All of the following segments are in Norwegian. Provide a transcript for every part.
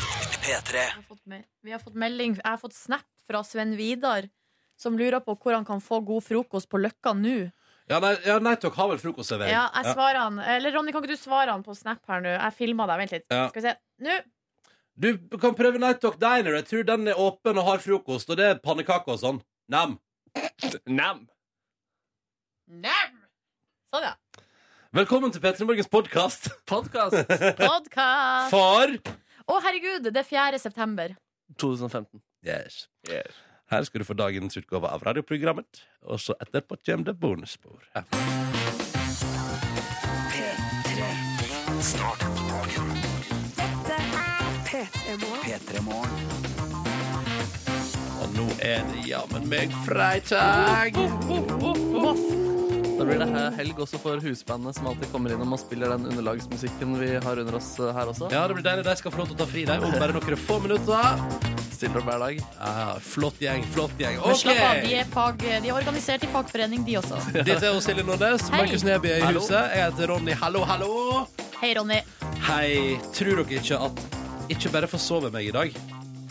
P3. Jeg har fått me- Vi har fått melding Jeg har fått snap fra Sven Vidar, som lurer på hvor han kan få god frokost på Løkka nå. Ja, nei, ja, nei takk, har vel frokostservering. Ja, jeg svarer han Eller Ronny, kan ikke du svare han på snap her nå? Jeg filma deg, vent litt. Ja. Skal vi se. Nå! Du kan prøve Night Talk Diner. Jeg tror den er åpen og har frokost. Og det er pannekaker og sånn. Nam. Nam. Nam! Sånn, ja. Velkommen til P3 Morgens podkast. Podkast Podkast! For Å, herregud, det er 4. september. 2015. yes. Yes. Her skal du få dagens utgave av radioprogrammet. Og så etterpå kommer det bonusspor. Ja. P3 Morgen. Og nå er det jammen meg fredag. Da blir det he- helg også for husbandet, som alltid kommer innom og spiller den underlagsmusikken vi har under oss eh, her også. Ja, det blir deilig. De skal få lov til å ta fri deg om bare noen få minutter. Stiller opp hver dag. Ja, flott gjeng, flott gjeng. Men Slapp av, de OK! er, fag, de er organisert i fagforening, de også. Dette er jo Silje Nordnes. Hei. Markus Neby er i Hallo. huset. Jeg heter Ronny. Hallo, hallo. Hei, Ronny. Hei, tror dere ikke at Ikke bare forsover meg i dag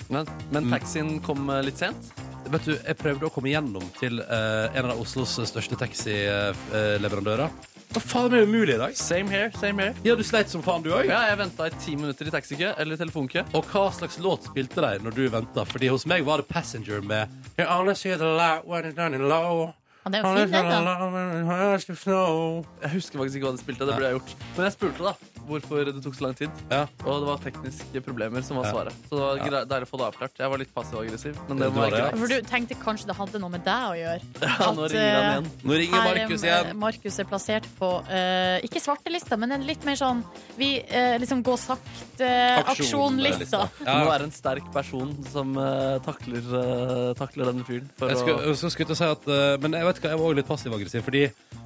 Men, men taxien kom eh, litt sent. Vet du, jeg prøvde å komme gjennom til eh, En av Oslos største taxi-leverandører Hva faen er det umulig i dag? Same here, same here. Ja, du sleit som faen du også Ja, jeg venta i ti minutter i taxikø eller telefonkø. Og hva slags låt spilte de når du ventet? Fordi hos meg var det Passenger med You only see the light when it's running low Ja, det er jo fint, det, da. da Jeg husker faktisk ikke hva de spilte. det burde jeg gjort Men jeg spurte da hvorfor det tok så lang tid. Ja, Og det var tekniske problemer som var Ja. svaret. Så det var grei- deilig å få det avklart. Jeg var litt passiv aggressiv, men det Det var var det, ja. greit. For du tenkte kanskje det hadde noe med deg å gjøre. Ja, nå At, ringer eh, han igjen. nå ringer Her, Markus eh, igjen Markus er plassert på eh, ikke svartelista, men en litt mer sånn vi eh, liksom gå eh, sakte-aksjon-lista. Det må sånn. Ja, være en sterk person som eh, takler, eh, takler denne fyren. For Jeg skulle, å, jeg skulle til å si at eh, Men jeg vet hva, jeg var også litt passiv-aggressiv Fordi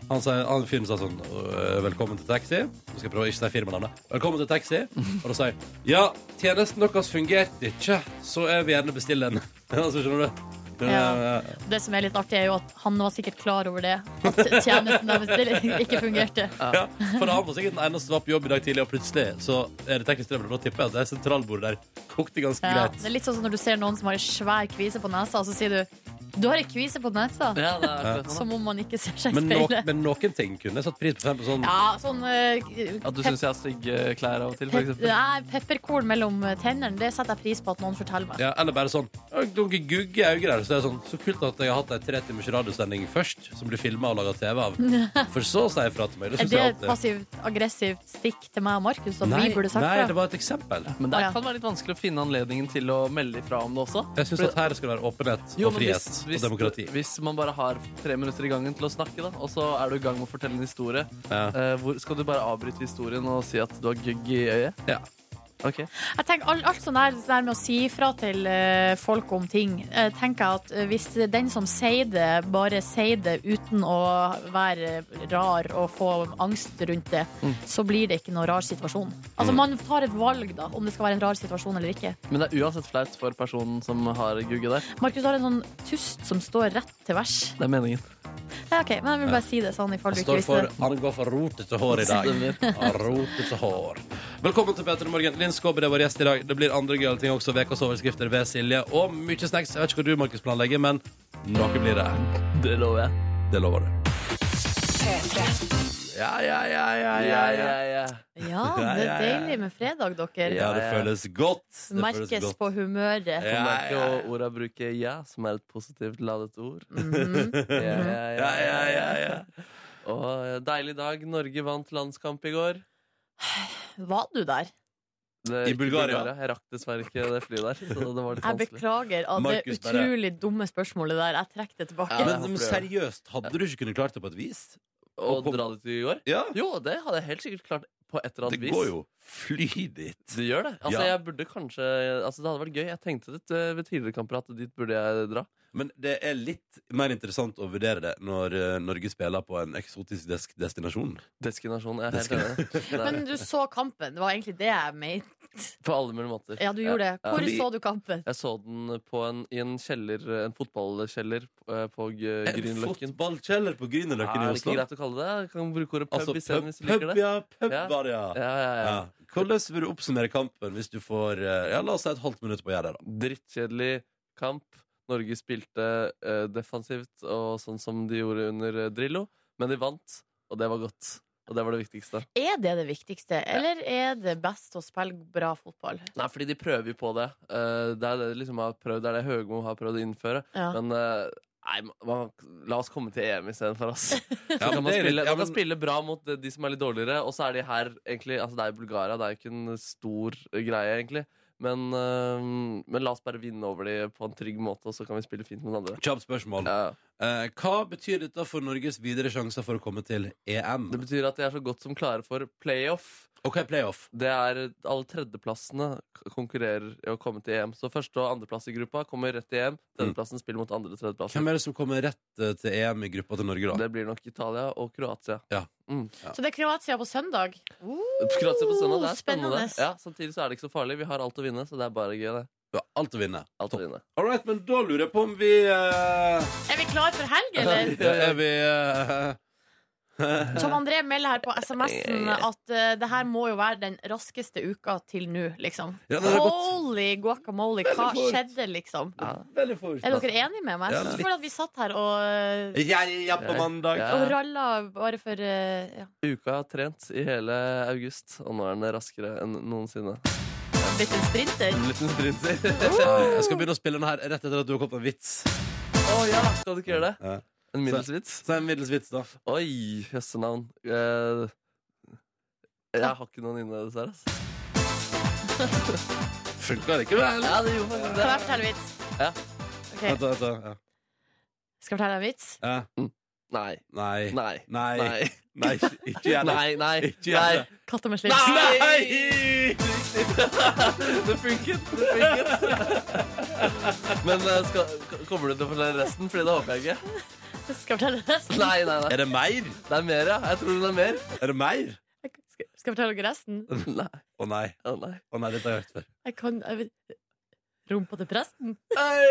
han, sa, han fyren sa sånn «Øh, Velkommen til taxi Nå skal jeg prøve å ikke si firmanavnet Velkommen til taxi Og da sa jeg Ja, tjenesten deres fungerte ikke Så jeg vil gjerne bestille en Altså, skjønner du? Det- Ja. det som er litt artig, er jo at han var sikkert klar over det. At tjenesten deres ikke fungerte. Ja, for han var sikkert den eneste som var på jobb i dag tidlig Og plutselig så er det teknisk trøbbel Og da tipper jeg at det sentralbordet der kokte ganske Ja, greit det er litt sånn som når du ser noen som har ei svær kvise på nesa, og så sier du 'du har ei kvise på nesa', ja, det er akkurat sånn. som om man ikke ser seg i men, no, speilet. men noen ting kunne jeg satt pris på For eksempel sånn Ja, sånn eh, da. At du pep- syns jeg har stygge klær av og til, for pep- eksempel. Nei, pepperkorn mellom tennene, det setter jeg pris på at noen forteller meg. Ja, eller bare sånn «Å, Noen gugge i øynene der. Så, det er sånn, så kult at jeg har hatt ei tre timers radiosending først, som blir filma og laga TV av. For så å si ifra til meg. Det Er syns det jeg et alltid. passivt aggressivt stikk til meg og Markus? Som Nei, vi burde sagt nei, fra? det var et eksempel. Men det Å, ja. kan være litt vanskelig å finne anledningen til å melde ifra om det også. Jeg syns For- at her skal det være åpenhet Jo, og men frihet hvis- og demokrati. Hvis man bare har tre minutter i gangen til å snakke, da, og så er du i gang med å fortelle en historie, Ja. eh, hvor, skal du bare avbryte historien og si at du har gugg i øyet? Ja. Ok. Jeg tenker alt, alt sånn der, sånn der med å si fra til eh, folk om ting, eh, tenker jeg at eh, hvis den som sier det, bare sier det uten å være rar og få angst rundt det, Mm. så blir det ikke noe rar situasjon. Altså man tar et valg da, om det skal være en rar situasjon eller ikke. Men det er uansett flaut for personen som har gugge der. Markus, du har en sånn tust som står rett til vers. Det er meningen. Ja, ok, men jeg vil bare si det sånn i fall Han du ikke står visste for, det. han går for rotete hår i dag. Ja, Rotete hår. Velkommen til Peter i morgen. Linn Skåber er vår gjest i dag. Det blir andre gøyale ting også. Ukas overskrifter ved Silje. Og mye snacks. Jeg vet ikke hva du, Markus, planlegger, men noe blir det. Det lover jeg. Det lover du. Ja, ja, ja, ja, ja, ja. Ja, det er deilig med fredag, dere. Ja, det føles godt. Det Merkes føles godt. på humøret. Ja, ja, Merke ja. og orda bruker 'ja', som er et positivt ladet ord. Mhm. Ja, ja, ja. Ja, ja, ja, ja. Og eh, deilig dag. Norge vant landskamp i går. Var du der? Det- I ikke Bulgaria. Jeg rakk dessverre ikke det flyet der. Så det var Jeg litt vanskelig. beklager at det Markus, bare- utrolig dumme spørsmålet der. Jeg trekker det tilbake. Ja, Men, jeg men håper det. seriøst, hadde du ikke kunnet klart det på et vis? Å dra dit i går? Ja, Jo, det hadde jeg helt sikkert klart på et eller det annet vis. går jo fly dit. Det gjør det. Altså, Ja. jeg burde kanskje Altså, det hadde vært gøy. Jeg tenkte det eh, ved tidligere kamper at dit burde jeg dra. Men det er litt mer interessant å vurdere det når eh, Norge spiller på en eksotisk desk destinasjon. Destinasjon. Jeg er helt enig. Det er- Men du så kampen. Det var egentlig det jeg mente. What?! På alle mulige måter. Ja, du gjorde det. Hvor Jeg, så du kampen? jeg så den på en, i en kjeller, en fotballkjeller eh, på G- En Grünerløkken. fotballkjeller på Ja, Grünerløkken i Er det Oslo. ikke greit å kalle det det? Jeg Kan bruke ordet pub Altså, isteden pub, hvis du pub, liker det. ja, pub Ja. var det, ja. Ja, ja, ja. ja. Hvordan vil du oppsummere kampen hvis du får eh, ja, la oss si et halvt minutt på å gjøre det? da Drittkjedelig kamp. Norge spilte eh, defensivt og sånn som de gjorde under eh, Drillo, men de vant, og det var godt. Og det var det viktigste. Er det det viktigste, eller er det best å spille bra fotball? Nei, fordi de prøver jo på det. Eh, det er det de liksom har prøvd, det er det Høgmo har prøvd å innføre. Ja. Men eh, nei, man, la oss komme til EM istedenfor, ass. Ja, altså. kan men man, det er spille, litt- ja, man kan men- spille bra mot de- de som er litt dårligere, og så er de her egentlig Altså, det er jo Bulgaria, det er jo ikke en stor eh, greie, egentlig. Men, øhm, men la oss bare vinne over de på en trygg måte, og så kan vi spille fint mot andre. Kjapt spørsmål. Ja. Eh, hva betyr dette for Norges videre sjanser for å komme til EM? Det betyr at de er så godt som klare for playoff. OK, playoff. Det er Alle tredjeplassene k- konkurrerer i å komme til EM. Så første- og andreplass i gruppa kommer rett til EM. Tredjeplassen spiller mot andre tredjeplass. Mm. Hvem er det som kommer rett eh, til EM i gruppa til Norge, da? Det blir nok Italia og Kroatia. Så det er Kroatia på søndag. Uh, Kroatia på søndag, det er spennende. spennende. Ja, samtidig så er det ikke så farlig. Vi har alt å vinne, så det er bare gøy, det. Du har alt å vinne. Alt å vinne. All right, men da lurer jeg på om vi eh, Er vi klare for helg, eller? ja, Er vi eh, Tom André melder her på SMS-en at eh, det her må jo være den raskeste uka til nå, liksom. Ja, det er godt. Holy guacamole, hva skjedde, liksom? Ja. Veldig fort. Er dere enige med meg? Ja, Jeg synes litt. for at vi satt her og, eh, Gjerja på mandag. og Ja. ralla bare for eh, ja, Uka har trent i hele august, og nå er den raskere enn noensinne. blitt en sprinter. En liten sprinter. Nei, Jeg skal begynne å spille den her rett etter at du har kommet med en vits. Å ja, skal du ikke gjøre det? Ja. En middelsvits? Så er det en middels vits, da. Oi, jøssenavn. Eh, jeg har ikke noen inne, dessverre. ass. Funka det ikke vel? Ja, det gjorde faktisk Kan jeg det. fortelle en vits? Ja. Ok, Vent, da, vent, da. Ja. Skal jeg fortelle en vits? Ja. Nei. Nei. Nei. Nei. Nei. Nei. Nei. Ikke gjør det. Nei, nei, Ikke gjør det. Katta med slips. Nei! Det funket! Det funket. Men eh, skal, kommer du til å fortelle resten? Fordi det håper jeg ikke. Skal jeg fortelle resten? Nei, nei, nei. Er det mer? Det er mer, ja. Jeg tror det er mer. Er det mer? Skal skal jeg fortelle dere resten? Nei. Å nei. Å, nei. Å nei, dette har jeg hørt før. Jeg kan jeg vet, Rumpa til presten? Ei.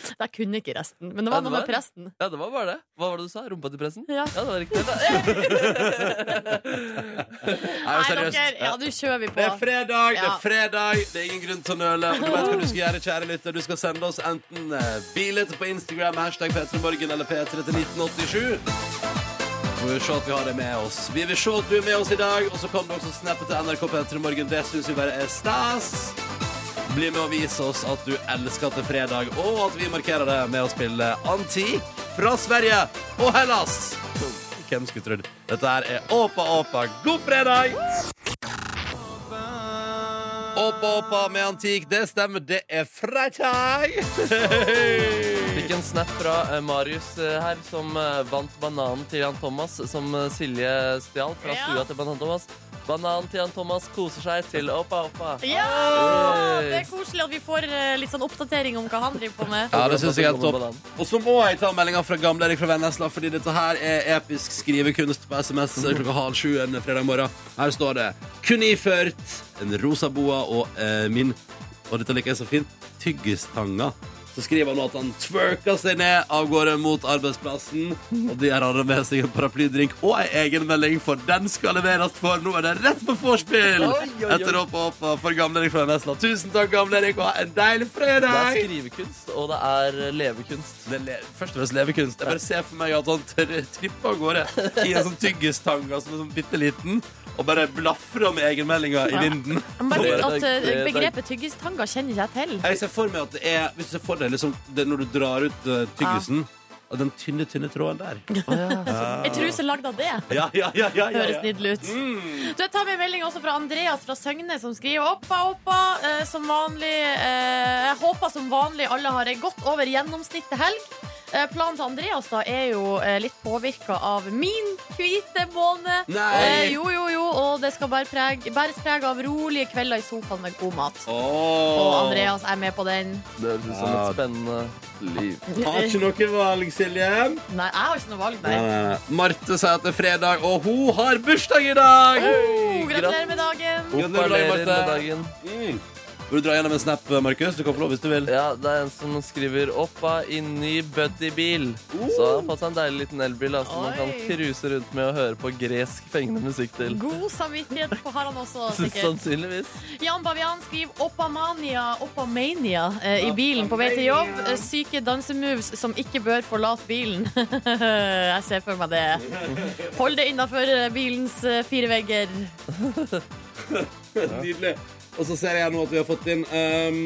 Jeg kunne ikke resten, men det var Ja, det noe med var- presten. Ja, det var bare det. Hva var det du sa? Rumpa til pressen? Ja. Ja, det var riktig. Nei, Nei, men seriøst. dere, ja, nå kjører vi på. Det er fredag, det Ja. er fredag. Det er ingen grunn til å nøle. Og du vet hva du skal gjøre, kjære lytter. Du skal sende oss enten eh, bilder på Instagram, hashtag P3morgen eller P3 til 1987. Så vi vil se at vi har deg med oss. Vi vil se at du er med oss i dag. Og så kan du også snappe til NRK P3morgen. Det syns vi bare er stas. Bli med og vise oss at du elsker at det er fredag, og at vi markerer det med å spille Anti fra Sverige og Hellas. Hvem skulle trodd? Dette her er Åpa Åpa. God fredag! Åpa Åpa med Antik. Det stemmer, det er fredag! Fikk en snap fra eh, Marius eh, her, som eh, vant bananen til Jan Thomas, som eh, Silje stjal fra Ja. stua til Banan Thomas. Bananen til Jan Thomas koser seg til Oppa Oppa. Ja! Hey. Det er koselig at vi får eh, litt sånn oppdatering om hva han driver på med. Ja, det synes jeg er helt topp. Banan. Og så må jeg ta meldinga fra gamle Erik fra Vennesla, fordi dette her er episk skrivekunst på SMS klokka halv sju en fredag morgen. Her står det kun iført en rosa boa og eh, min Og dette liker jeg så fint tyggistanga. Så skriver han nå at han twerker seg ned av gårde mot arbeidsplassen. Og de har han med seg en paraplydrink og ei egenmelding, for den skal leveres, for nå er det rett på vorspiel! Oi, oi, oi. Etter opp og opp for gamle Erik fra Vennesla. Tusen takk, gamle Erik, og ha en deilig Det er fredag! skrivekunst, og det er eh, levekunst. Det er le først og fremst levekunst. Jeg bare ser for meg at han tr tripper av gårde i en sånn tyggistanga som er sånn bitte liten, og bare blafrer om egenmeldinga i vinden. Jeg må bare si at eh, Det- det- Begrepet tyggistanga kjenner ikke jeg til. Jeg ser for meg at det er Hvis du ser for deg liksom, det når du drar ut eh, tyggisen og Den tynne, tynne tråden der. Ah. En truse lagd av det. Ja, ja, ja, ja, ja, Mm. Høres ja. nydelig ut. Du jeg tar med en melding også fra Andreas fra Søgne, som skriver Oppa, oppa, eh, som vanlig eh, Jeg håper som vanlig alle har ei godt over gjennomsnittet helg. Eh, Planen til Andreas da er jo eh, litt påvirka av min hvite måne. Nei! Eh, jo, jo, jo, og det skal bære preg, bæres preg av rolige kvelder i sofaen med god mat. Og Åh. Andreas er med på den. Det høres ut som Ja. et spennende liv. Har ikke noe valg, Silje. Nei, jeg har ikke noe valg, Nei, nei. nei, nei. Marte sier at det er fredag, og hun har bursdag i dag! Oh, gratulerer med dagen. Gratulerer, Gratulerer med Marte. dagen. Mm. Vil du dra gjennom en snap, Markus? Du kan få lov hvis du vil. Ja, det er en som skriver 'oppa i ny buddybil'. Så Oh. han har fått seg en deilig liten elbil da, som man kan Oi. cruise rundt med og høre på gresk fengende musikk til. God samvittighet på- har han også, sikkert. Sannsynligvis. Jan Bavian skriver Oppamania, Oppamania eh, i bilen på vei til jobb. Eh, Syke dansemoves som ikke bør forlate bilen. jeg ser for meg det. Hold det innafor bilens eh, fire vegger. Nydelig. Og så ser jeg nå at vi har fått inn ehm,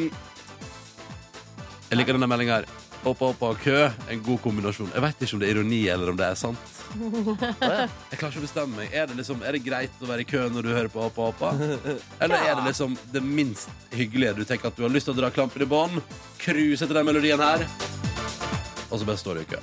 Jeg liker denne meldinga her. Hoppa, hoppa og kø. En god kombinasjon. Jeg vet ikke om det er ironi, eller om det er sant. Jeg klarer ikke å bestemme meg. Er det, liksom, er det greit å være i kø når du hører på Hoppa, hoppa? Eller er det liksom det minst hyggelige? Du tenker at du har lyst til å dra klampen i bånn, cruise etter den melodien her, og så bare står du i kø.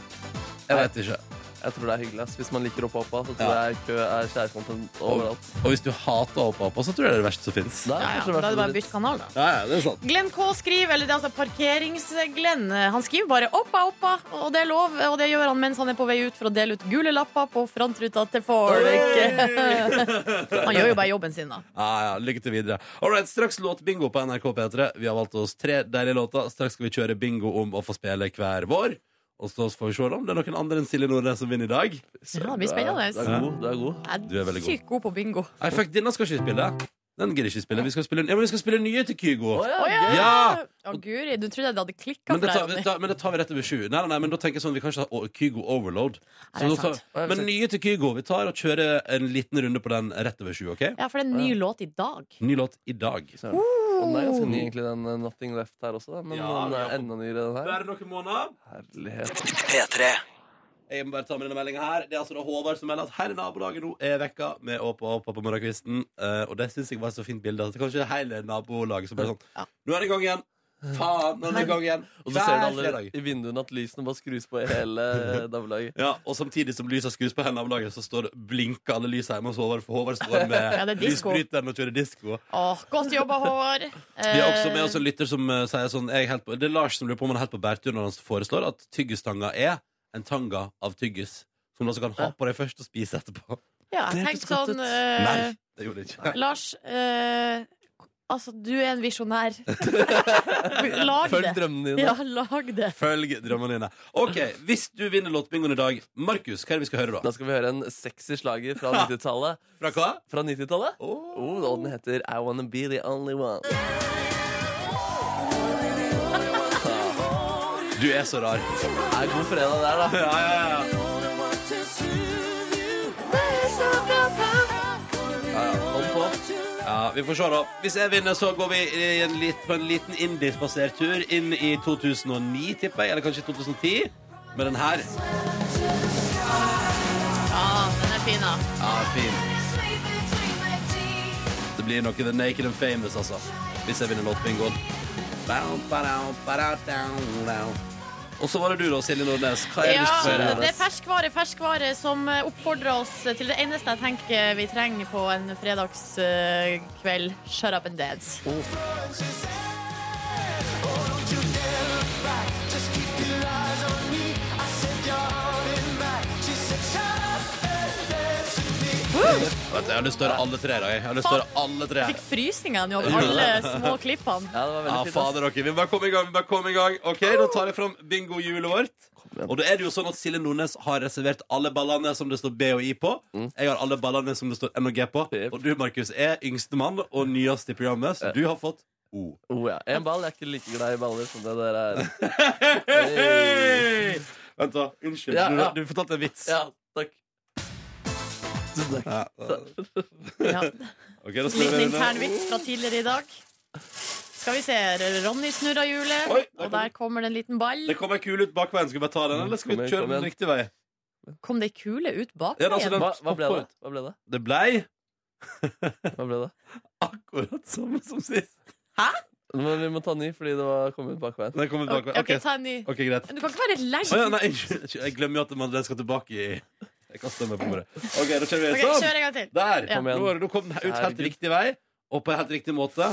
Jeg vet ikke. Jeg tror det er hyggelig. ass. Hvis man liker oppa oppa, så tror jeg kø er kjærkontent overalt. Og hvis du hater Hoppa, hoppa, så tror jeg det er det verste som fins. Ja, ja. Da Da kanskje er det bare å verst- bytte kanal, da. Ja, ja, det er sant. Glenn K skriver, eller det er altså Parkerings-Glenn, eh, han skriver bare 'oppa, oppa', og det er lov. Og det gjør han mens han er på vei ut for å dele ut gule lapper på frontruta til folk. han gjør jo bare jobben sin, da. Ja, ja, Lykke til videre. Alright, Straks låtbingo på NRK P3. Vi har valgt oss tre deilige låter. Straks skal vi kjøre bingo om å få spille hver vår. Og så får vi se om det er noen andre enn Silje Nordnes som vinner i dag. Ja, det blir spennende. Du er god. Du er god. Jeg Du er er veldig god. sykt god på bingo. Nei, fuck, denne skal ikke vi spille. Den gidder ikke spille. Vi skal spille, ja, men vi skal spille nye til Kygo. Å, ja. Å ja! Ja! Å, Guri, du trodde det hadde klikka Men for det, deg, tar, vi- Ronny. ta, men det tar vi rett over sju. Nei, nei, nei, men da tenker jeg sånn, Vi kan ikke ha o- Kygo overload. Nei, det er da tar, sant. Å, ja, men sant. nye til Kygo. Vi tar og kjører en liten runde på den rett over sju. ok? Ja, for det er en ny låt i dag. Ny låt i dag. Søren. Og den er ganske ny, egentlig, den eh, Nothing Left her også. da. Men Ja, den ja. er enda nyere, den her. Bare noen måneder. Herlighet. P3. Jeg må bare ta med denne meldingen her Det er altså da Håvard som melder at hele nabolaget nå er vekka med åpa og åpa på morgenkvisten. Eh, og det syns jeg var et så fint bilde. At det kanskje er hele nabolaget som bare sånn Ja. Nå er det i gang igjen! Faen, nå er det i gang igjen! Og så ser du Hver alle fredag. i vinduene at lysene bare skrus på i hele eh, nabolaget. Ja, og samtidig som lysa skrus på hele nabolaget, så står det, blinker alle lysa hjemme hos Håvard, for Håvard står med Ja, det er disco. lysbryteren og kjører disko. Åh, godt jobba, Håvard. Vi har også med oss en lytter som eh, sier sånn jeg er helt på, Det er Lars som lurer på om han er helt på bærtur når han foreslår at tyggistanga er en tanga av tyggis. Som du altså kan ha på deg først og spise etterpå. Ja, Det tenk hørtes godt sånn ut. eh, Nei, det gjorde jeg ikke. Lars, eh, altså, du er en visjonær. lag Følg det. drømmene dine. Ja, lag det. Følg drømmene dine. Ok, Hvis du vinner låtbingoen i dag, Markus, hva er det vi skal høre Da da? skal vi høre en sexy slager fra 90-tallet. Fra hva? Fra 90-tallet? Åh. Oh, og den heter I Wanna Be The Only One. Du er så rar. Det er god fredag der, da. Ja, ja, ja. Hold på. ja Vi får se, da. Hvis jeg vinner, så går vi i en lit, på en liten indiespasertur inn i 2009, tipper jeg. Eller kanskje 2010. Med den her. Ja, den er fin, da. Ja, fin. Det blir noe The Naked and Famous, altså. Hvis jeg vinner låtbingoen. Bam, badam, badam, down, down. Og så var det du, da, Silje Nordnes. Hva er det Ja, du skal høre? det er ferskvare, ferskvare som eh, oppfordrer oss til det eneste jeg tenker vi trenger på en fredagskveld. Shut up and dance. Vet du, Jeg har lyst til å høre alle tre. Da. Jeg har lyst til å høre alle tre Fikk frysninger nå over alle små klippene. Ja, det Ja, var veldig fint. fader, ok. Vi må bare komme i gang. vi må bare komme i gang Ok, Da tar jeg fram bingohjulet vårt. Og da er det jo sånn at Silje Nordnes har reservert alle ballene som det står B og I på. Mm. Jeg har alle ballene som det står N og G på. Jep. Og du, Markus, er yngstemann og nyest i programmet, så du har fått O. ass. Oh, ja. En ball. Jeg er ikke like glad i baller som det dere er. Hei! Vent, da. Unnskyld. Ja, ja. Du, du fortalte en vits. Ja, takk. Tusen takk. Ja. Ja. Ok, da skal vi Liten begynne. internvits fra tidligere i dag. Skal vi se. Ronny snurrer hjulet, Oi, der og kom der kommer det en liten ball. Det kom ei kule ut bakveien. Skal vi bare ta den, eller skal Kom vi igjen, kjøre kom den igjen. riktig vei? Kom det ei kule ut bak Ja, det er altså veien? den- Hva, hva ble det? Hva ble det? Det blei Hva ble det? akkurat samme som sist. Hæ? Men vi må ta ny, fordi det var kommet bakveien. Den kommer tilbake. OK, Ok, ta en ny. ok, greit. Du kan ikke være Å ja, legg. nei, unnskyld. jeg glemmer jo at man, den skal tilbake i Jeg kaster meg på bordet. Ok, da kjører Ok, vi sånn. kjør en gang til. Der! Ja. Kom igjen. Nå, er det- nå kom den ut helt Herregud. riktig vei, og på helt riktig måte.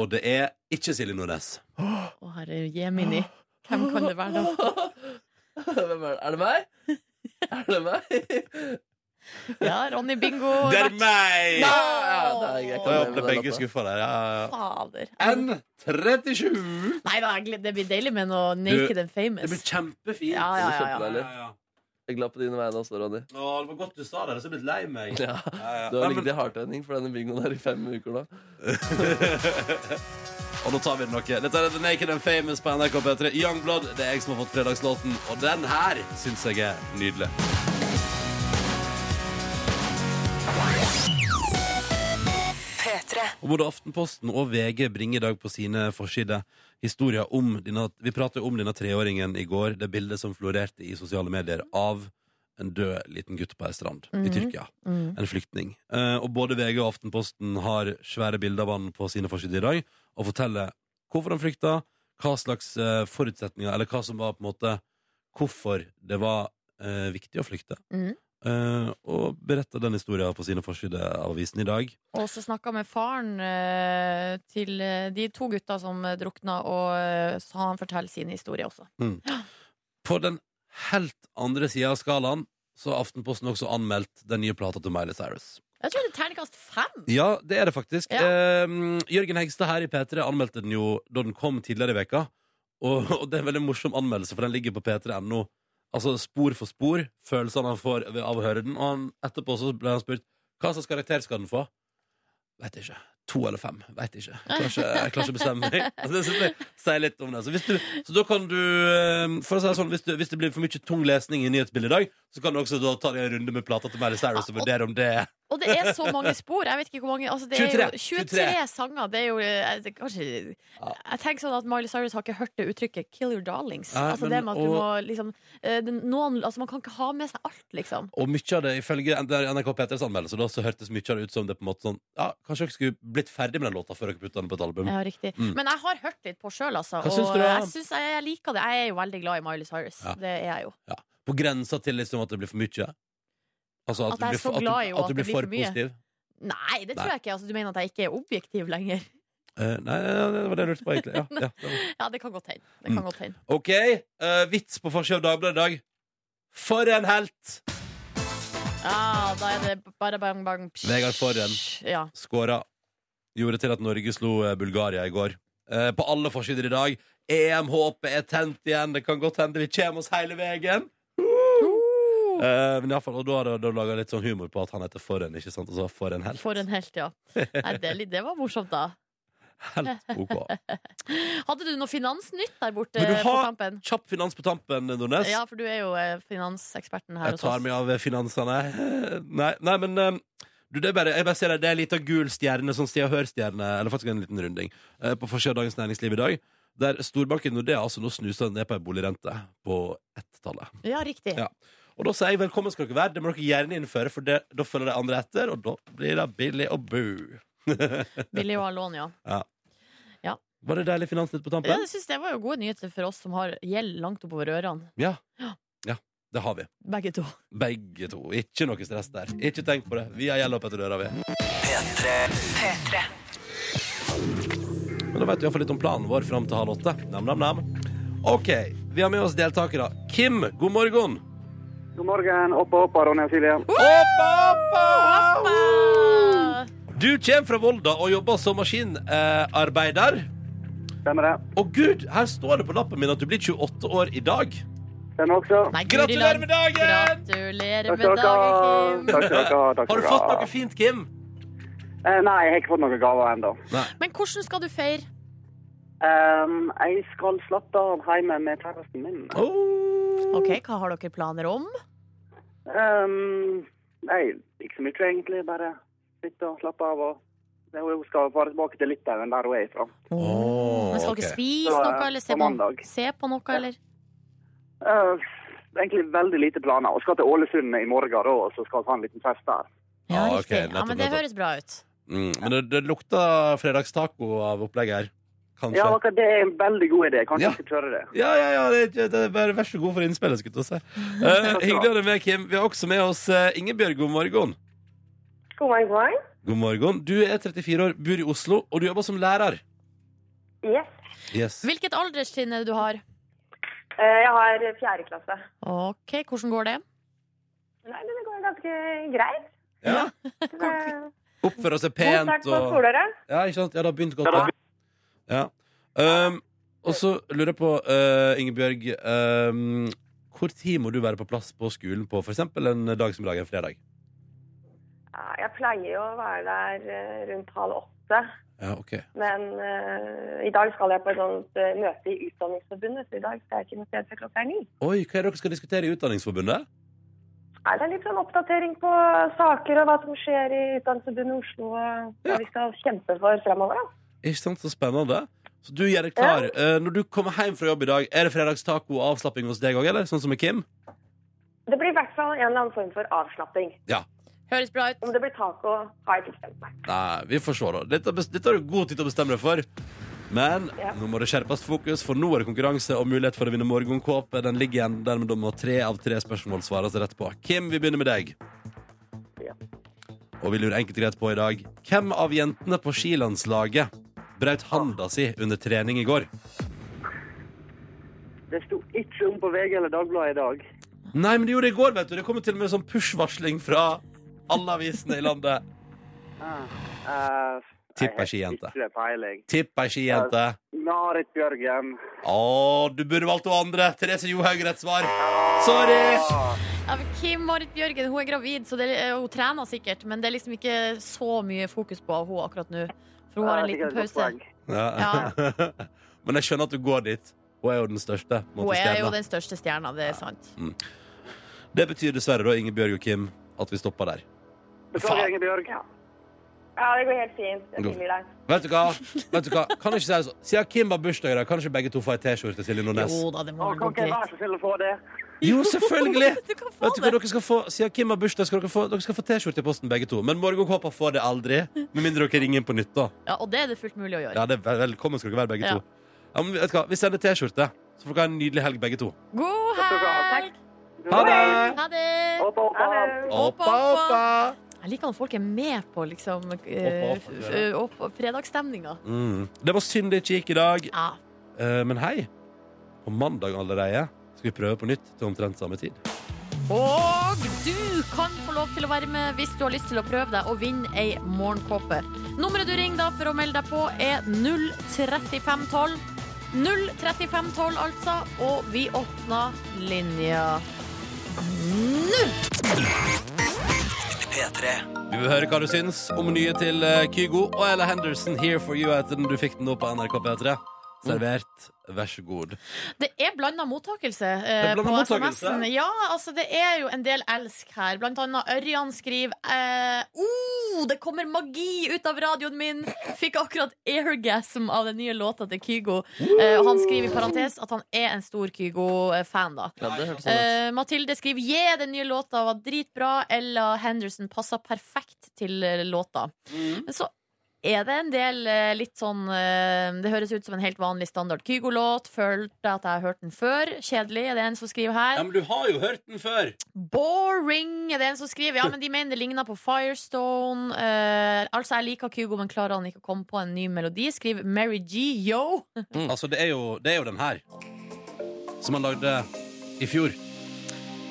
Og det er ikke Silje Nordnes. Å, herre jemini. Hvem kan det være da? Hvem er det? Er det meg? Er det meg? Ja, Ronny Bingo. Det er meg! Nei! Ja, det er greit. Og jeg Det ble er begge lov, da. skuffa der. Ja, ja, Fader. ja. N37. Nei da, jeg gled- det blir deilig med noe naked and Det blir famous. kjempefint. Ja, ja, ja, ja. Ja, ja, ja. Jeg er glad på dine vegne også, Ronny. Å, det var godt du sa det. Jeg er så blitt lei meg. Ja, Ja, ja. du har Nei, men- ligget i hardtrening for denne bingoen her i fem uker nå. Og nå tar vi det noe. Dette er The Naked and Famous på NRK P3. Youngblood, det er jeg som har fått fredagslåten. Og den her syns jeg er nydelig. P3. Og både Aftenposten og VG bringer i dag på sine forsider historier om denne Vi pratet jo om denne treåringen i går. Det bildet som florerte i sosiale medier av en død liten gutt på ei strand i Tyrkia. Mm. En flyktning. Eh, og både VG og Aftenposten har svære bilder av han på sine forsider i dag, og forteller hvorfor han flykta, hva slags eh, forutsetninger Eller hva som var på en måte Hvorfor det var eh, viktig å flykte. Mhm. Eh, og beretter den historien på sine forsider av avisen i dag. Og så snakka med faren eh, til eh, de to gutta som eh, drukna, og eh, så han forteller sin historie også. På den helt andre sida av skalaen så har Aftenposten også anmeldt den nye plata til Miley Cyrus. Jeg tror det er terningkast fem. Ja, det er det faktisk. Ja. Ehm, Jørgen Hegstad her i P3 anmeldte den jo da den kom tidligere i veka. Og, og det er en veldig morsom anmeldelse, for den ligger på p3.no. Altså spor for spor, følelsene han får ved- av å høre den. Og han, etterpå så ble han spurt hva slags karakter skal den få. Veit ikke. To eller fem. Veit ikke. Jeg klarer ikke, jeg klarer ikke å bestemme meg. Altså, det synes jeg sier litt om det. Så, hvis du, så da kan du eh, For å si det sånn, hvis, du, hvis det blir for mye tung lesning i nyhetsbildet i dag, så kan du også da ta deg en runde med plata til Mary Cyrus og vurdere om det er Og det er så mange spor. Jeg vet ikke hvor mange altså det 23, er jo 23, 23. sanger. Det er jo eh, det, kanskje Jeg tenker sånn at Miley Cyrus har ikke hørt det uttrykket 'kill your darlings'. Nei, altså men- det med at du og- må liksom eh, den- noen, altså Man kan ikke ha med seg alt, liksom. Og mye av det, ifølge NRK P3s anmeldelse, da, så hørtes mye av det ut som det på en måte sånn Ja, kanskje dere skulle blitt ferdig med den låta før dere putta den på et album. Ja, riktig. Mm. Men jeg har hørt litt på sjøl, altså. Hva Og syns du da? jeg, syns jeg, jeg liker det. Jeg er jo veldig glad i Miley Cyrus. Ja. Det er jeg jo. På grensa til liksom at det blir for mye. Altså At jeg er så for- glad i jo at du det blir for blir for mye. positiv. Nei, det tror Nei. jeg ikke. Altså, du mener at jeg ikke er objektiv lenger? Eh, nei, nei, nei, det var det jeg lurte på, egentlig. Ja, ja, det var- Ja, det kan godt hende. Det kan Mm. godt hende. OK, eh, vits på forsida av Dagbladet i dag. For en helt! Ja, da er det bare bang, bang. psh. Vegard Forhen. Ja. Skåra. Gjorde til at Norge slo eh, Bulgaria i går. Eh, på alle forsider i dag. E EM-håpet er tent igjen. Det kan godt hende vi kommer oss hele veien. Eh, men i alle fall, og da har du laga litt sånn humor på at han heter Forhen, ikke sant? Og så Forhen helt. For en helt, ja. Nei, det, er litt- det var morsomt, da. Helt ok. Hadde du noe finansnytt der borte Vil du på ha- tampen? Kjapp finans på tampen, Nordnes. Ja, for du er jo eh, finanseksperten her jeg hos tar oss. meg av finansene. Eh, Nei, nei men eh, du, det er bare, jeg bare ser det, det er ei lita gul stjerne, sånn Se og Hør-stjerne, eller faktisk en liten runding, eh, på forsida av Dagens Næringsliv i dag. Der storbanken Nordea altså nå snuser ned på ei boligrente på ett-tallet. Ja, riktig. Ja. Og da sier jeg velkommen skal dere være. Det må dere gjerne innføre, for det, da følger de andre etter, og da blir det billig å bo. Billig å ha lån, ja. Var det deilig finansnytt på ja tampen? jeg synes det var jo gode nyheter for oss som har gjeld langt oppover ørene. Ja. ja. Det har vi. Begge to. Begge to. Ikke noe stress der. Ikke tenk på det. Vi har gjeld opp etter døra, vi. Men da vet vi iallfall litt om planen vår fram til halv åtte. Nam, nam, nam. OK. Vi har med oss deltakere. Kim, god morgen. God morgen. Oppa, oppa, Ronny og Silje. Oppa, oppa! Ah, Du kommer fra Volda og jobber som maskinarbeider. Stemmer det? Og gud, her står det på lappen min at du blir 28 år i dag. Stemmer også. nei, Guri Gratulerer land. med dagen! Gratulerer Takk med skal dere ha. dagen, Kim! Takk skal dere ha. Takk Har du skal dere fått ha. noe fint, Kim? Eh, Nei, jeg har ikke fått noen gaver ennå. Men hvordan skal du feire? Ehm, jeg skal slappe av hjemme med kjæresten min. Oh. Ok, Hva har dere planer om? Ehm, nei, ikke så mye egentlig. Bare sitte og slappe av. og det er jo- Hun skal bare tilbake til Litauen, der hun er ifra. Åh, Men skal dere ok. spise Så, eh, noe, eller se på på, mandag. se på noe, eller? Eh, egentlig veldig lite planer. Hun skal til Ålesund i morgen, da, og så skal vi ha en liten fest der. Ja, Ah, ok, riktig. Ja, nettopp, men det nettopp. høres bra ut. Mm, men det, det lukter fredagstaco av opplegget her. Kanskje. Ja, akkurat det er en veldig god idé. Kanskje Ja. jeg skal kjøre det. Ja, ja, ja, det er, ikke- det er bare vær så god for innspillet, skulle jeg til å si. Eh, hyggelig å ha deg med, Kim. Vi har også med oss eh, Ingebjørg. God morgen. God morgen, god morgen. God morgen. Du er 34 år, bor i Oslo, og du jobber som lærer. Yes. Yes. Hvilket alderstrinn er det du har? Eh, Jeg har fjerde klasse. Ok, hvordan går det? Nei, men det går ganske greit. Ja. Det er- Oppfører seg God pent start på og skoleåret. Ja, ikke sant? Ja, det har begynt godt. Ja. ja. Um, og så lurer jeg på, eh, Ingebjørg um, Hvor tid må du være på plass på skolen på f.eks. en dag som i dag, en fredag? Ja, jeg pleier jo å være der eh, rundt halv åtte. Ja, ok Men eh, i dag skal jeg på et sånt eh, møte i Utdanningsforbundet, så i dag skal jeg ikke noe sted før klokka er ni. Oi, hva er det dere skal diskutere i Utdanningsforbundet? Nei, det er litt sånn oppdatering på saker og hva som skjer i Utdanningsforbundet i Oslo, og hva Ja. vi skal kjempe for fremover. da. Ikke sant, så spennende Så du gjør deg klar Eh, Når du kommer hjem fra jobb i dag, er det fredagstaco og avslapping hos deg òg, eller? Sånn som med Kim? Det blir i hvert fall en eller annen form for avslapping. Høres bra ut. Om det blir taco, har jeg ikke bestemt meg. Nei, vi får se da Dette, bes- dette har du god tid til å bestemme deg for Men Ja. nå må det skjerpes fokus For nå er det konkurranse og mulighet for å vinne morgenkåpe Den ligger igjen der med må tre av tre spørsmål svares rett på Kim, vi begynner med deg Ja. Og vi lurer enkelt og greit på i dag Hvem av jentene på skilandslaget Braut handa si under trening i går Det sto ikke om på VG eller Dagbladet i dag. Nei, men det gjorde det i går, vet du Det kom til og med sånn push-varsling fra alle avisene i landet Ah, eh, Tipp ei jeg har skijente. Ikke peiling. Tipp ei skijente Marit Bjørgen. Åh, du burde valgt noe andre Therese Johaug, rett svar Sorry Ja, men Kim Marit Bjørgen hun er gravid, så det, er- eh, hun trener sikkert. Men det er liksom ikke så mye fokus på hun akkurat nå. For hun har en Det er liten sikkert et godt pause. poeng. Ja. Men jeg skjønner at du går dit. Hun er jo den største. på en Hun måte, er jo stjerna. den største stjerna, det er sant. Det betyr dessverre, da, Ingebjørg og Kim, at vi stopper der. Beklager, Ingebjørg. Ja. ja, det går helt fint. Jeg Godt. tilgir deg. Vet du hva? Vet du hva? Kan jeg ikke si det sånn? Siden Kim har bursdag i dag, kan ikke begge to få ei T-skjorte? Silje Nordnes? Jo da, det må Å, vel gå Kan ikke jeg greit. være så snill å få det? Jo, selvfølgelig! Du kan få Vet du hva det. dere skal få? Siden Kim har bursdag, skal dere få Dere skal få T-skjorte i posten, begge to. Men morgenkåpa får det aldri. Med mindre dere ringer inn på nytt, da. Ja, og det er det fullt mulig å gjøre. Ja, det er vel- Velkommen skal dere være, begge Ja. to. Ja, men vet du hva? Vi sender T-skjorte, så får dere ha en nydelig helg, begge to. God helg! Ha det! Ha det! Hoppa, hoppa. Ha det. Oppa, Oppa, oppa! Jeg liker når folk er med på liksom eh, Oppa, oppa, f- eh, opp- fredagsstemninga. Mm. Det var synd det ikke gikk i dag. Ja. Eh, men hei, på mandag allerede skal vi prøve på nytt til omtrent samme tid. Og du kan få lov til å være med hvis du har lyst til å prøve deg og vinne ei morgenkåpe. Nummeret du ringer da for å melde deg på, er 03512. 03512, altså. Og vi åpner linja. Vi vil høre hva du syns om nye til eh, Kygo og Ella Henderson. Here for you heter den. Du fikk den nå på NRK P3. Servert. Vær så god. Det er blanda mottakelse Det eh, er blandet på mottakelse. SMS-en. Ja, altså det er jo en del elsk her. Blant annet Ørjan skriver eh, oh, det kommer magi ut av radioen min! Fikk akkurat airgasm av den nye låta til Kygo. Eh, og han skriver i parentes at han er en stor Kygo-fan, da. Ja, det hørtes sånn ut. Eh, Mathilde skriver yeah, den nye låta var dritbra. Ella Henderson passa perfekt til eh, låta. Mm. Men så er det en del eh, litt sånn eh, Det høres ut som en helt vanlig standard Kygo-låt. Følte at jeg har hørt den før. Kjedelig, er det en som skriver her. men du har jo hørt den før! Boring, er det en som skriver. Ja, men de mener det ligner på Firestone. Eh, altså, jeg liker Kygo, men klarer han ikke å komme på en ny melodi? Skriv Mary G, yo. Altså, det er, jo, det er jo den her. Som han lagde i fjor.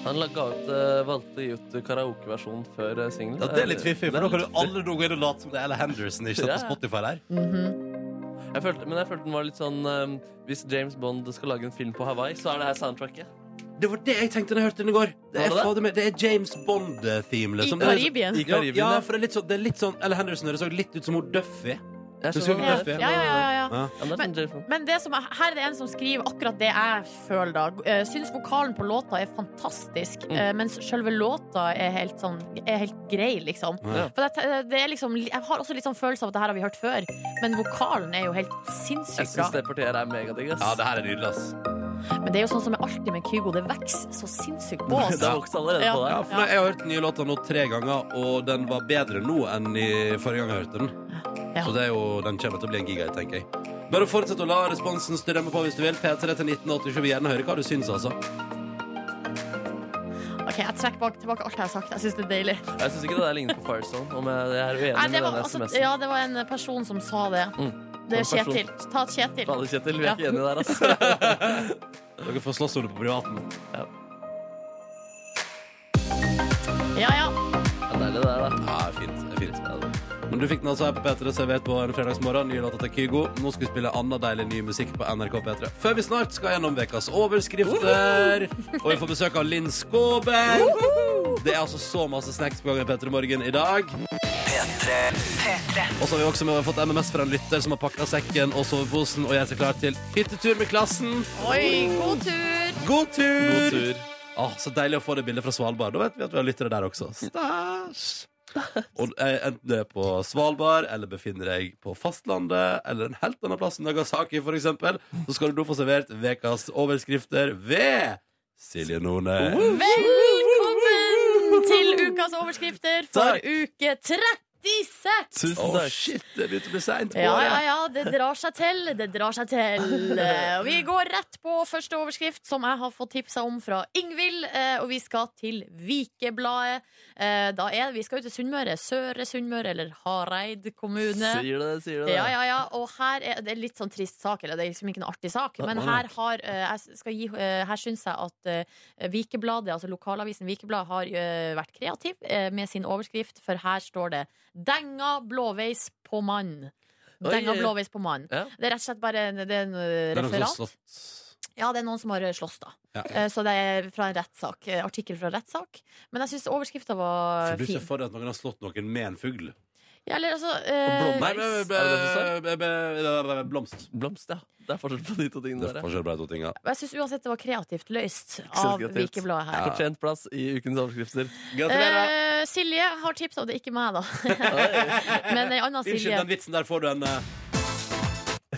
Han laga ut, eh, valgte å gi ut karaokeversjonen før eh, singelen. Ja, det er litt fiffig, for Det er nå kan litt du alle gå inn og late som det er Ella Henderson. Ikke sant, på Ja. Spotify der. Mhm. fiffig. jeg følte, Men jeg følte den var litt sånn eh, Hvis James Bond skal lage en film på Hawaii, så er det her soundtracket. Det var det jeg tenkte da jeg hørte den i går. Det er, Var det det? fader meg- det er James Bond-theme. I Liksom. Det er- Karibien. I Ja, Karibien, ja, ja. for det er litt sånn, det er litt sånn Ella Henderson det så litt ut som hun Duffy. Jeg Du skal skjønner hva ikke det Ja, er. Duffy. ja, ja, ja, ja. Ja, det er sånn James Bond. Men det som er, her er det en som skriver akkurat det jeg føler da. Eh, Syns vokalen på låta er fantastisk, Mm. eh, mens selve låta er helt, sånn, er helt grei, liksom. Ja. For det, det er liksom. Jeg har også litt sånn følelse av at det her har vi hørt før, men vokalen er jo helt Jeg sinnssykt syns bra. det partiet her er megadigg. ass. Ja, det her er nydelig, ass. Men det er jo sånn som er alltid med Kygo, det vokser så sinnssykt på Det oss. har vokst allerede Ja. på Ja, deg. for Jeg har hørt den nye låta nå tre ganger, og den var bedre nå enn i forrige gang jeg hørte den. Ja. Så det er jo, den kommer til å bli en giga, tenker jeg. Bare fortsett å la responsen strømme på hvis du vil. P3 til 1987. Vi vil gjerne høre hva du syns, altså. Ok, Jeg trekker bak, tilbake alt jeg har sagt. Jeg syns det er deilig. Jeg syns ikke det der ligner på Firestone. Om jeg, jeg er uenig Nei, det, med var, den altså, SMS-en. Mm. ja, det var en person som sa det. Det er En person. Kjetil. Ta et Kjetil. Fader, Kjetil, vi er ikke Ja. enige der, altså. Dere får slåss om det på privaten. Ja, ja. Ja, det er det der, da. Ja, det er fint. det er fint Men du fikk den altså her på P3 servert på en fredagsmorgen. Ny låt til Kygo. Nå skal vi spille annen deilig ny musikk på NRK P3. Før vi snart skal gjennom ukas overskrifter. Og vi får besøk av Linn Skåber. Det er altså så masse snacks på gang i P3 Morgen i dag. Og så har vi også med, fått MMS fra en lytter som har pakka sekken og soveposen og gjør seg klar til hyttetur med klassen. Oi, god tur! God tur! God tur. Ah, så deilig å få det bildet fra Svalbard. Da vet vi at vi har lyttere der også. Stas. Og eh, Enten du er på Svalbard, eller befinner deg på fastlandet, eller en helt annen plass enn Nagasaki, for eksempel, så skal du da få servert ukas overskrifter ved Silje Nordnes. Velkommen til ukas overskrifter for Takk. uke 36! Tusen Å, takk. shit, det begynte å bli seint på Ja, ja, året. ja. Det drar seg til. Det drar seg til. Eh, Vi går rett på første overskrift, som jeg har fått tipsa om fra Ingvild. eh, Og vi skal til Vikebladet. Eh, Da er Vi skal ut til Sunnmøre. Søre Sunnmøre eller Hareid kommune. Sier du det, sier du det. Ja, ja, ja. Og her er det er litt sånn trist sak, eller det er liksom ikke noe artig sak, men her har eh, jeg skal gi, eh, her syns jeg at eh, Vikebladet, altså lokalavisen Vikebladet, har eh, vært kreativ eh, med sin overskrift, for her står det 'Denga blåveis på mann'. Oi, Denga oi. blåveis på mann. Ja. Det er rett og slett bare en, det er en eh, Det er noe som har referat. slått. Ja, det er noen som har eh, slåss, da. Ja. Eh, Så det er fra en rettssak. eh, Artikkel fra rettssak. Men jeg syns overskrifta var For du ser fin. for deg at noen har slått noen med en fugl? Ja, eller altså eh, Nei, eh, Er det be- det be- be- be- blomst. Blomst, ja. Det er forskjell på de to tingene Det der. er ja. forskjell på de to tinga. Jeg syns uansett det var kreativt løst så av kreativt. Vikebladet her. Fortjent plass i ukens overskrifter. Mm. Gratulerer. Eh, Silje har tipsa, det er ikke meg, da. Men ei anna Unnskyld, Silje. den vitsen der får du en eh,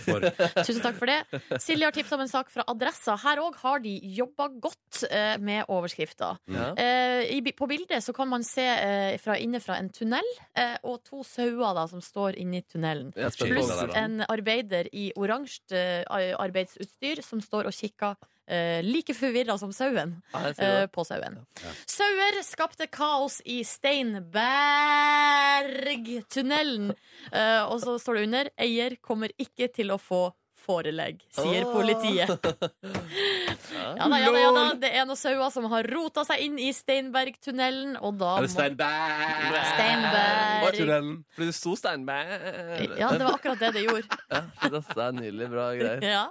for. Tusen takk for det. Silje har tipsa om en sak fra Adressa. Her òg har de jobba godt eh, med overskrifta. Ja. Eh, i bi- på bildet så kan man se eh, fra inne fra en tunnel eh, og to sauer da, som står inni tunnelen. Jeg er spent på Pluss det der, da. en arbeider i oransje eh, arbeidsutstyr som står og kikker eh, like forvirra som sauen. Ja, jeg sier eh, det. på sauen. Sauer skapte kaos i Steinbergtunnelen. Eh, og så står det under 'Eier kommer ikke til å få forelegg', sier Ah. Åh. politiet. Ja da, ja da, ja da. Det er noen sauer som har rota seg inn i Steinbergtunnelen, og da Er det må Steinberg? Steinberg. Tunnelen. Fordi det sto Steinberg Ja, det var akkurat det det gjorde. Ja, shit, ass, det er nydelig bra greier. Ja.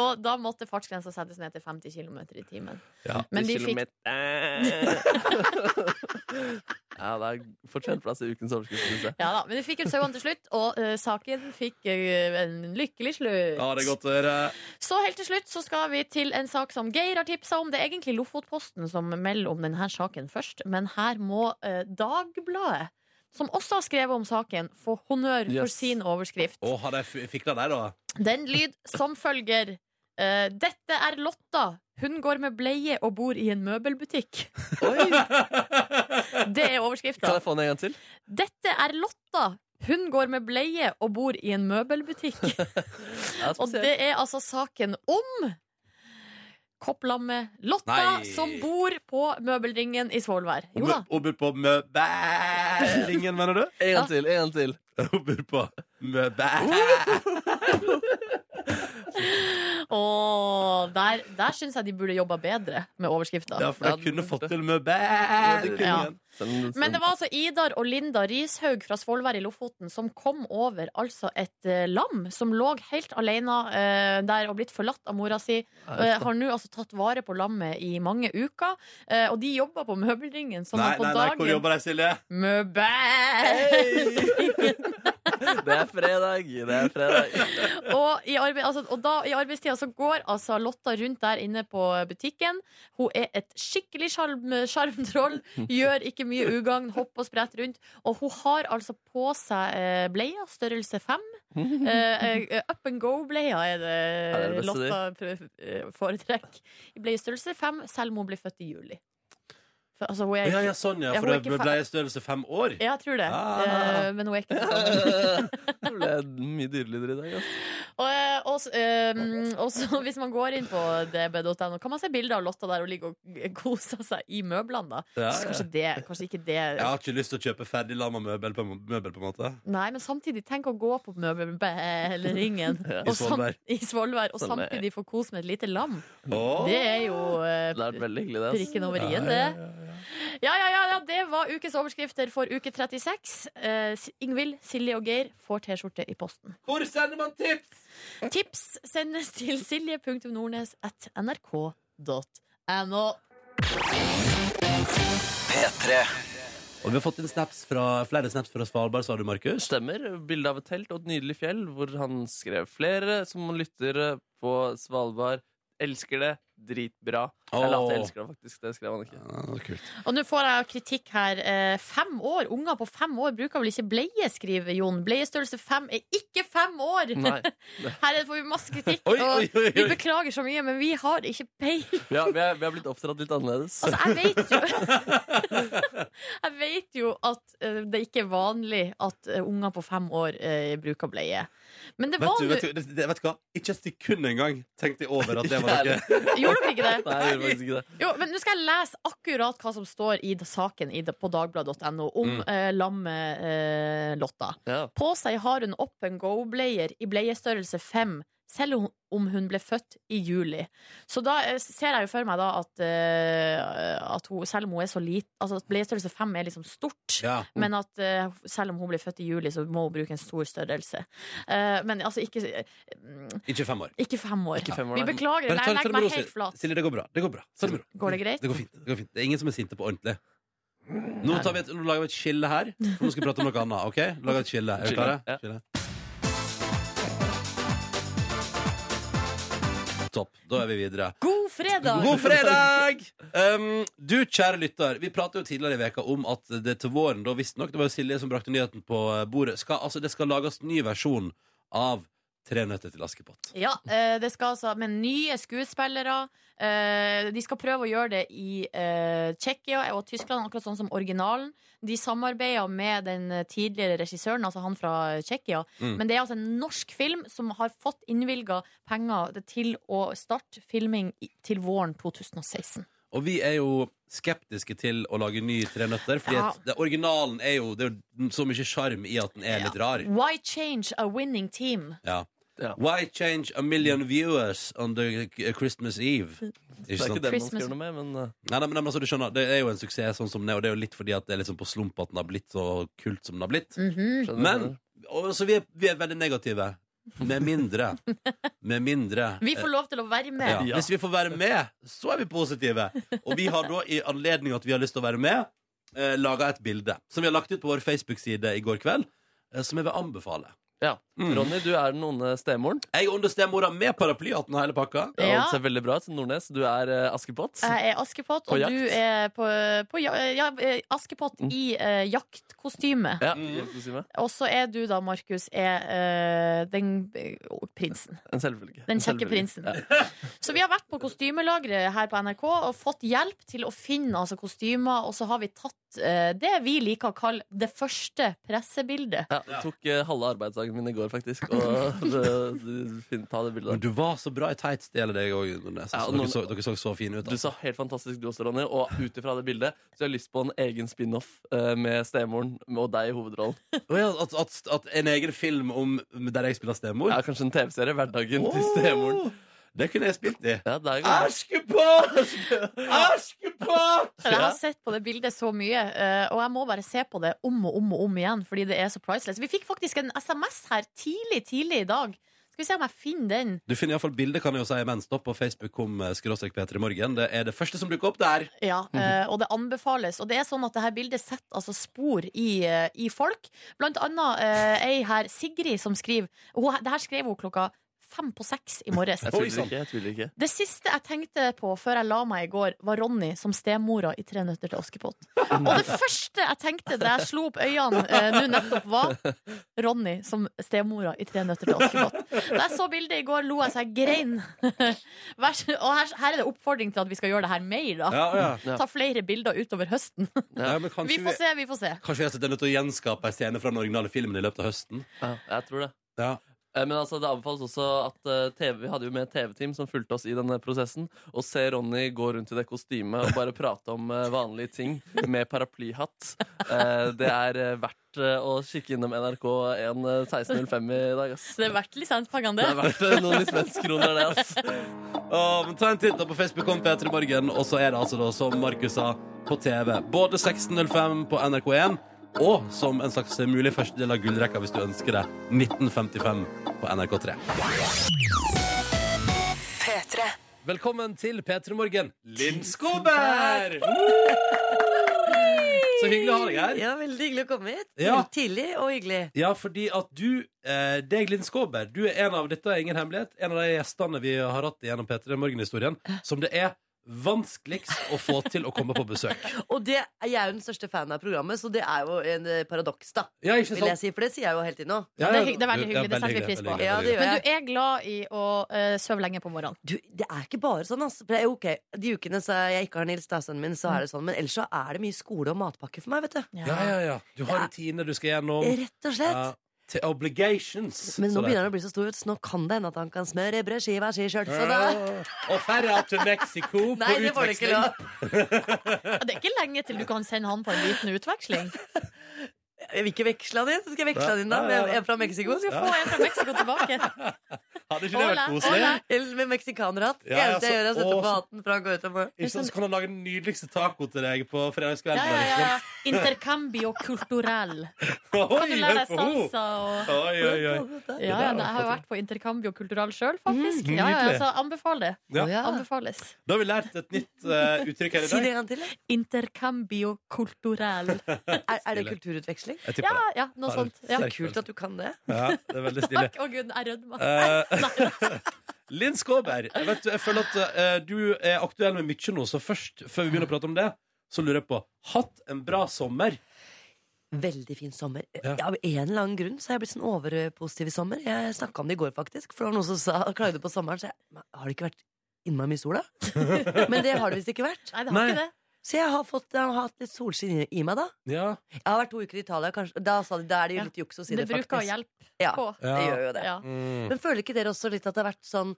Og da måtte fartsgrensa settes ned til 50 km i timen. Ja. Men de fikk Kilometer. Ja, det er fortjent plass i ukens overskrift, syns jeg. Ja da, Men de fikk ut sauene til slutt, og eh, saken fikk eh, en lykkelig slutt. Ja, det er godt å høre. Så helt til slutt så skal vi til en sak som Geir har tipsa om. Det er egentlig Lofotposten som melder om denne saken først, men her må eh, Dagbladet, som også har skrevet om saken, få honnør for Yes. sin overskrift. Å, har de fikla deg, da? Den lyd som følger. eh, dette er Lotta. Hun går med bleie og bor i en møbelbutikk. Det er Kan overskrifta. jeg få den en gang til? Dette er Lotta. Hun går med bleie og bor i en møbelbutikk. Ja, Og det er altså saken om Kopplamme Lotta Nei. som bor på møbelringen i Svolvær. Jo da. Hun bor på Møbæringen, mener du? En gang til, en gang til. Hun bor på Møbæ... Uh! Og der, der syns jeg de burde jobba bedre med overskrifta. Ja, for Ja, de kunne det- fått til Møbæringen. Ja. Send- Men det var altså Idar og Linda Rishaug fra Svolvær i Lofoten som kom over altså et eh, lam som lå helt alene eh, der og blitt forlatt av mora si. Ja, Eh, uff da. har nå altså tatt vare på lammet i mange uker. Eh, og de jobber på møbelringen, som Nei, er på nei, nei, hvor dagen jobber de, Silje? Møbel! Det er fredag, det er fredag. Og, i arbeid, altså, og da, i arbeidstida så går altså Lotta rundt der inne på butikken. Hun er et skikkelig sjarm- sjarmtroll. Gjør ikke mye ugagn, hopper og spretter rundt. Og hun har altså på seg eh, bleia, størrelse fem. Eh, eh, up and go-bleia er det, Ja, det er det beste Lotta pr- eh, foretrekker. Bleiestørrelse fem, selv om hun blir født i juli. For, altså, hun Å, er Ja, ja, ikke sånn, ja. Ja, hun For er det ikke ble i størrelse fem år. ja, jeg tror det. Ah. Eh, men hun er ikke det. Det ble mye dyrelyder i dag. ass. Og, eh, og s- ehm, og så hvis man går inn på db.no, kan man se bilder av Lotta der og ligge og kose seg i møblene, da. Ja, Så ja. kanskje, det, kanskje ikke det Jeg har ikke lyst til å kjøpe ferdig lamma møbel, på- møbel, på en måte. Nei, men samtidig, tenk å gå på møbelringen Ja. og sam- Svolvær. I Svolvær. Og Svolvær. samtidig få kos med et lite lam. Åh. Det er jo eh, Det er veldig hyggelig, det. ass. prikken over i-en, det. Ja, ja, ja, ja, det var ukes overskrifter for uke 36. Eh, S- Ingvild, Silje og Geir får T-skjorte i posten. Hvor sender man tips? Tips sendes til silje.nordnes at nrk.no. Og vi har fått inn snaps fra, flere snaps fra Svalbard, sa du, Markus. Stemmer. Bilde av et telt og et nydelig fjell, hvor han skrev flere som lyttere på Svalbard. Elsker det. Dritbra. Eller at Åh. jeg elsker det, faktisk. Det skrev han ikke. Ja, det var kult. Og nå får jeg kritikk her. Eh, Fem år, Unger på fem år bruker vel ikke bleie, skriver Jon. Bleiestørrelse fem er ikke fem år! Nei. Her er- får vi masse kritikk. Oi, oi, oi, Og vi oi. beklager så mye, men vi har ikke peiling. Vi har, vi har, vi har blitt oppdratt litt annerledes. Altså, jeg vet jo Jeg vet jo at eh, det ikke er vanlig at eh, unger på fem år eh, bruker bleie. Men det Vet var du, nå vet, du, det, det, vet du hva? Ikke et sekund engang tenkte jeg over at det var Ikke noe. Gjorde dere ikke det? Nei, jeg gjorde faktisk ikke det. Jo, men nå skal jeg lese akkurat hva som står i da- saken i, da- på dagbladet.no om Mm. eh, lammet eh, Lotta. Ja. På seg har hun opp en go-bleier i bleiestørrelse 5, selv om- om hun ble født i juli. Så da eh, ser jeg jo for meg da at, eh, at hun, selv om hun er så lite Altså at bleiestørrelse 5 er liksom stort. Ja. Men at eh, selv om hun ble født i juli, så må hun bruke en stor størrelse. Eh, men altså ikke mm, Ikke fem år. Ikke fem år. Ikke fem år, Vi nei. beklager. Bare Nei, ta- jeg ta det legger med ro, meg Silje. helt flat. Silje, det går bra. Det går bra. Ta det med ro. Går det greit? Det går fint. Det går fint. Det er ingen som er sinte på ordentlig. Nå, tar vi et, nå lager vi et skille her, for nå skal vi prate om noe annet. ok? Lager et skille. Er Skille, dere klare? ja. Skille. Topp. Da er vi videre. God fredag! God fredag! Um, du, kjære lytter, vi pratet jo tidligere i veka om at det til våren, da visstnok, det var jo Silje som brakte nyheten på eh, bordet, skal, altså, det skal lages ny versjon av Tre nøtter til Askepott. Ja, eh, det skal altså med nye skuespillere. Eh, De skal prøve å gjøre det i eh, Tsjekkia og Tyskland, akkurat sånn som originalen. De samarbeider med den tidligere regissøren, altså han fra Tsjekkia. Mm. Men det er altså en norsk film som har fått innvilga penger til å starte filming i- til våren 2016. Og vi er jo skeptiske til å lage ny Tre nøtter, fordi Ja. at det, originalen er jo Det er jo så mye sjarm i at den er litt rar. Why change a winning team? Ja. Ja. Why change a million viewers on the eh, Christmas Eve? Ikke Det er sant? ikke det man skal Christmas- gjøre noe med, men uh, Nei, nei, men men altså, du skjønner, Det er jo en suksess sånn som den er, og det er jo litt fordi at det er liksom på slump at den har blitt så kult som den har blitt. Mhm. skjønner Men du? og, Så vi er, vi er veldig negative. Med mindre. Med mindre. Vi får lov til å være eh, ja. med. Hvis vi får være med, så er vi positive. Og vi har da, i anledning at vi har lyst til å være med, eh, laga et bilde som vi har lagt ut på vår Facebook-side i går kveld, eh, som jeg vil anbefale. ja. Mm. Ronny, du er den onde stemoren. Jeg og stemora med paraplyhatten og hele pakka. Det Ja. Eh, ser veldig bra ut. Nordnes, du er uh, Askepott. Jeg er Askepott, På og jakt. Mm. du er på, på ja, ja, eh, Askepott i eh, jaktkostyme. Ja, Mm. hjelp til å si meg. Og så er du da, Markus, er eh, den eh, prinsen. En selvfølge. Den En kjekke selvfølge. prinsen. Ja. Så vi har vært på kostymelageret her på NRK og fått hjelp til å finne altså, kostymer, og så har vi tatt eh, det vi liker å kalle det første pressebildet. Ja, det tok eh, halve arbeidsdagen min i går, faktisk. Og det- det- fin- ta det Men bildet. der. du var så bra i tights, det gjelder deg òg, Nordnes. Ja, Altså, og dere, noen- så- dere så så fine ut. Du sa helt fantastisk du også, Ronny. Og ut ifra det bildet så har jeg lyst på en egen spin-off eh, med stemoren og deg i hovedrollen. Å ja, at, at, at en egen film om, der jeg spiller stemor? Ja, Kanskje en TV-serie. Hverdagen til stemoren. Det kunne jeg spilt i. Ja, det er jo Askepott! Askepott! Jeg har Ja. sett på det bildet så mye, eh, og jeg må bare se på det om og om og om igjen, fordi det er så priceless. Vi fikk faktisk en SMS her tidlig, tidlig i dag. Skal vi se om jeg finner den. Du finner iallfall bildet kan jeg jo si imens da, på Facebook om eh, skråstrek Peter i morgen. Det er det første som dukker opp der. Ja, eh, og det anbefales. Og det er sånn at det her bildet setter altså spor i, eh, i folk. Blant annet eh, ei her, Sigrid, som skriver hun, Det her skrev hun klokka fem på seks i morges. Jeg sånn. tviler ikke. jeg tviler ikke Det siste jeg tenkte på før jeg la meg i går, var Ronny som stemora i Tre nøtter til Askepott. Og det første jeg tenkte da jeg slo opp øynene eh, nå nettopp, var Ronny som stemora i Tre nøtter til Askepott. Da jeg så bildet i går, lo jeg så jeg grein. Vær så- Og her, her er det oppfordring til at vi skal gjøre det her mer, da. Ja, ja. Ja. Ta flere bilder utover høsten. Ja, men kanskje Vi får se, vi får se. Kanskje vi er nødt til å gjenskape en scene fra den originale filmen i løpet av høsten? ja, Jeg tror det. Ja. Eh, Men altså, det anbefales også at eh, TV, vi hadde jo med et TV-team som fulgte oss i denne prosessen. Å se Ronny gå rundt i det kostymet og bare prate om eh, vanlige ting med paraplyhatt. Eh, Det er eh, verdt eh, å kikke innom NRK1 eh, 1605 i dag, ass. Så det er verdt lisenspengene, Det det. er verdt eh, noen lisensskroner, det, ass. Å, men ta en titt da på Facebook om Peter i morgen, og så er det altså da, som Markus sa, på TV. Både 16.05 på NRK1, og som en slags mulig første del av gullrekka, hvis du ønsker det, 1955 på NRK3. P3. Velkommen til P3 Morgen, Linn Skåber! Så hyggelig å ha deg her. Ja, veldig hyggelig å komme hit. Mm, Ja. Tidlig og hyggelig. Ja, fordi at du, eh, deg Linn Skåber, du er en av dette er ingen hemmelighet, en av de gjestene vi har hatt gjennom P3 Morgen-historien, som det er vanskeligst å få til å komme på besøk. Og det, jeg er jo den største fan av programmet, så det er jo en eh, paradoks, da. Ja, ikke Vil jeg sant? si, For det sier jeg jo hele tiden nå. Ja, Det er ja. hy- det er veldig hyggelig, det setter vi veldig pris på. veldig Ja, veldig det hyggelig. gjør Men jeg. du er glad i å eh, sove lenge på morgenen. Du, det er ikke bare sånn, altså. For det er jo ok, De ukene så jeg ikke har Nils, da, sønnen min, så Mm. er det sånn. Men ellers så er det mye skole og matpakke for meg, vet du. Ja, ja, ja. Du har rutiner du skal gjennom. Rett og slett. Ja, til obligations. Men så nå det- begynner han å bli så stor, vet du, så nå kan det hende at han kan smøre brød, skiva, skiskjørt. Så da Og ferja til Mexico på Nei, det får du ikke utveksling. lov. Ja, Det er ikke lenge til du kan sende han på en liten utveksling. Jeg vil ikke veksle han inn. Så skal jeg veksle han inn da, Nei, nei, med nei. en fra Mexico. Du skal få en fra Mexico tilbake. Hadde ikke det vært Hola, koselig? hola. Eller med meksikanerhatt. Ja, ja, Eneste så- jeg gjør, er å Å, sette på så- hatten fra han går ut av morgenen. Ikke sant? Så kan han lage den nydeligste taco til deg på fredagskvelden. Ja, ja, ja. Intercambio culturell. Kan du lære deg salsa og Oi, oi, oi. Ja, ja, jeg har jo vært på intercambio kultural sjøl, faktisk. Ja, ja, Mhm, nydelig. så anbefal det. Ja. Å, ja. Anbefales. Da har vi lært et nytt eh, uttrykk her i Si det dag. en gang til. da. Intercambio kulturell. Er, er det Stille. kulturutveksling? Jeg tipper Ja, ja, noe sånt. Ja. Det er kult at du kan det. det. Ja, det er veldig stilig. Takk, å gud, jeg rødma. Eh, Linn Skåber, jeg vet, jeg føler at eh, du er aktuell med mye nå, så først, før vi begynner å prate om det, så lurer jeg på Hatt en bra sommer? Veldig fin sommer. Ja. Av en eller annen grunn så har jeg blitt sånn overpositiv i sommer. Jeg snakka om det i går, faktisk. For det var noen som sa, klagde på sommeren. Så jeg, "Men har det ikke vært innmari mye sol, da? Men det har det visst ikke vært. Nei, det har Nei. ikke det. Så jeg har, fått, jeg har hatt litt solskinn i- i meg, da. Ja. Jeg har vært to uker i Italia. Kanskje, da, sa de, da er det jo Ja. litt juks å si Det det, bruker å faktisk. hjelpe Ja, på. det gjør jo det. Ja. Mm. Men føler ikke dere også litt at det har vært sånn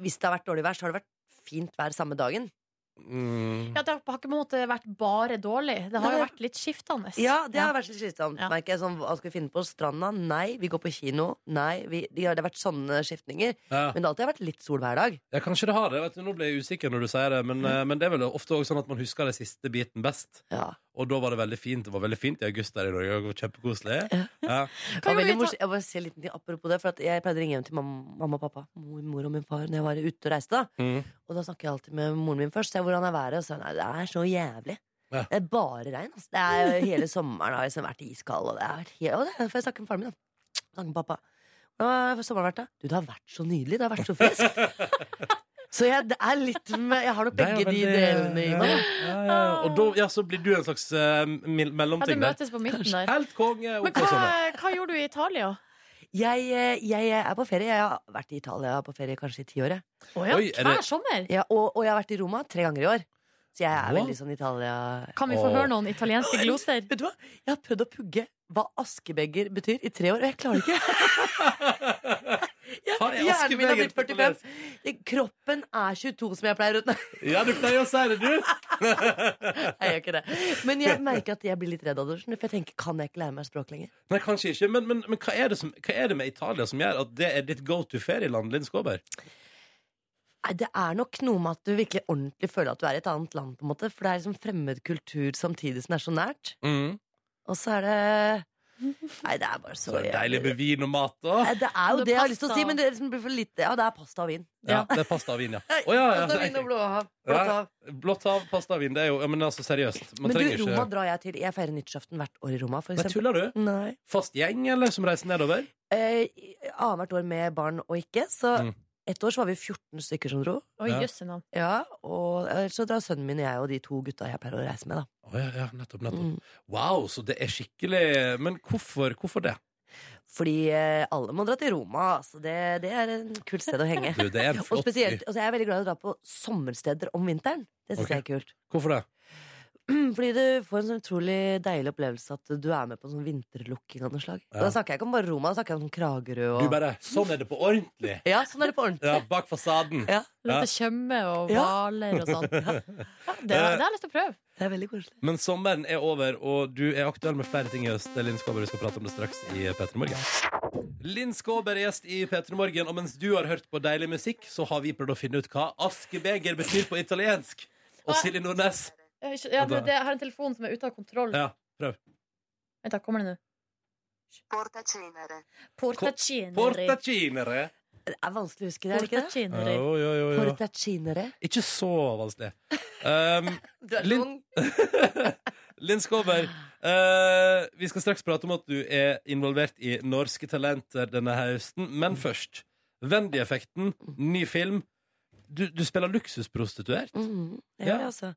Hvis det har vært dårlig vær, så har det vært fint vær samme dagen? Mm. Ja, det har ikke på en måte vært bare dårlig. Det har jo Nei, det- vært litt skiftende. Ja, det har vært litt slitsomt. Ja. merker jeg. Sånn, hva skal vi finne på? Stranda? Nei. Vi går på kino? Nei. Vi, det har det har vært sånne skiftninger. Ja. Men det har alltid vært litt sol hver dag. Ja, kanskje det har det. Vet du, nå ble jeg usikker når du sier det, men, eh, men det er vel ofte også sånn at man husker den siste biten best. Ja. Og da var det veldig fint. Det var veldig fint i august der i Norge. og Kjempekoselig. Ja. Hva Det var gjorde veldig vi ta- morsomt. Jeg bare ser en liten ting apropos det, for at jeg pleide å ringe hjem til mamma, mamma og pappa, mor, mor og min far, når jeg var ute og reiste. da. Mm. Og da snakker jeg alltid med moren min først. Se hvordan er været? Og så er hun, nei, det er så jævlig. Ja. Det er bare regn. Altså. Det er jo Hele sommeren har liksom vært iskald. Og det har vært helt, og det, for jeg snakker med faren min, da. Snakker med pappa. Hvordan har sommeren vært, da? Du, det har vært så nydelig. Det har vært så friskt. så jeg, det er litt med, jeg har nok Det er begge de veldig- delene i meg. Ja, ja, ja. Og da ja, så blir du en slags eh, Ja, mil- du mellomting der. møtes på midten der. Helt konge Men oppå hva, sånn. hva gjorde du i Italia? Jeg, eh, jeg er på ferie. Jeg har vært i Italia på ferie kanskje i ti år. jeg. Å ja, Oi, er det- hver sommer? Ja, og, og jeg har vært i Roma tre ganger i år. Så jeg er Hva? veldig sånn Italia Kan vi få Å. høre noen italienske gloser? Vet du hva? Jeg har prøvd å pugge hva askebeger betyr i tre år, og jeg klarer det ikke. Har jeg Hjernen min askebeger har blitt på 45. Kroppen er 22, som jeg pleier å Nei, Ja, du pleier å si det, du! jeg gjør ikke det. Men jeg merker at jeg blir litt redd av det, skjønner du, for jeg tenker kan jeg ikke lære meg språk lenger? Nei, kanskje ikke. Men, men, men hva, er det som, hva er det med Italia som gjør at det er ditt go to ferieland, Linn Skåber? Nei, Det er nok noe med at du virkelig ordentlig føler at du er i et annet land, på en måte. For det er liksom fremmed kultur samtidig som det er så nært. Og så er det Nei, det er bare Så så det er deilig med vin og mat, da. Nei, Det er jo Og det jeg har lyst til å pasta. si, men det er liksom blir for lite. Ja, det er pasta og vin. Ja, det er pasta og vin, ja. Å, ja, ja. Pasta, vin og blåhav. Ja. Blått hav. Blått hav, pasta og vin. Det er jo ja, men altså, seriøst. Man Men du, trenger ikke Roma drar jeg til. Jeg feirer nyttårsaften hvert år i Roma. For Nei, eksempel. tuller du? Nei. Fast gjeng, eller? Som reiser nedover? Eh, Annethvert år med barn og ikke. Så Mm. ett år så var vi 14 stykker som dro. Oi, Ja. jøsse navn. Ja, og eh, så drar sønnen min og jeg og de to gutta jeg pleier å reise med, da. Å ja, ja, nettopp, nettopp. Mm. Wow, så det er skikkelig Men hvorfor, hvorfor det? Fordi eh, alle må dra til Roma. Så det, det er en kult sted å henge. Du, det er en Og flott by. spesielt, altså Jeg er veldig glad i å dra på sommersteder om vinteren. Det syns Ok. jeg er kult. Hvorfor det? Mm, Fordi du får en sånn utrolig deilig opplevelse at du er med på en sånn vinterlukking av noe slag. Og Da snakker jeg ikke om bare Roma, da snakker jeg om sånn Kragerø Du og bare Sånn er det på ordentlig! Ja, sånn er det på ordentlig. Ja, bak fasaden. Ja, Låter kjømme og Ja. hvaler og sånn. Ja. Det, det har jeg lyst til å prøve. det er veldig koselig. Men sommeren er over, og du er aktuell med flere ting i høst. Linn Skåber, vi skal prate om det straks i P3 Morgen. Linn Skåber er gjest i P3 Morgen, og mens du har hørt på deilig musikk, så har vi prøvd å finne ut hva askebeger betyr på italiensk. Og Silje Nordnes Jeg har Eh, ikke- ja, men det- Jeg har en telefon som er ute av kontroll. Ja, prøv. Vent, da kommer den nå. Portacenere. Portacineri. Portacinere. Det er vanskelig å huske det, er det ikke det? Portacineri. Jo, jo, jo, jo. Portacinere. Ikke så vanskelig. Um, Du er Lin- Linn Skåber, eh, vi skal straks prate om at du er involvert i Norske Talenter denne høsten. Men først, Wendy-effekten, ny film. Du, du spiller luksusprostituert. Mhm, det Ja. er det, altså.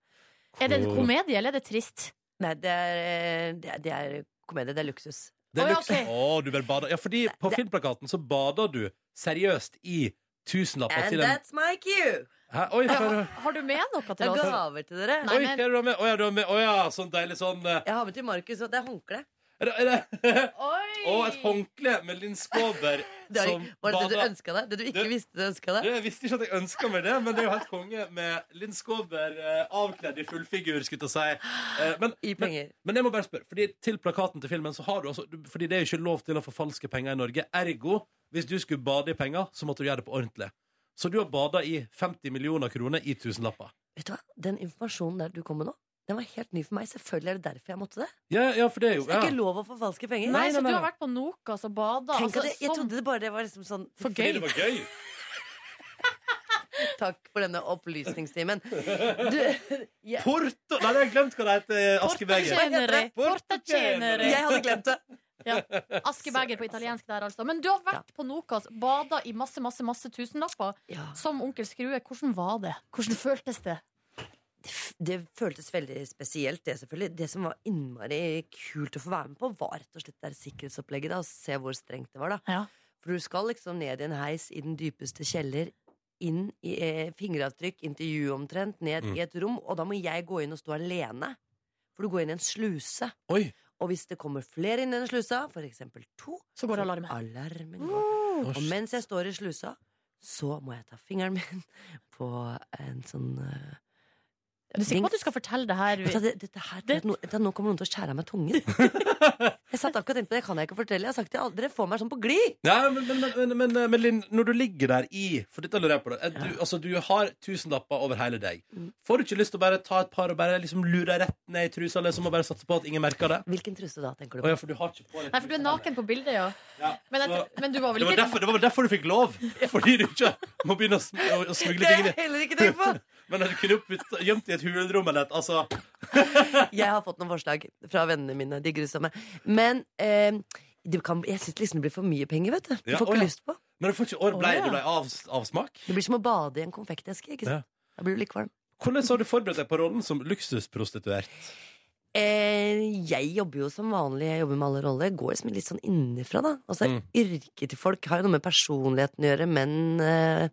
Er det en komedie, eller er det trist? Nei, det er, eh, det er, det er komedie. Det er luksus. Det Å, er ja, luks- ok. Å, du vil bade. Ja, fordi på filmplakaten så bader du seriøst i tusenlapper And til en that's my cue! Hæ? Oi, hva er det? Har du med noe Jeg til har oss? gaver til dere. Nei, Oi, men- hva er det du har med? Å ja, du har med Å ja, sånn deilig sånn eh, Jeg har med til Markus, og det er håndkle. er det, er det? Oi! Og et håndkle med Linn Skåber Det er, som var det det du bader. ønska deg? Det du ikke Du- visste du ønska deg? Jeg visste ikke at jeg ønska meg det, men det er jo helt konge med Linn Skåber eh, avkledd i fullfigur, skulle jeg til å si. Eh, men, I men, penger. men jeg må bare spørre, fordi til plakaten til filmen så har du altså du- Fordi det er jo ikke lov til å forfalske penger i Norge. Ergo, hvis du skulle bade i penger, så måtte du gjøre det på ordentlig. Så du har bada i 50 millioner kroner i tusenlapper. Vet du hva? Den informasjonen der du kom med nå, den var helt ny for meg. Selvfølgelig er det derfor jeg måtte det. Ja, ja, for det er jo Så det ja. er ikke lov å forfalske penger. Nei, så du har vært på Nokas og bada? Tenk Altså, at jeg, jeg sånn trodde det bare det var liksom sånn for Fordi gøy. det var gøy. Takk for denne opplysningstimen. Du, jeg, Porto Nei, jeg har glemt hva det heter. eh, Askebeger. Portaceneri. Portaceneri. jeg hadde glemt det. Ja. Askebeger på italiensk der, altså. Men du har vært på Nokas, bada i masse, masse masse tusenlapper, Ja, som onkel Skrue. Hvordan var det? Hvordan føltes det? det f- det føltes veldig spesielt, det selvfølgelig. Det som var innmari kult å få være med på, var rett og slett det der sikkerhetsopplegget. da, Og se hvor strengt det var, da. Ja. For du skal liksom ned i en heis i den dypeste kjeller. Inn i eh, fingeravtrykk, intervju omtrent, ned Mm. i et rom. Og da må jeg gå inn og stå alene. For du går inn i en sluse. Oi. Og hvis det kommer flere inn i den slusa, for eksempel to, Så går alarmen. alarmen går. Og mens jeg står i slusa, så må jeg ta fingeren min på en sånn eh, Er du sikker på at du skal fortelle det her? Vet du hva, det, dette her, Det- nå, dette- nå kommer noen til å skjære av meg tungen. jeg satt akkurat innpå det, kan jeg ikke fortelle. Jeg har sagt til alle, Dere får meg sånn på glid! Nei, men, men, men, men, men, Linn, når du ligger der i For dette lurer jeg på det. Du, altså, du har tusenlapper over hele deg. Mm. Får du ikke lyst til å bare ta et par og bare liksom lure deg rett ned i trusa liksom, og bare satse på at ingen merker det? Hvilken truse da, Å tenker du på? ja, for du har ikke på deg Nei, for du er naken på bildet, ja. Ja. Men, jeg, Så- tror- men du var vel Det var, ikke derfor, det var derfor du fikk lov! Fordi du ikke må begynne å, sm å, å smugle Det har tingene jeg heller ikke tenkt på! Men at du kunne jo putt- gjemt i et hulrom eller et Altså, Jeg har fått noen forslag fra vennene mine. De gruer seg meg. Men eh, det kan, jeg syns liksom det blir for mye penger, vet du. Du Ja, får å ikke ja. lyst på. men du får ikke år, ble Å, ja. det ble av, avsmak? Det blir som å bade i en konfekteske. ikke sant? Da blir du litt kvalm. Hvordan har du forberedt deg på rollen som luksusprostituert? Eh, jeg jobber jo som vanlig, jeg jobber med alle roller. Jeg går liksom litt sånn innenfra, da. Altså, Mm. Yrket til folk har jo noe med personligheten å gjøre, men eh,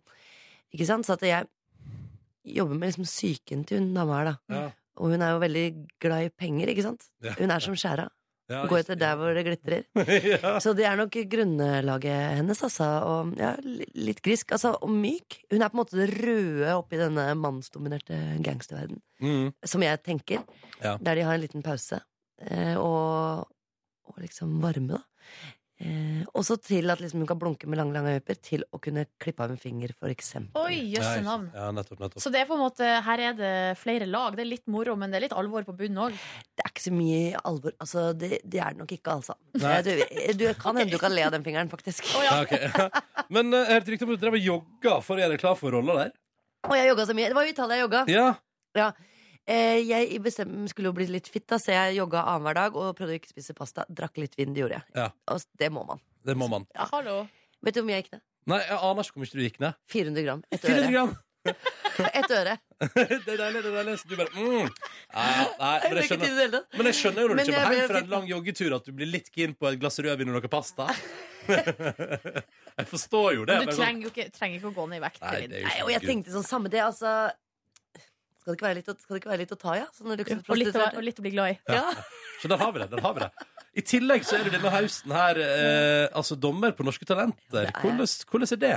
Ikke sant? Så at jeg jobber med liksom psyken til hun dama her, Mm. da. Ja. Og hun er jo veldig glad i penger, ikke sant? Ja. Hun er som skjæra. Ja, Hun går etter der hvor det glitrer. ja. Så det er nok grunnlaget hennes, altså. Og ja, li- litt grisk, altså. Og myk. Hun er på en måte det røde oppi denne mannsdominerte gangsterverdenen Mm. som jeg tenker, Ja. der de har en liten pause eh, og, og liksom varme, da. Eh, også til at liksom hun kan blunke med lange, lange øyepir, til å kunne klippe av en finger, for eksempel. Oi, jøsse Nei, navn. Ja, nettopp, nettopp. Så det er på en måte, her er det flere lag. Det er litt moro, men det er litt alvor på bunnen òg. Det er ikke så mye alvor. Altså, det, det er det nok ikke, altså. Nei. Eh, Du, du kan hende du kan le av den fingeren, faktisk. Ja, ok. Men eh, jeg hørte rykte om at du drev og jogga for å gjøre deg klar for rolla der. Og jeg jogga så mye. Det var jo i Italia jeg jogga. Ja. Eh, jeg bestem- skulle jo bli litt fitt, da, så jeg jogga annenhver dag og prøvde å ikke spise pasta. Drakk litt vin, det gjorde jeg. Ja. Og det må man. Det må man. Hallo. Vet du hvor mye jeg gikk ned? Nei, jeg aner ikke hvor mye du gikk ned. 400 gram. Ett 400 øre. gram! Et øre. det er deilig, det er deilig. Så du bare mm. nei, nei, men jeg skjønner det hele tatt. men jeg skjønner jo når Men du jeg kommer ble hjem fra en litt- lang joggetur at du blir litt keen på et glass rødvin og noe pasta. jeg forstår jo det. Men du men sånn- trenger jo ikke, trenger ikke å gå ned i vekt. Nei, Elin. det er jo Nei, ikke og jeg gud. tenkte sånn samme det, altså Skal det ikke være litt å, skal det ikke være litt å ta, ja? Sånn Og litt, å, luksusprostituert. og litt å bli glad i. Ja. Så der har vi det. der har vi det I tillegg så er du denne høsten her eh, altså dommer på Norske Talenter. jeg. Hvordan, hvordan er det?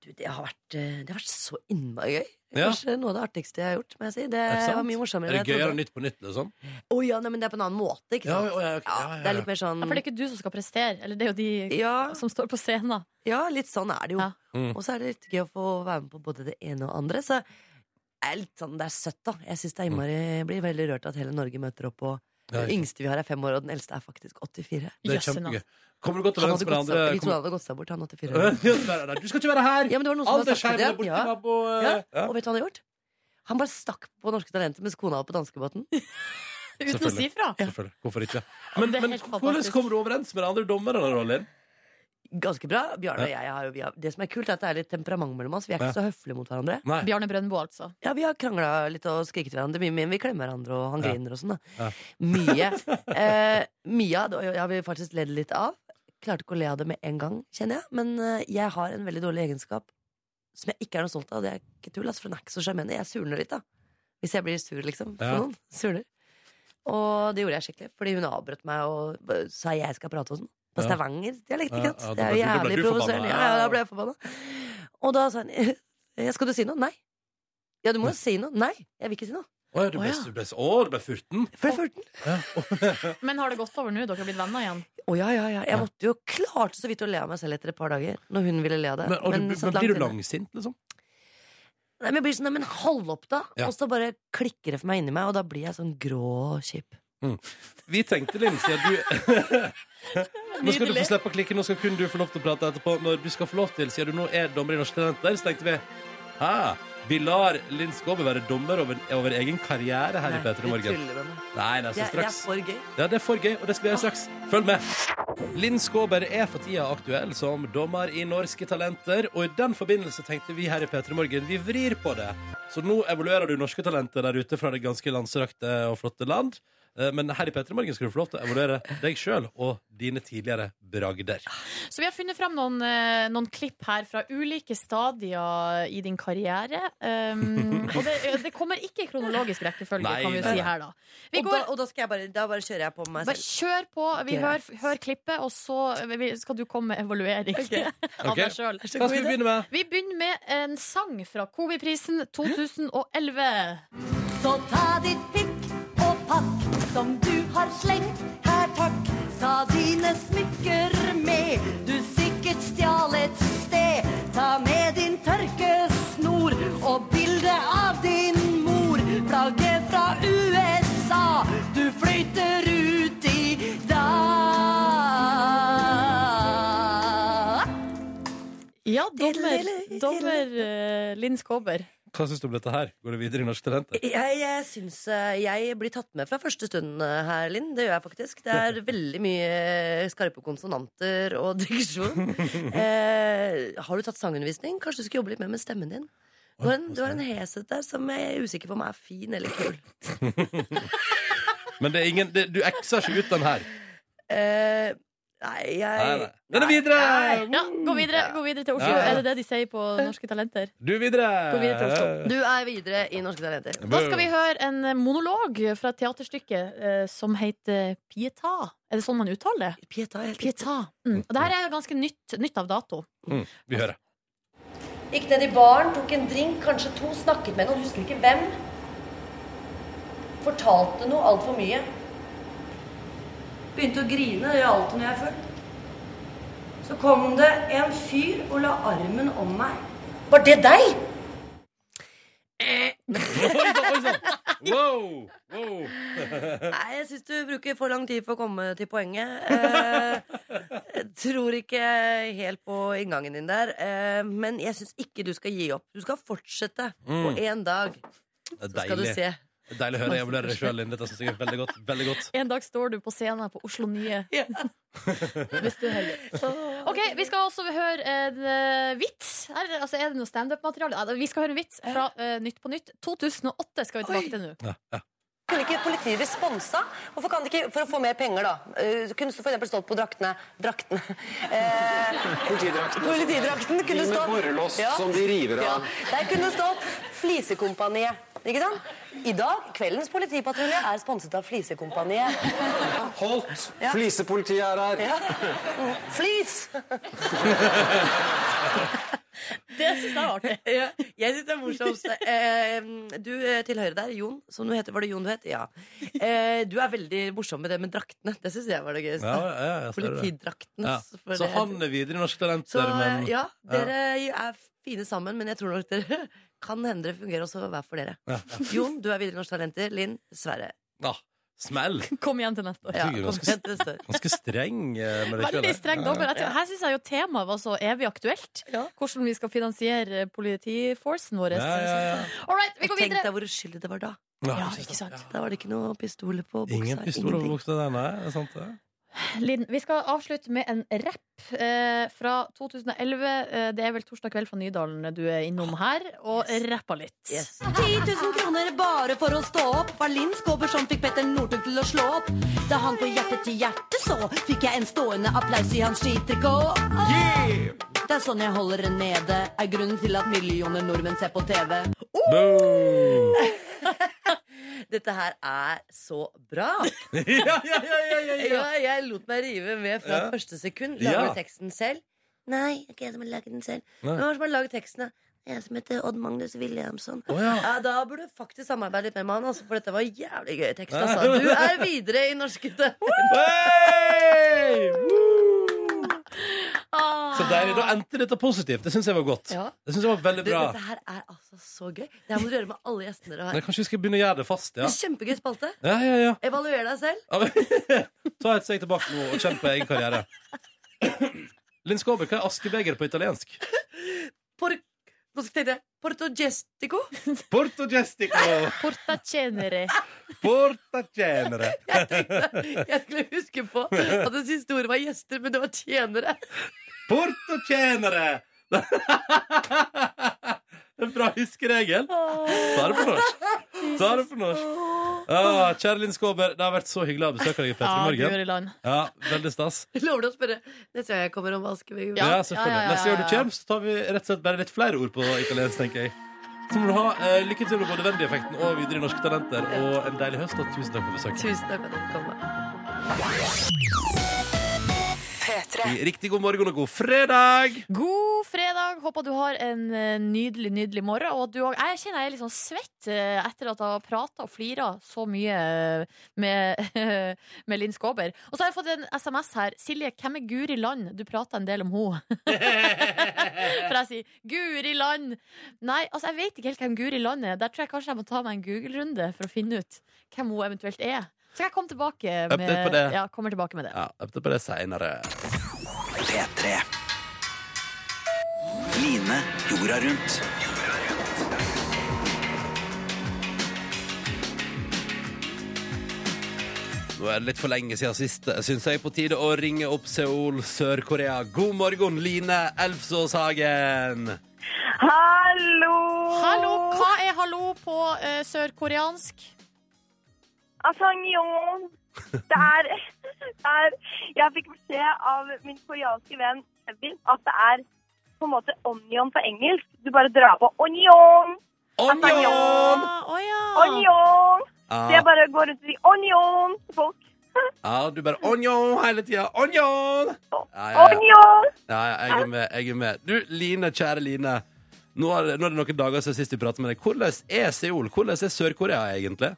Du, det har vært, eh, det har vært så innmari gøy. Ja. Kanskje noe av det artigste jeg har gjort. må jeg si Det det sant? var mye morsommere Er det enn jeg gøyere trodde. Nytt på Nytt? liksom? Å ja, nei, men det er på en annen måte, ikke sant? ja, ok. Ja, ja, Det er ja. litt mer sånn Ja, for det er ikke du som skal prestere, eller det er jo de ja, som står på scenen. ja, litt sånn er det jo. Ja. Mm. Og så er det litt gøy å få være med på både det ene og det andre. Så det er litt sånn, det er søtt, da. Jeg synes det er innmari, jeg blir veldig rørt at hele Norge møter opp, og Mm. Ja, den yngste vi har, er fem år, og den eldste er faktisk 84. Det er Jøsse navn. kjempegøy. Kommer du godt Han overens hadde med de gått andre? seg, vi to Kommer... hadde gått seg bort, han 84 år. Du skal ikke være her! Ja, men det var noen som hadde sagt Aldersskjermen det. er borti Ja. nabo... eh, Ja. ja. Og vet du hva han har gjort? Han bare stakk på Norske Talenter mens kona var på danskebåten. Uten å si fra. Selvfølgelig. Hvorfor ikke? Men, det er men helt hvordan fantastisk. kommer du overens med de andre dommerne, da, Linn? Ganske bra. Bjarne og jeg har jo vi har, Det som er kult, er at det er litt temperament mellom oss. Vi er Ja. ikke så høflige mot hverandre. Nei. Bjarne Brøndbo, altså. Ja, vi har krangla litt og skriket hverandre mye, men vi klemmer hverandre, og han Ja. griner og sånn, da. Ja. Mye. Eh, mye av det og jeg har vi faktisk ledd litt av. Klarte ikke å le av det med en gang, kjenner jeg. Men eh, jeg har en veldig dårlig egenskap som jeg ikke er noe stolt av. Det er ikke tull, altså, for den er ikke så sjarmerende. Jeg surner litt, da. Hvis jeg blir sur, liksom. For Ja. noen. Surner. Og det gjorde jeg skikkelig, fordi hun avbrøt meg og eh, sa jeg skal prate og sånn. På Ja. stavangerdialekt, Ja, ikke sant? ja, det da er ble jo du- da ble jævlig du forbanna. provoserende. Ja, ja, da ble jeg forbanna. Og da sa han «Ja, Skal du si noe? Nei. Ja, du må jo si noe. Nei, jeg vil ikke si noe. Å, ja, du ble, Å, ja. du ble, å, du ble furten? For jeg er 14. Men har det gått over nå? Dere har blitt venner igjen? Å ja, ja, ja. Ja. Jeg måtte jo klarte så vidt å le av meg selv etter et par dager. Når hun ville le av det. Men, og du, Men men, satt langt blir du inne. langsint, liksom? Nei, men jeg blir sånn, nei, men hold opp, da! Ja. Og så bare klikker det for meg inni meg, og da blir jeg sånn grå og kjip. Vi tenkte, Linn, siden du Nå skal du få slippe å klikke, nå skal kun du få lov til å prate etterpå. Når du skal få lov til, siden du nå er dommer i Norske Talenter, så tenkte vi Hæ? Vi lar Linn Skåber være dommer over, over egen karriere her i Nei, P3 du Morgen. tuller med meg. Nei, nei, Det så er, det er straks. for gøy. Ja, det er for gøy, og det skal vi gjøre straks. Følg med. Linn Skåber er for tida aktuell som dommer i Norske Talenter, og i den forbindelse tenkte vi her i P3 Morgen vi vrir på det. Så nå evaluerer du Norske Talenter der ute fra det ganske landstrakte og flotte land. Eh, Men her i P3 Morgen skal du få lov til å evaluere deg sjøl og dine tidligere bragder. Så vi har funnet frem noen, eh, noen klipp her fra ulike stadier i din karriere. Um, og det, det kommer ikke i kronologisk rekkefølge, Nei, kan vi nei, si nei. her, da. Vi Og, da, går og da, skal jeg bare, da bare kjører jeg på meg bare selv. kjør på. Vi hører, Greit. hører klippet, og så vi- skal du komme med evaluering av Ok. deg sjøl. Hva skal vi begynne med? Vi begynner med en sang fra Kobi-prisen 2011. Så ta ditt pikk og pakk som du har slengt. Her, takk. Ta dine smykker med du sikkert stjal et sted. Ta med din tørkesnor og bilde av din mor. Flagget fra USA du flyter ut i dag. Ja, dommer, dommer eh, Linn Skåber. Hva syns du om dette her? Går det videre i Norske Talenter? Jeg, jeg syns eh, jeg blir tatt med fra første stund eh, her, Linn. Det gjør jeg faktisk. Det er veldig mye eh, skarpe konsonanter og diksjon. Eh, har du tatt sangundervisning? Kanskje du skulle jobbe litt mer med stemmen din? Du har en, du har en heshet der som jeg er usikker på om er fin eller kul. Men det er ingen, det, du ekser ikke ut den her. Eh, nei, Nei, jeg nei. Den er videre! Ja, gå videre, gå videre til Oslo. Ja, ja. Er det det de sier på Norske Talenter? Du er videre! Gå videre til Oslo. Eh. Du er videre i Norske Talenter. Da skal vi høre en eh, monolog fra et teaterstykke eh, som heter Pieta. Er det sånn man uttaler det? Pieta, helt Pieta. Mm. Og det her er ganske nytt, nytt av dato. Mm, vi hører. Gikk ned i baren, tok en drink, kanskje to, snakket med noen, husker ikke hvem. Fortalte noe altfor mye. Begynte å grine, det gjør alltid når jeg er full. Så kom det en fyr og la armen om meg. Var det deg? Oi sann, oi sann! Wow! wow. Nei, jeg syns du bruker for lang tid for å komme til poenget. Eh, jeg tror ikke helt på inngangen din der. Eh, men jeg syns ikke du skal gi opp. Du skal fortsette. Mm. Og en dag Det er så skal du deilig. se. Det er Deilig å høre. Jeg vurderer det sjøl, Linn. Dette syns jeg er veldig godt. Veldig godt. En dag står du på scenen på Oslo Nye. Ja. Hvis du er heldig. Ok, Vi skal også høre en eh, vits. Er, altså, er det noe standup-materiale? Ja, da- vi skal høre en vits fra eh, Nytt på Nytt. 2008 skal vi tilbake til nå. Kunne ikke politiet responsa? Hvorfor kan de ikke, for å få mer penger, da? Eh, kunne det f.eks. stått på draktene Draktene. Eh, politidrakten. kunne stått. borrelås som de river av. Ja. Der kunne det stått Flisekompaniet. Ikke sant? I dag, kveldens politipatrulje er sponset av Flisekompaniet. Holdt! Ja. Flisepolitiet er her. Ja. Mm, Flis! Det syns jeg var artig. Ja, jeg syns det er morsomst. Eh, du eh, til høyre der, Jon, som du heter. Var det Jon du het? Ja. Eh, du er veldig morsom med det med draktene. Det syns jeg var det gøyeste. Ja, ja, jeg ser det. Politidraktene. Ja. for Så det- han er videre i Norske Så, Talenter, eh, men ja, dere er fine sammen, men jeg tror nok dere kan hende det fungerer også hver for dere. Ja, Jon, du er videre i Norsk Talenter. Linn, Sverre. Ja. Smell! Kom igjen til neste år. Ja, Gud, kom ganske- igjen til neste år. Ganske streng eh, med det Veldig kjølet. streng dommer. Jeg tror- Her syns jeg jo temaet var så evig aktuelt. Ja. Hvordan vi skal finansiere politiforcen vår. Ja, ja, ja. All right, vi Og går tenk videre. deg hvor uskyldig det var da. Ja, Ja. ikke sant. Da var det liksom. ikke noe pistoler på buksa. Ingen pistol over ingenting. buksa der, nei. Er det sant, det? Linn, vi skal avslutte med en rapp eh, fra 2011. Eh, Det er vel torsdag kveld fra Nydalen du er innom her, og rappa litt. Yes. 10 000 kroner bare for å stå opp var Linn Skåber som fikk Petter Northug til å slå opp. Da han på hjerte til hjerte så, fikk jeg en stående applaus i hans skitrekåp. Det er sånn jeg holder det nede, er grunnen til at millioner nordmenn ser på TV. Oh! Boom! Dette her er så bra! ja, ja, ja, ja, ja, ja. Ja, jeg lot meg rive med fra Ja. første sekund. Ja. Lager du teksten selv? Nei, det er ikke jeg som har laget den selv. Nei. Hvem er det som har laget tekstene? Det er Jeg som heter Odd Magnus Williamson. Å, ja. Ja, da burde du faktisk samarbeide litt med meg, altså, for dette var jævlig gøy tekst. Altså. Du er videre i norske Talenter. Hey! Woo! Ah. Så deilig. Da endte dette positivt. Det syns jeg var godt. Ja. Det synes jeg var veldig Du, bra. Dette her er altså så gøy. Det her må du gjøre med alle gjestene dere Nei, har. kanskje vi skal begynne å gjøre det fast, ja. Det er Kjempegøy spalte. Ja, ja, ja. Evaluer deg selv. Ja, men- Ta et steg tilbake nå og kjenn på egen karriere. Linn Skåber, hva er askebeger på italiensk? Por Nå tenkte jeg Portogestico. Porto gestico, Ah. Porta cenere. porta genere. Jeg tenkte jeg skulle huske på at det siste ordet var gjester, men det var tjenere. Porto genere! En bra huskeregel. Ta det på norsk. Ta det på norsk. Ah, kjære Linn Skåber, det har vært så hyggelig å besøke deg i Petter Ja, Morgen. Guri land. Ja, veldig stas. Jeg Lover du å spørre neste gang jeg kommer om vaskeveggen? Ja, Ja, selvfølgelig. ja, ja, ja, Neste gang du ja. kommer, så tar vi rett og slett bare litt flere ord på italiensk, tenker jeg. Så må du ha eh, lykke til med både Wendy-effekten og videre i Norske Talenter, og en deilig høst, og tusen takk for besøket. Tusen takk for at du kom. P3. Riktig god morgen og god fredag! God fredag. Håper du har en eh, nydelig, nydelig morgen. Og at du òg Jeg kjenner jeg er litt sånn svett eh, etter at jeg har prata og flira så mye eh, med, med Linn Skåber. Og så har jeg fått en SMS her. Silje, hvem er Guri Land? Du prata en del om henne. For jeg sier Guri Land. Nei, altså jeg vet ikke helt hvem Guri Land er. Der tror jeg kanskje jeg må ta meg en Google-runde for å finne ut hvem hun eventuelt er. Så kan jeg komme tilbake Update med, på det. ja, kommer tilbake med det. Ja, etter på det seinere. P3. Line jorda rundt. Nå er det litt for lenge siden sist, syns jeg på tide å ringe opp Seoul, Sør-Korea. God morgen, Line Elfsås Hagen! Hallo! Hallo, hva er hallo på eh, sørkoreansk? Asangyeon. Det er, det er Jeg fikk beskjed av min koreanske venn Kevin at det er på en måte onion på engelsk. Du bare drar på onion, Onion! Ah, å ja. onion. Så jeg Ja, bare går rundt og sier onion til folk. Ah. ja, du bare onion hele tida. Onion! Ja, ja, ja. Onion! Ja, ja, jeg er med. jeg er med Du, Line, kjære Line. Nå er, det- nå er det noen dager siden sist vi pratet med deg. Hvordan er Seoul? Hvordan er Sør-Korea egentlig?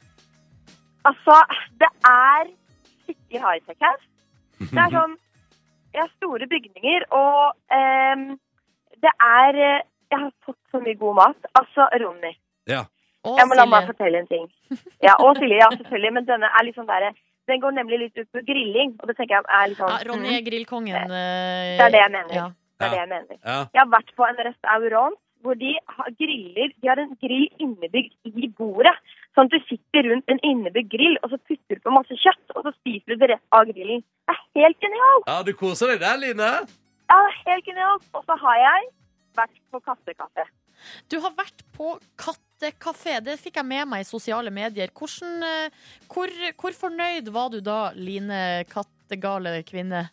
Altså, det er skikkelig high-tech her. Det er sånn Jeg har store bygninger, og ehm, det er eh, Jeg har fått så mye god mat. Altså, Ronny. Ja. Å, Jeg må la meg Silje. fortelle en ting. Ja, og Silje, ja, selvfølgelig. Men denne er litt sånn derre Den går nemlig litt ut på grilling, og det tenker jeg er litt sånn Ja, Ronny er grillkongen. eh, Det er det jeg mener. Ja. mm, Det er det jeg mener. Ja. Jeg har vært på en restaurant hvor de har griller De har en grill innebygd i bordet. Sånn at du sitter rundt en innebygd grill, og så putter du på masse kjøtt, og så spiser du det rett av grillen. Det er helt genialt! ja, du koser deg der, Line. Ja, det er helt genialt. Og så har jeg vært på kattekaffe. Du har vært på kattekafé. Det fikk jeg med meg i sosiale medier. Hvordan, eh, hvor, hvor fornøyd var du da, Line kattegale kvinne?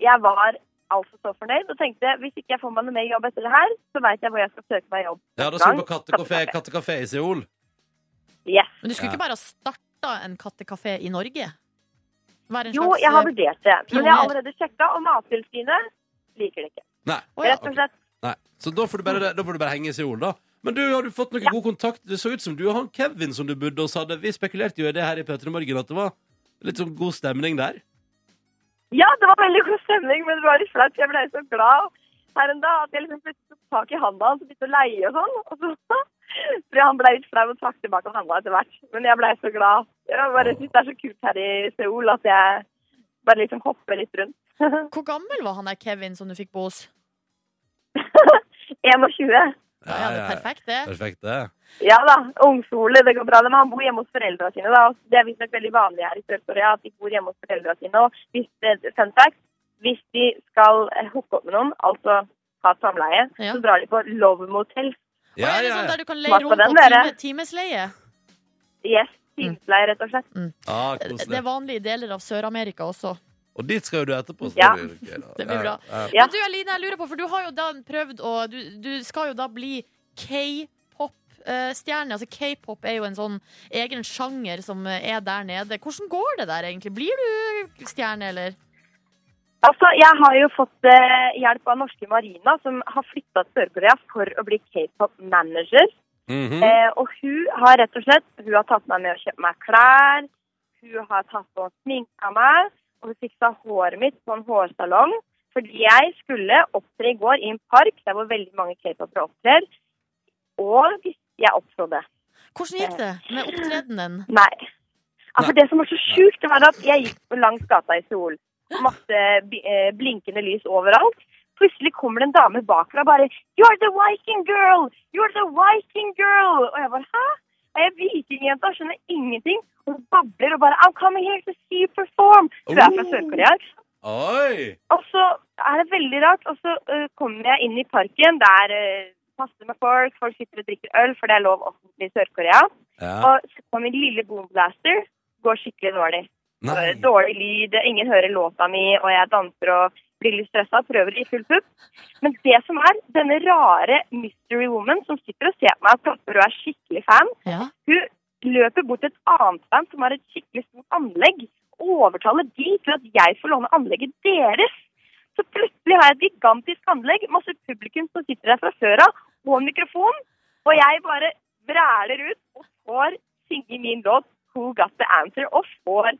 Jeg var altså så fornøyd og tenkte hvis ikke jeg får meg noe mer jobb etter det her, så veit jeg hvor jeg skal søke meg jobb. Ja, da skal du på kattekafé, kattekafé i Seoul. Yes. Men du skulle ikke bare ha starta en kattekafé i Norge? Være en Jo, slags, jeg har eh, vurdert det. Men jeg har pioner. allerede sjekka, og Mattilsynet liker det ikke. Nei. Rett og slett. Nei. Så da får, du bare, da får du bare henge i solen, da. Men du, har du fått noe god kontakt? Det så ut som du og han Kevin som du bodde hos hadde. Vi spekulerte jo i det her i P3 Morgen, at det var litt sånn god stemning der. Ja, det var veldig god stemning, men det var litt flaut. for Jeg ble så glad her en dag at jeg liksom plutselig tok tak i handa hans og begynte å leie og sånn. Og så, for han ble litt flau og trakk tilbake handa etter hvert. Men jeg ble så glad. Jeg bare synes det er så kult her i Seoul at jeg bare liksom hopper litt rundt. Hvor gammel var han der Kevin som du fikk bo hos? 21. Ja, ja, det er perfekt, det. Perfekt, det. Ja da, ungskole, det går bra. Men han bor hjemme hos foreldrene sine. da. Og Det er visstnok veldig vanlig her i Sør-Korea at de bor hjemme hos foreldrene sine. Og hvis, eh, fun fact, hvis de skal eh, hooke opp med noen, altså ha et samleie, så drar de på love motel. Ja, er det sånn der du kan leie Smak på rom på den, dere. time, timesleie? Yes, timesleie, rett og slett. Ah, Det koselig. er vanlig i deler av Sør-Amerika også. Og dit skal jo du etterpå. så Ja. det blir jo gøy, da. Det blir bra. Ja, ja. Men du, Aline, jeg lurer på, for du har jo da prøvd å Du, du skal jo da bli K-pop-stjerne. Altså K-pop er jo en sånn egen sjanger som er der nede. Hvordan går det der, egentlig? Blir du stjerne, eller? Altså, Jeg har jo fått eh, hjelp av norske Marina, som har flytta til Sør-Korea for å bli k-pop-manager. Mhm. Mhm. eh, og hun har rett og slett hun har tatt meg med å kjøpe meg klær, hun har tatt på og sminka meg, og hun fiksa håret mitt på en hårsalong. Fordi jeg skulle opptre i går i en park der hvor veldig mange k-popere opptrer, og jeg opptrådte. Hvordan gikk det med opptredenen? Nei. Altså, det som var så sjukt, det var at jeg gikk på langs gata i Seoul. Masse bi- eh, blinkende lys overalt. Plutselig kommer det en dame bakfra og bare 'You're the Viking girl! You're the Viking girl!' Og jeg bare 'Hæ?' Er jeg vikingjenta? Skjønner ingenting. Og hun babler og bare 'I'm coming here to see you perform'. Hun er fra Oh. Sør-Korea. Oi! Og så er det veldig rart. Og så øh, kommer jeg inn i parken. Det er øh, masse med folk. Folk sitter og drikker øl, for det er lov offentlig i Sør-Korea. Ja. Og så kommer min lille boomblaster. Går skikkelig dårlig. Nei. Øh, Dårlig lyd, ingen hører låta mi, og jeg danser og blir litt stressa. Prøver i full pupp. Men det som er, denne rare mystery woman som sitter og ser på meg og prøver og er skikkelig fan, Ja. hun løper bort til et annet band som har et skikkelig stort anlegg, og overtaler de til at jeg får låne anlegget deres. Så plutselig har jeg et gigantisk anlegg, masse publikum som sitter der fra før av, og en mikrofon, og jeg bare vræler ut og får synge min låt Who Got The Answer, og får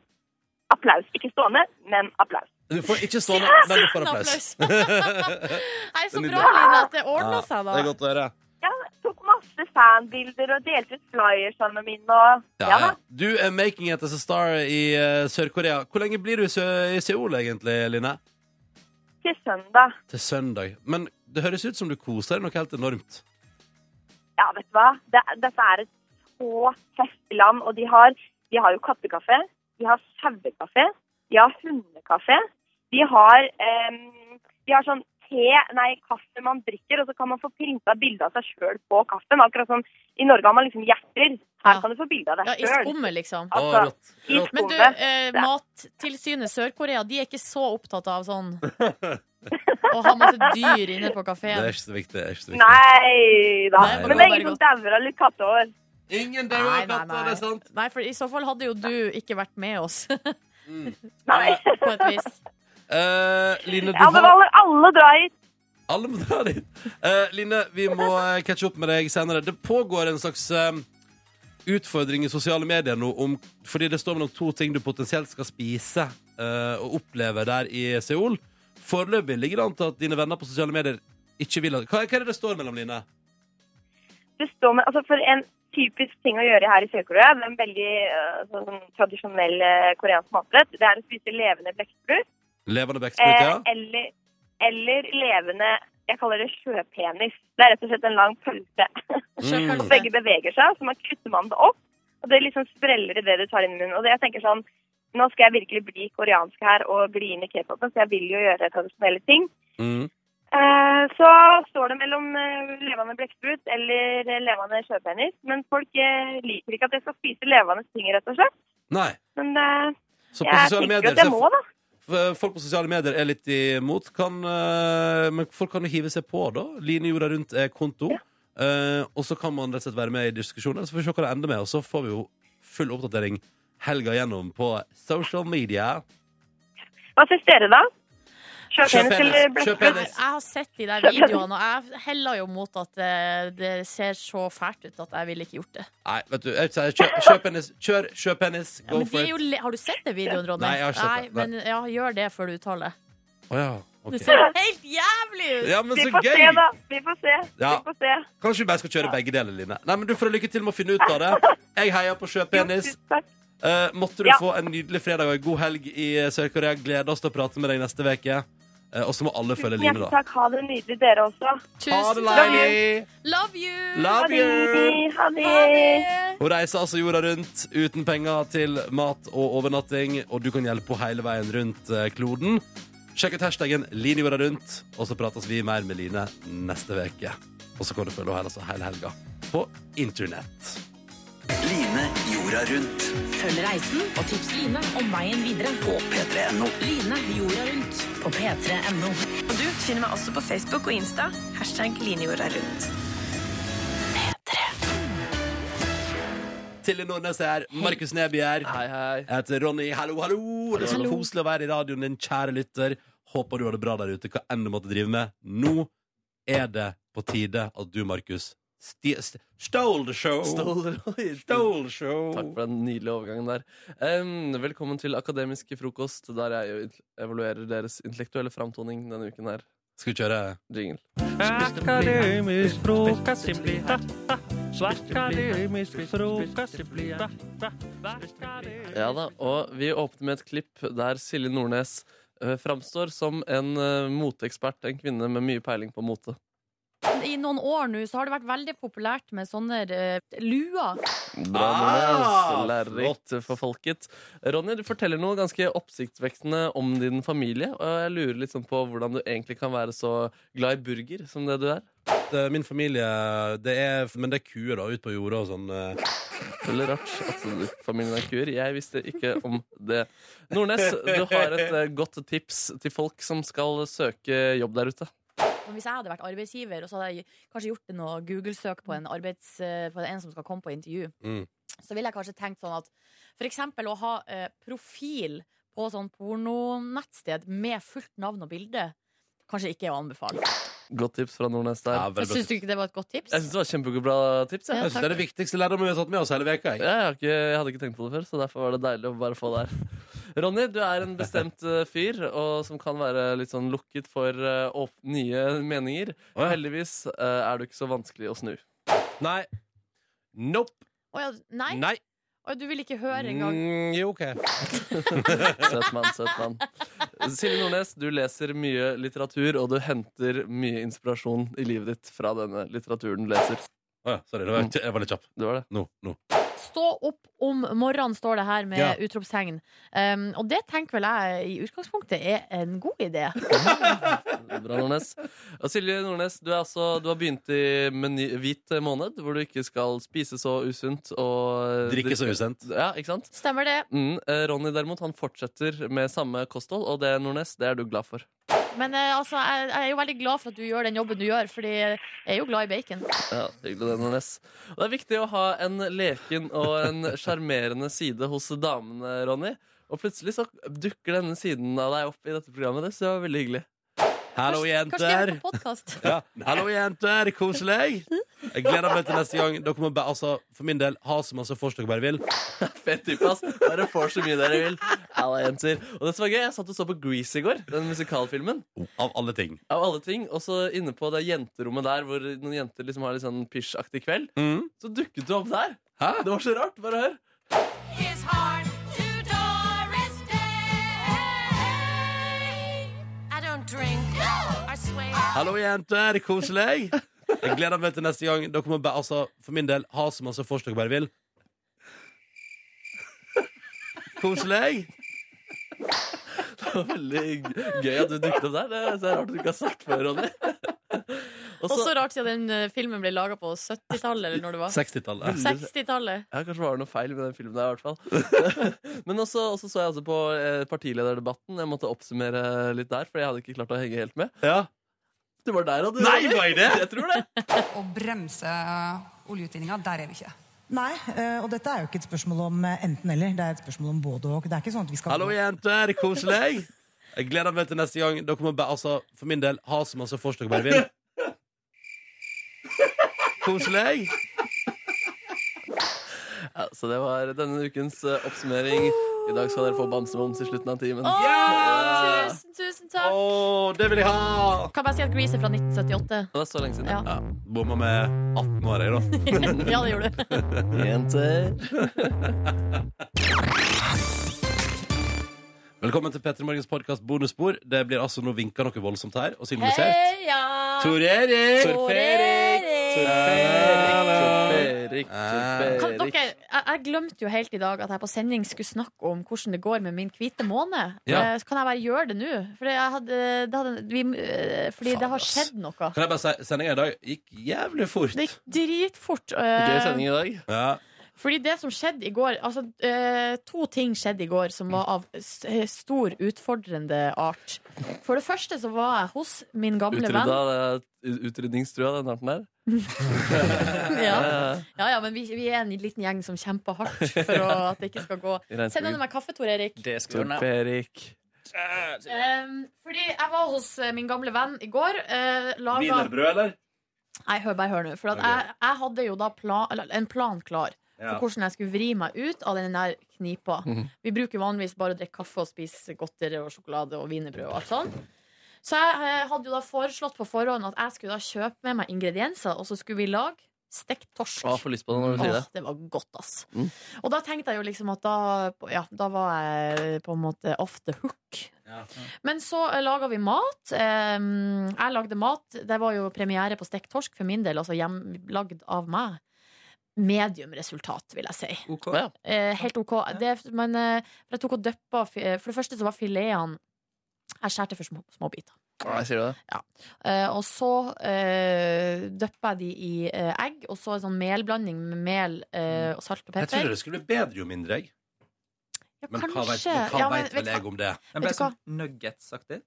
applaus. Ikke stående, men applaus. Du får ikke stående, men du får applaus. Nei, så Nydelig. bra, Line, at det ordna seg, Ja, det er altså, da. godt å høre. Jeg tok masse fanbilder og delte ut flyersene mine og Ja, ja. Du er making it as a star i eh, Sør-Korea. Hvor lenge blir du i, Sø i Seoul, egentlig, Line? til søndag. Til søndag. Men det høres ut som du koser deg noe helt enormt. Ja, vet du hva? Det, dette er et så heftig land, og de har, de har jo kattekafé, de har sauekafé, de har hundekafé, de har, em, de har sånn te, nei, kaffe man drikker, og så kan man få printa bilde av seg sjøl på kaffen. Akkurat som i Norge har man liksom hjerter. Her kan du få bilde av deg Ja, I sjøl. skummet, liksom. Altså, i skummet. Men du, eh, Mattilsynet Sør-Korea de er ikke så opptatt av sånn å ha masse dyr inne på Det kafeen. er ikke så viktig. Det er ikke så viktig. Nei da. Nei, Men det det var er ingen som dauer av litt kattehår. Ingen Nei, nei, nei. Nei, for i så fall hadde jo du ikke vært med oss. På et vis. Eh, Line, du Ja, men har alle, alle drar hit. Alle må dra dit. Eh, Line, vi må eh, catche opp med deg senere. Det pågår en slags eh, utfordring i sosiale medier nå om, fordi det står mellom to ting du potensielt skal spise eh, og oppleve der i Seoul. Foreløpig ligger det an til at dine venner på sosiale medier ikke vil at hva, hva er det det står mellom, Line? det står med, altså for en typisk ting å gjøre her i Sør-Korea, det er en veldig eh, sånn, tradisjonell eh, koreansk matrett, det er å spise levende blekksprut, Levende blekksprut, eh, ja? eller, eller levende, jeg kaller det sjøpenis. Det er rett og slett en lang pølse. Mm. Og begge beveger seg, så man kutter man det opp, og det liksom spreller i det du tar inn i munnen. Og det jeg tenker sånn, nå skal jeg virkelig bli koreansk her og gli inn i k-popen, så jeg vil jo gjøre tradisjonelle ting. Mm. Eh, Så står det mellom eh, levende blekksprut eller eh, levende sjøpenis. Men folk eh, liker ikke at jeg skal spise levende ting, rett og slett. Nei. Men eh, Så på jeg sosiale tenker medier at jeg så- må, da. F- eh, Folk på sosiale medier er litt imot, kan, eh, men folk kan jo hive seg på, da. Line jorda rundt er konto. Eh, og så kan man rett og slett være med i diskusjoner, så får vi se hva det ender med. Og så får vi jo full oppdatering helga gjennom på social media. Hva syns dere, da? Kjøp Kjøp penis eller penis. blekksprut? Kjøp penis. Jeg har sett de der videoene, og jeg heller jo mot at eh, det ser så fælt ut at jeg ville ikke gjort det. Nei, vet du, jeg sier kjøp, kjøp penis, kjør, kjøp penis, Ja, go men de for er jo it. le har du sett det videoen, Ronny? Nei, jeg har ikke sett det. Nei, Men ja, gjør det før du uttaler det. Å ja, Det ok. ser jo helt jævlig ut! Ja, men Vi så får gøy! se, da. Vi får se. Ja. Vi får se. Kanskje vi bare skal kjøre begge deler, Line. Nei, men Du får ha lykke til med å finne ut av det. Jeg heier på kjøp penis. Eh, måtte du Ja. få en nydelig fredag og en god helg i eh, Sør-Korea. Gleder oss til å prate med deg neste uke. Eh, og så må alle følge Line, Hjertelig da. takk. Ha det nydelig, dere også. Ha det, Leili! Love you! Love you! Ha det. Hun reiser altså jorda rundt uten penger til mat og overnatting, og du kan hjelpe henne hele veien rundt eh, kloden. Sjekk ut hashtagen Line jorda rundt, og så prates vi mer med Line neste uke. Og så kan du følge henne altså hele helga på internett. Line jorda rundt. Følg reisen og tips Line om veien videre på p3.no. Line jorda rundt på p3.no. Og du finner meg også på Facebook og Insta. Hashtag linejorda rundt. Tilde Nordnes er her, Markus Neby er her. Jeg heter Ronny. Hallo, hallo! Det er så Hallo. koselig å være i radioen din, kjære lytter. Håper du har det bra der ute, hva enn du måtte drive med. Nå er det på tide at du, Markus, sti- st- stole the show. Stole- Stole show. Takk for den nydelige overgangen der. Em, velkommen til Akademisk frokost, der jeg jo int- evaluerer deres intellektuelle framtoning denne uken her. Skal vi kjøre jingle? Akademisk frokost det blir da, da. Akademisk frokost det blir da, da. Ja da, og vi åpner med et klipp der Silje Nordnes eh, framstår som en eh, moteekspert, en kvinne med mye peiling på mote. I noen år nå så har det vært veldig populært med sånne eh, luer. Bra, Ah, Nordnes. Lærerikt for folket. Ronny, du forteller noe ganske oppsiktsvekkende om din familie. Og jeg lurer litt sånn på hvordan du egentlig kan være så glad i burger som det du er. Det- Min familie det er, Men det er kuer, da, ute på jorda og sånn. eh. Veldig rart at du- familien er kuer. Jeg visste ikke om det. Nordnes, du har et eh, godt tips til folk som skal søke jobb der ute. Og Hvis jeg hadde vært arbeidsgiver, og så hadde jeg kanskje gjort noe Google-søk på en, arbeids, eh, på en som skal komme på intervju, så ville jeg kanskje tenkt sånn at for eksempel å ha eh, profil på sånn pornonettsted med fullt navn og bilde, kanskje ikke er å anbefale. Godt tips fra Nordnes der. Syns du ikke det var et godt tips? Jeg syns det var kjempebra tips. Ja, Jeg synes det er takk. det viktigste lærdommen vi har tatt med oss hele veka. Jeg, har ikke, jeg hadde ikke tenkt på det før, så derfor var det deilig å bare få det her. Ronny, du er en bestemt eh, fyr og som kan være litt sånn lukket for eh, åp nye meninger. Heldigvis eh, er du ikke så vanskelig å snu. Nei. Nope. Å ja, nei? Nei. Å, du vil ikke høre engang? Mm, jo, OK. søt mann, søt mann. Silje Nordnes, du leser mye litteratur, og du henter mye inspirasjon i livet ditt fra denne litteraturen du leser. Å ja, sorry. det var- Jeg var litt kjapp. Det var det. Nå, nå. Stå opp om morgenen, står det her med Ja. utropstegn. Um, og det tenker vel jeg i utgangspunktet er en god idé. Bra, Nordnes. Og Silje Nordnes, du, er altså, du har begynt i meny, hvit måned, hvor du ikke skal spise så usunt og eh, Drikke så usunt. Ja, ikke sant? Stemmer det? Mm, eh, Ronny derimot, han fortsetter med samme kosthold, og det, Nordnes, det er du glad for. Men eh, altså, jeg, jeg er jo veldig glad for at du gjør den jobben du gjør, Fordi jeg er jo glad i bacon. Ja, hyggelig det, Nordnes. Og det er viktig å ha en leken og en sjarmerende side hos damene, Ronny. Og plutselig så dukker denne siden av deg opp i dette programmet. Det synes jeg var veldig hyggelig. Hallo, Kanskje de hører jenter. på podkast? Ja. Hallo, jenter. Koselig. Jeg gleder meg til neste gang. Dere må bare, altså, for min del, ha så masse vors dere bare vil. Fett type, ass. Dere får så mye dere vil. Alla jenter. Og det som var gøy, jeg satt og så på Grease i går, den musikalfilmen. Av alle ting. Av alle ting. Og så inne på det jenterommet der hvor noen jenter liksom har litt sånn pysjaktig kveld, Mm. så dukket du opp der. Det var så rart. Bare hør. His heart to Doris Day. I don't drink. I swear. Hallo, jenter. Koselig. Jeg gleder meg til neste gang. Dere må bare, altså, for min del, ha så masse vors dere bare vil. Koselig. Det var veldig g- gøy at du dukket opp der. Det er så rart du ikke har sagt før, Ronny. Og så- Også rart siden den eh, filmen ble laga på 70-tallet, eller når det var. 60-tallet. 60-tallet. Ja, kanskje var det noe feil med den filmen der, i hvert fall. Men også, også så jeg altså på eh, partilederdebatten. Jeg måtte oppsummere litt der, for jeg hadde ikke klart å henge helt med. Du var der, og du. Nei, var jeg det? Jeg tror det. Å bremse oljeutvinninga, der er vi ikke. Nei, eh, og dette er jo ikke et spørsmål om enten-eller. Det er et spørsmål om både og. Det er ikke sånn at vi skal Hallo, jenter. Koselig. Jeg gleder meg til neste gang. Dere må bare, altså, for min del, ha så masse vors dere bare vil. Koselig. Ja, så det var denne ukens eh, oppsummering. I dag skal dere få bamsemums i slutten av timen. Å, Ja! tusen, tusen takk! det vil jeg ha! Kan bare si at Grease er fra 1978. Det var så lenge siden. Ja. Ja. Bomma med 18 år, jeg, da. Ja, det gjorde du. Velkommen til Petter Morgens podkast bonusbord. Det blir altså nå vinka noe voldsomt her, og signalisert. Heia! Tor Erik! Tor Erik! Kan dere, jeg, jeg glemte jo helt i dag at jeg på sending skulle snakke om hvordan det går med min hvite måne. Ja. Eh, Så kan jeg bare gjøre det nå? Fordi, jeg hadde, det, hadde, vi, eh, fordi det har skjedd noe. Kan jeg bare si sendinga i dag gikk jævlig fort. Det gikk dritfort. Gøy eh, sending i dag. Ja. Fordi det som skjedde i går altså, eh, To ting skjedde i går som var av s- eh, stor utfordrende art. For det første så var jeg hos min gamle Utrydda, venn. det er utrydningstrua, den arten der. Ja. Ja, ja, men vi, vi er en liten gjeng som kjemper hardt for å, at det ikke skal gå. I regnskogen. Send henne meg kaffe, Tor Erik. Det skal du Erik. Ehm, fordi jeg var hos eh, min gamle venn i går. eh, laga- Wienerbrød, eller? Nei, hør, bare hør nå. For at Ok. jeg, jeg hadde jo da plan, eller en plan klar Ja. for hvordan jeg skulle vri meg ut av den der knipa. Mhm. Vi bruker vanligvis bare å drikke kaffe og spise godteri og sjokolade og wienerbrød og alt sånn. Så jeg eh, hadde jo da foreslått på forhånd at jeg skulle da kjøpe med meg ingredienser, og så skulle vi lage stekt torsk. Å, jeg får lyst på det når du sier Åh, det. det var godt, ass. Mm. Og da tenkte jeg jo liksom at da, ja, da var jeg på en måte off the hook. Men så laga vi mat. Eh, Jeg lagde mat. Det var jo premiere på stekt torsk for min del, altså hjemlagd av meg. Medium resultat, vil jeg si. Ja. Eh, helt OK. Det, men eh, for jeg tok og dyppa fi- For det første så var filetene Jeg skjærte for små, små biter. Ja, jeg sier det. Eh, og så uh, dyppa jeg de i eh, egg, og så en sånn melblanding med mel eh, og salt og Mm. Jeg pepper. trodde det skulle bli bedre jo mindre egg. men hva vet, kanskje. men hva Ja, men vet vet vel hva- jeg om det? Den ble Vet du hva? nuggetsaktig.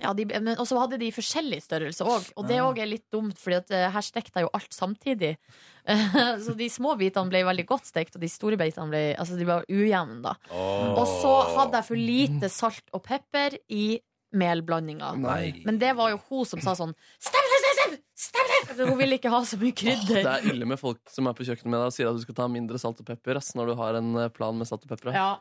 Ja, de, men, og så hadde de forskjellig størrelse òg, og det Ah. òg er litt dumt, for her stekte jeg jo alt samtidig. så de små bitene ble veldig godt stekt, og de store bitene ble, altså, de var ujevne, da. Og så hadde jeg for lite salt og pepper i melblandinga. Nei. Men det var jo hun som sa sånn Stem, stem, stem, stem, stem! Hun ville ikke ha så mye Det krydder. er ille med folk som er på kjøkkenet med deg og sier at du skal ta mindre salt og pepper ass, når du har en eh, plan med salt og pepper. ja.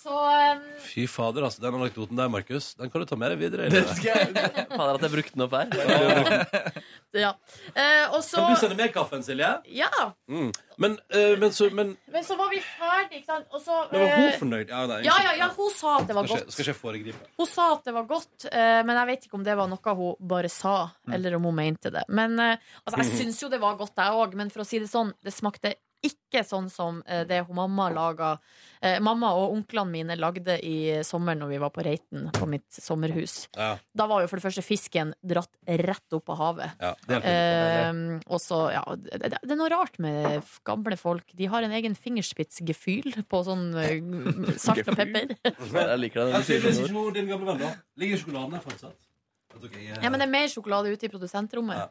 Så um, Fy fader, altså. Den anekdoten der, Markus, den kan du ta med deg videre. Det Fader, at jeg brukte den opp her. ja. Eh, og så Kan du sende mer kaffen, Silje? Ja. Mm. Men, eh, men, så, men, Men så var vi ferdig, ikke sant, og så men var hun eh, fornøyd? Ja, nei, ja, unnskyld. ja, ja, hun sa at det var skal godt. ikke, skal ikke foregripe. Hun sa at det var godt, eh, men jeg vet ikke om det var noe hun bare sa, Mm. eller om hun mente det. Men eh, altså, jeg syns jo det var godt, jeg òg, men for å si det sånn, det smakte ikke sånn som eh, det hun mamma laga eh, Mamma og onklene mine lagde i eh, sommer når vi var på Reiten, på mitt sommerhus. Ja. Da var jo for det første fisken dratt rett opp av havet. Ja, det er helt Eh, og så, ja det, det det er noe rart med f- gamle folk. De har en egen fingerspitzgefühl på sånn eh, salt og pepper. Jeg liker Jeg det. når du sier synes sånne ikke hun, ord. din gamle venn, da. Ligger sjokoladen der fortsatt? Jeg tror ikke jeg- Ja, men det er mer sjokolade ute i produsentrommet.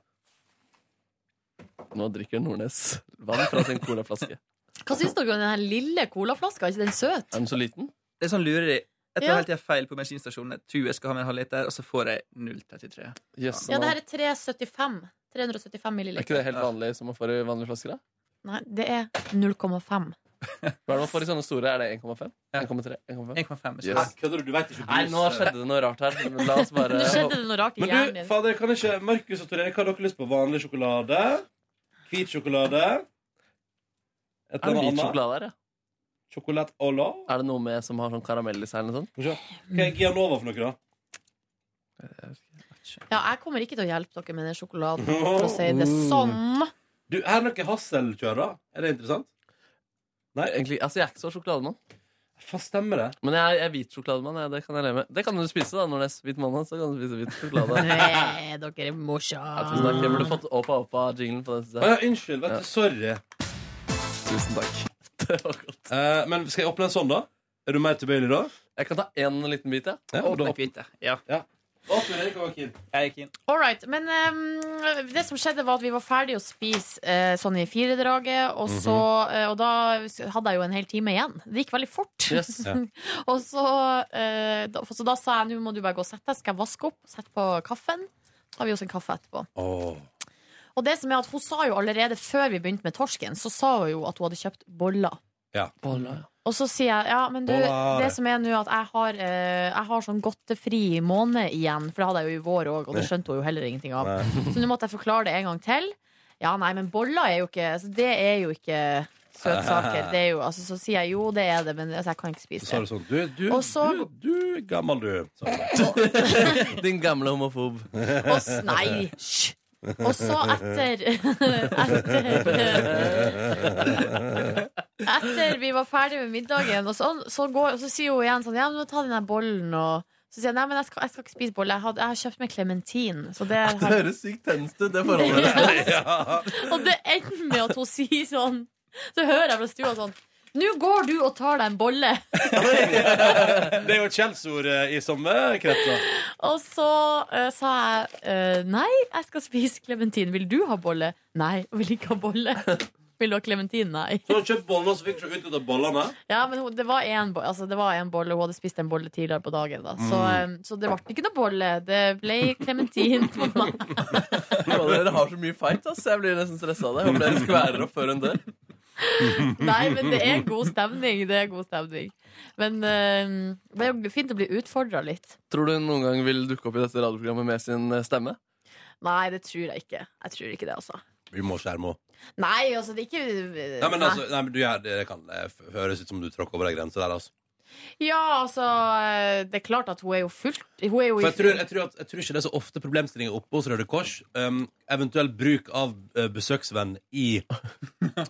Nå drikker Nordnes vann fra sin colaflaske. Hva syns dere om den her lille colaflaska? Er ikke den søt? Er den så liten? Det er sånn lureri. Jeg tar Ja. hele tida feil på bensinstasjonen. Jeg tror jeg skal ha med en halvliter, og så får jeg 0,33. Ja, det her er 375. 375 Er ikke milliliter. det helt vanlig som man får i vanlige flasker? da? Nei, det er 0,5. Hva er det man får i sånne store? Er det 1,5? 1,3? 1,5 Hæ, kødder du? Du vet ikke Nei, nå skjedde det noe rart her. Men la oss bare Nå skjedde det noe rart i Men hjernen du, din. fader, kan ikke Markus og Tor Erik, har dere lyst på vanlig sjokolade? Hvit sjokolade? Et Er det hvit annet? sjokolade her, ja? Sjokolade au la? Er det noe med som har sånn karamell i seg? eller noe sånt? Mm. Hva er Gianova for noe, da? Ja, jeg kommer ikke til å hjelpe dere med den sjokoladen, for å si det sånn. Du, Er det noe hasselkjør, da? Er det interessant? Nei, egentlig, altså Jeg er ikke så sjokolademann. Hva stemmer det? Men jeg er- jeg er hvit sjokolademann. Jeg, det kan jeg leve med. Det kan du spise, da, Nordnes. Hvit mandag, så kan du spise hvit sjokolade. Nei, dere er Ja, tusen takk. Jeg burde morsomme. fått Åpa Åpa-jinglen på den. synes jeg. Å, ja, unnskyld, vet du, sorry. Tusen takk. Det var godt. Eh, men skal jeg åpne en sånn, da? Er du mer tilbøyelig da? Jeg kan ta én liten bit, jeg. Ja, og da- Åpne hvite. Ja. Ja. Og Tor Erik var keen. Jeg er keen. All right, men ehm, det som skjedde var at vi var ferdige å spise eh, sånn i firedraget, og, så, Mhm. eh, og da hadde jeg jo en hel time igjen. Det gikk veldig fort. Yes. Ja. og så, eh, da, så da sa jeg nå må du bare gå og sette deg, skal jeg vaske opp, sette på kaffen. Så tar vi oss en kaffe etterpå. Og det som er at hun sa jo allerede før vi begynte med torsken, så sa hun jo at hun hadde kjøpt boller. Ja. Og så sier jeg ja, men du, Boller. det som er nå at jeg har, eh, jeg har sånn godtefri måned igjen, for det hadde jeg jo i vår òg, og det skjønte hun jo heller ingenting av. Så nå måtte jeg forklare det en gang til. Ja, nei, men boller er jo ikke altså, Det er jo ikke søtsaker. Det er jo, altså, så sier jeg jo, det er det, men altså, jeg kan ikke Så spise sa du det. sånn Du, du, Og så- du, du gammel, du. sa hun. Din gamle homofob. Oss, nei, hysj! Og så etter, etter Etter vi var ferdig med middagen, og så, så, går, og så sier hun igjen sånn Ja, men nå ta den der bollen, og så sier jeg nei, men jeg skal, jeg skal ikke spise bolle. Jeg har, jeg har kjøpt meg klementin. Så det har Det høres sykt tenst ut, det forholdet deres. Og det ender med at hun sier sånn Så hører jeg fra stua sånn Nå går du og tar deg en bolle Det er jo et skjellsord eh, i sommerkretser. Og så eh, sa jeg eh, Nei, jeg skal spise klementin Vil du ha bolle? Nei, jeg vil ikke ha bolle Vil du ha klementin? Nei Så hun kjøpte boller, så fikk hun ikke utnytta bollene. Ja, men hun- det var en, bo- altså, det var en bolle Hun hadde spist en bolle tidligere på dagen da. så, Mm. eh, så det ble ikke noe bolle Det ble klementin på meg Å, Dere har så mye fight, ass. Jeg blir nesten stressa av det. Jeg Håper dere skværer opp før hun dør. Nei, men det er god stemning. Det er god stemning. Men eh, det er jo fint å bli utfordra litt. Tror du hun noen gang vil dukke opp i dette radioprogrammet med sin eh, stemme? Nei, det tror jeg ikke. Jeg tror ikke det, altså. Vi må skjerme henne. Nei, altså, det er ikke Nei, men altså, nei, men du, gjør- det kan eh, f- høres ut som du tråkker over ei grense der, altså. Ja, altså eh, Det er klart at hun er jo fullt Hun er jo For jeg i tror, jeg, tror at, jeg tror ikke det er så ofte problemstillinger oppe hos Røde Kors. Um, eventuell bruk av eh, besøksvenn i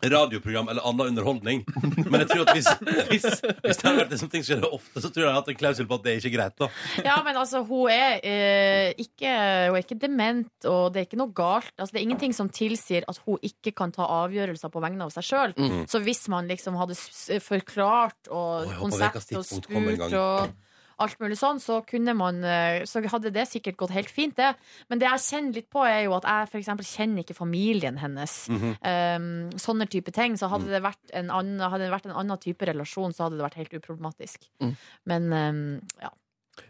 radioprogram eller annen underholdning. Men jeg tror at hvis, hvis, hvis det hadde vært det som ting skjer ofte, så tror jeg jeg har hatt en klausul på at det er ikke greit. da Ja, men altså, hun er, eh, ikke, hun er ikke dement, og det er ikke noe galt. Altså, det er ingenting som tilsier at hun ikke kan ta avgjørelser på vegne av seg sjøl. Mhm. Så hvis man liksom hadde s- forklart og jeg håper konsept og Vekas tidspunkt kom en spurt gang. og alt mulig sånn, så kunne man eh, Så hadde det sikkert gått helt fint, det. Men det jeg kjenner litt på, er jo at jeg for eksempel kjenner ikke familien hennes. Mhm. Ehm, sånne type ting. Så Mm. hadde det vært en annen, hadde det vært en annen type relasjon, så hadde det vært helt uproblematisk. Mm. Men ehm, ja.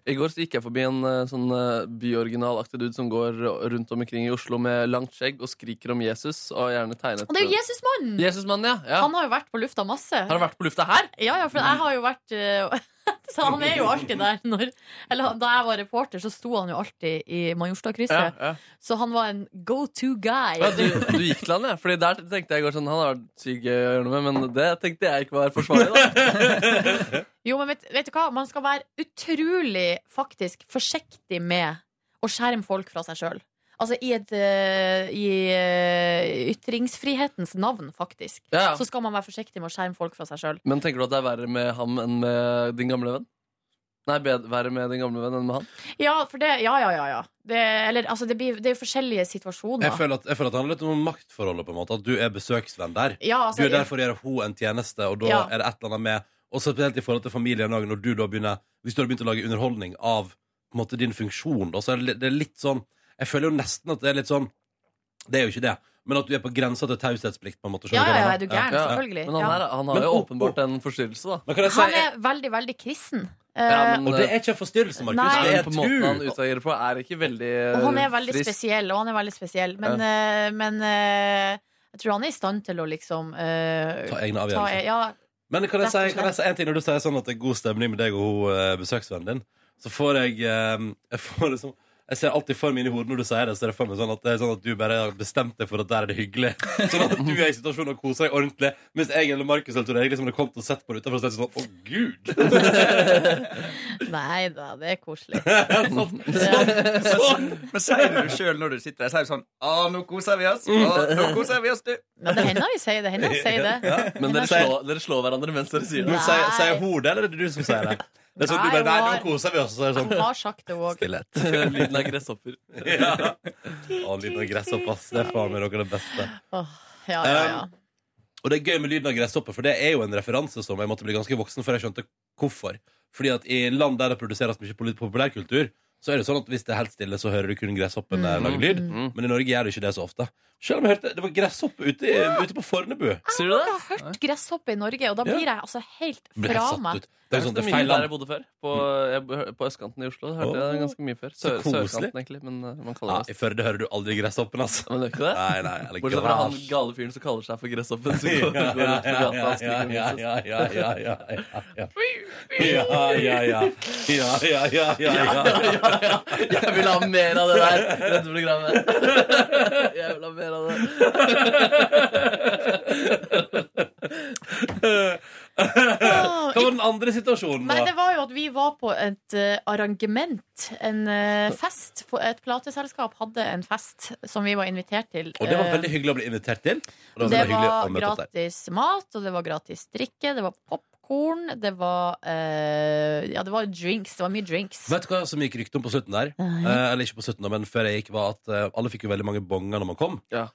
I går så gikk jeg forbi en eh, sånn eh, byoriginalaktig dude som går rundt omkring i Oslo med langt skjegg og skriker om Jesus og gjerne tegnet Og det er jo Jesusmannen! Jesusmannen, ja. ja. Han har jo vært på lufta masse. Har han vært på lufta her? Ja, ja, for jeg har jo vært eh, Så han er jo alltid der når Eller da jeg var reporter, så sto han jo alltid i Majorstadkrysset. Ja, ja. Så han var en go to guy. Ja, du, du gikk til han, ja. Fordi der tenkte jeg i går sånn Han har vært sykt gøy å gjøre noe med, men det tenkte jeg ikke var forsvarlig. da Jo, men vet, vet du hva? Man skal være utrolig faktisk forsiktig med å skjerme folk fra seg sjøl. Altså i, et, eh, i eh, ytringsfrihetens navn, faktisk, Ja, ja. så skal man være forsiktig med å skjerme folk fra seg sjøl. Men tenker du at det er verre med ham enn med din gamle venn? Nei, bed- verre med din gamle venn enn med han? Ja, for det Ja, ja, ja. ja. Det, eller, altså, det, blir, det er jo forskjellige situasjoner. Jeg føler, at, jeg føler at det handler litt om maktforholdet, på en måte. At du er besøksvenn der. Ja, altså, du er der jeg- for å gjøre hun en tjeneste, og da Ja. er det et eller annet med Og spesielt i forhold til familien også, når du da begynner Hvis du har begynt å lage underholdning av på en måte, din funksjon, da, så er det, litt- det er litt sånn Jeg føler jo nesten at det er litt sånn Det er jo ikke det, men at du er på grensa til taushetsplikt, på en måte. Ja, skjønner hva jeg ja, ja, mener? er du gæren? Selvfølgelig. Men han, Ja. er, han har Men jo opp- åpenbart en forstyrrelse, da. Altså, Han er veldig, veldig kristen. Eh, Og det er ikke en forstyrrelse, Markus. Nei. Det er på eh, måten han tru. utagerer på, er ikke veldig og han eh, er veldig frisk. spesiell, og han er veldig spesiell. Men, Ja. eh, men eh, jeg tror han er i stand til å liksom eh, Ta egne avgjørelser. e- ja, Men kan jeg, Rett og si, kan jeg slett. si en ting når du sier sånn at det er god stemning med deg og hun, eh, besøksvennen din? Så får jeg eh, Jeg, får det som, jeg ser alltid for meg inni hodet når du sier det, så er det for meg sånn at det er sånn at du bare har bestemt deg for at der er det hyggelig. Sånn at du er i situasjonen og koser deg ordentlig, mens jeg eller Markus eller Tor Erik liksom hadde kommet og sett på det utenfor og så er det sånn Å, gud! Nei da, det er koselig. Men, men sier du det sjøl når du sitter der? Sier du sånn Å, nå koser vi oss. Mm. Å, nå koser vi oss, du. Ja, det hender vi sier det. Hender vi sier det. Men dere slår, dere slår hverandre mens dere sier det. Men sier, sier hun det, eller er det du som sier det? Det er sånn du Nei, bare Nei, hun nå koser vi oss. Så er det Han sånn har sagt det òg. Stillhet. Lyden av gresshopper. Ja. Å, lyden av gresshopp, ass. Det er faen meg noe av det beste. Ja, ja, ja. Um, og det er gøy med lyden av gresshoppe, for det er jo en referanse som jeg måtte bli ganske voksen før jeg skjønte hvorfor. Fordi at i land der det produseres mye polit- populærkultur, så er det sånn at hvis det er helt stille, så hører du kun gresshoppen mm. lage lyd. Men i Norge gjør du ikke det så ofte. Selv om jeg hørte det var gresshoppe ute, i- ute på Fornebu. Sier du Jeg har hørt gresshoppe i Norge, og da blir jeg altså helt Blir fra helt satt meg. ut. Det er jo sånn, det er feil der land. jeg bodde før. På, jeg, på østkanten i Oslo. Hørte jeg det ganske mye før. Så Sør, koselig. sørkanten, egentlig. Men eh, man Ja, kaller det I Førde hører du aldri gresshoppen, altså. Men det er ikke det? Nei, nei, eller Bortsett fra han grasj. gale fyren som kaller seg for Gresshoppen. Som Ja, går rundt på ja, gata og sånn. ja, skriker ja, ja, Moses. ja, ja, ja, ja. Ja, ja, ja. Ja, ja, ja, ja, ja. Jeg vil ha mer av det der i dette programmet. Jeg vil ha mer av Hva var den andre situasjonen? Ah, Nei, det da? var jo at vi var på et eh, arrangement, en eh, fest. For Et plateselskap hadde en fest som vi var invitert til. Og det var Eh, veldig hyggelig å bli invitert til. Og det veldig hyggelig å var møte opp der. gratis mat, og det var gratis drikke, det var popkorn, det var eh, Ja, det var drinks. Det var mye drinks. Vet du hva som gikk rykte om på slutten der? Nei. Eh, eller ikke på slutten, da, men før jeg gikk, var at eh, alle fikk jo veldig mange bonger når man kom. Eh,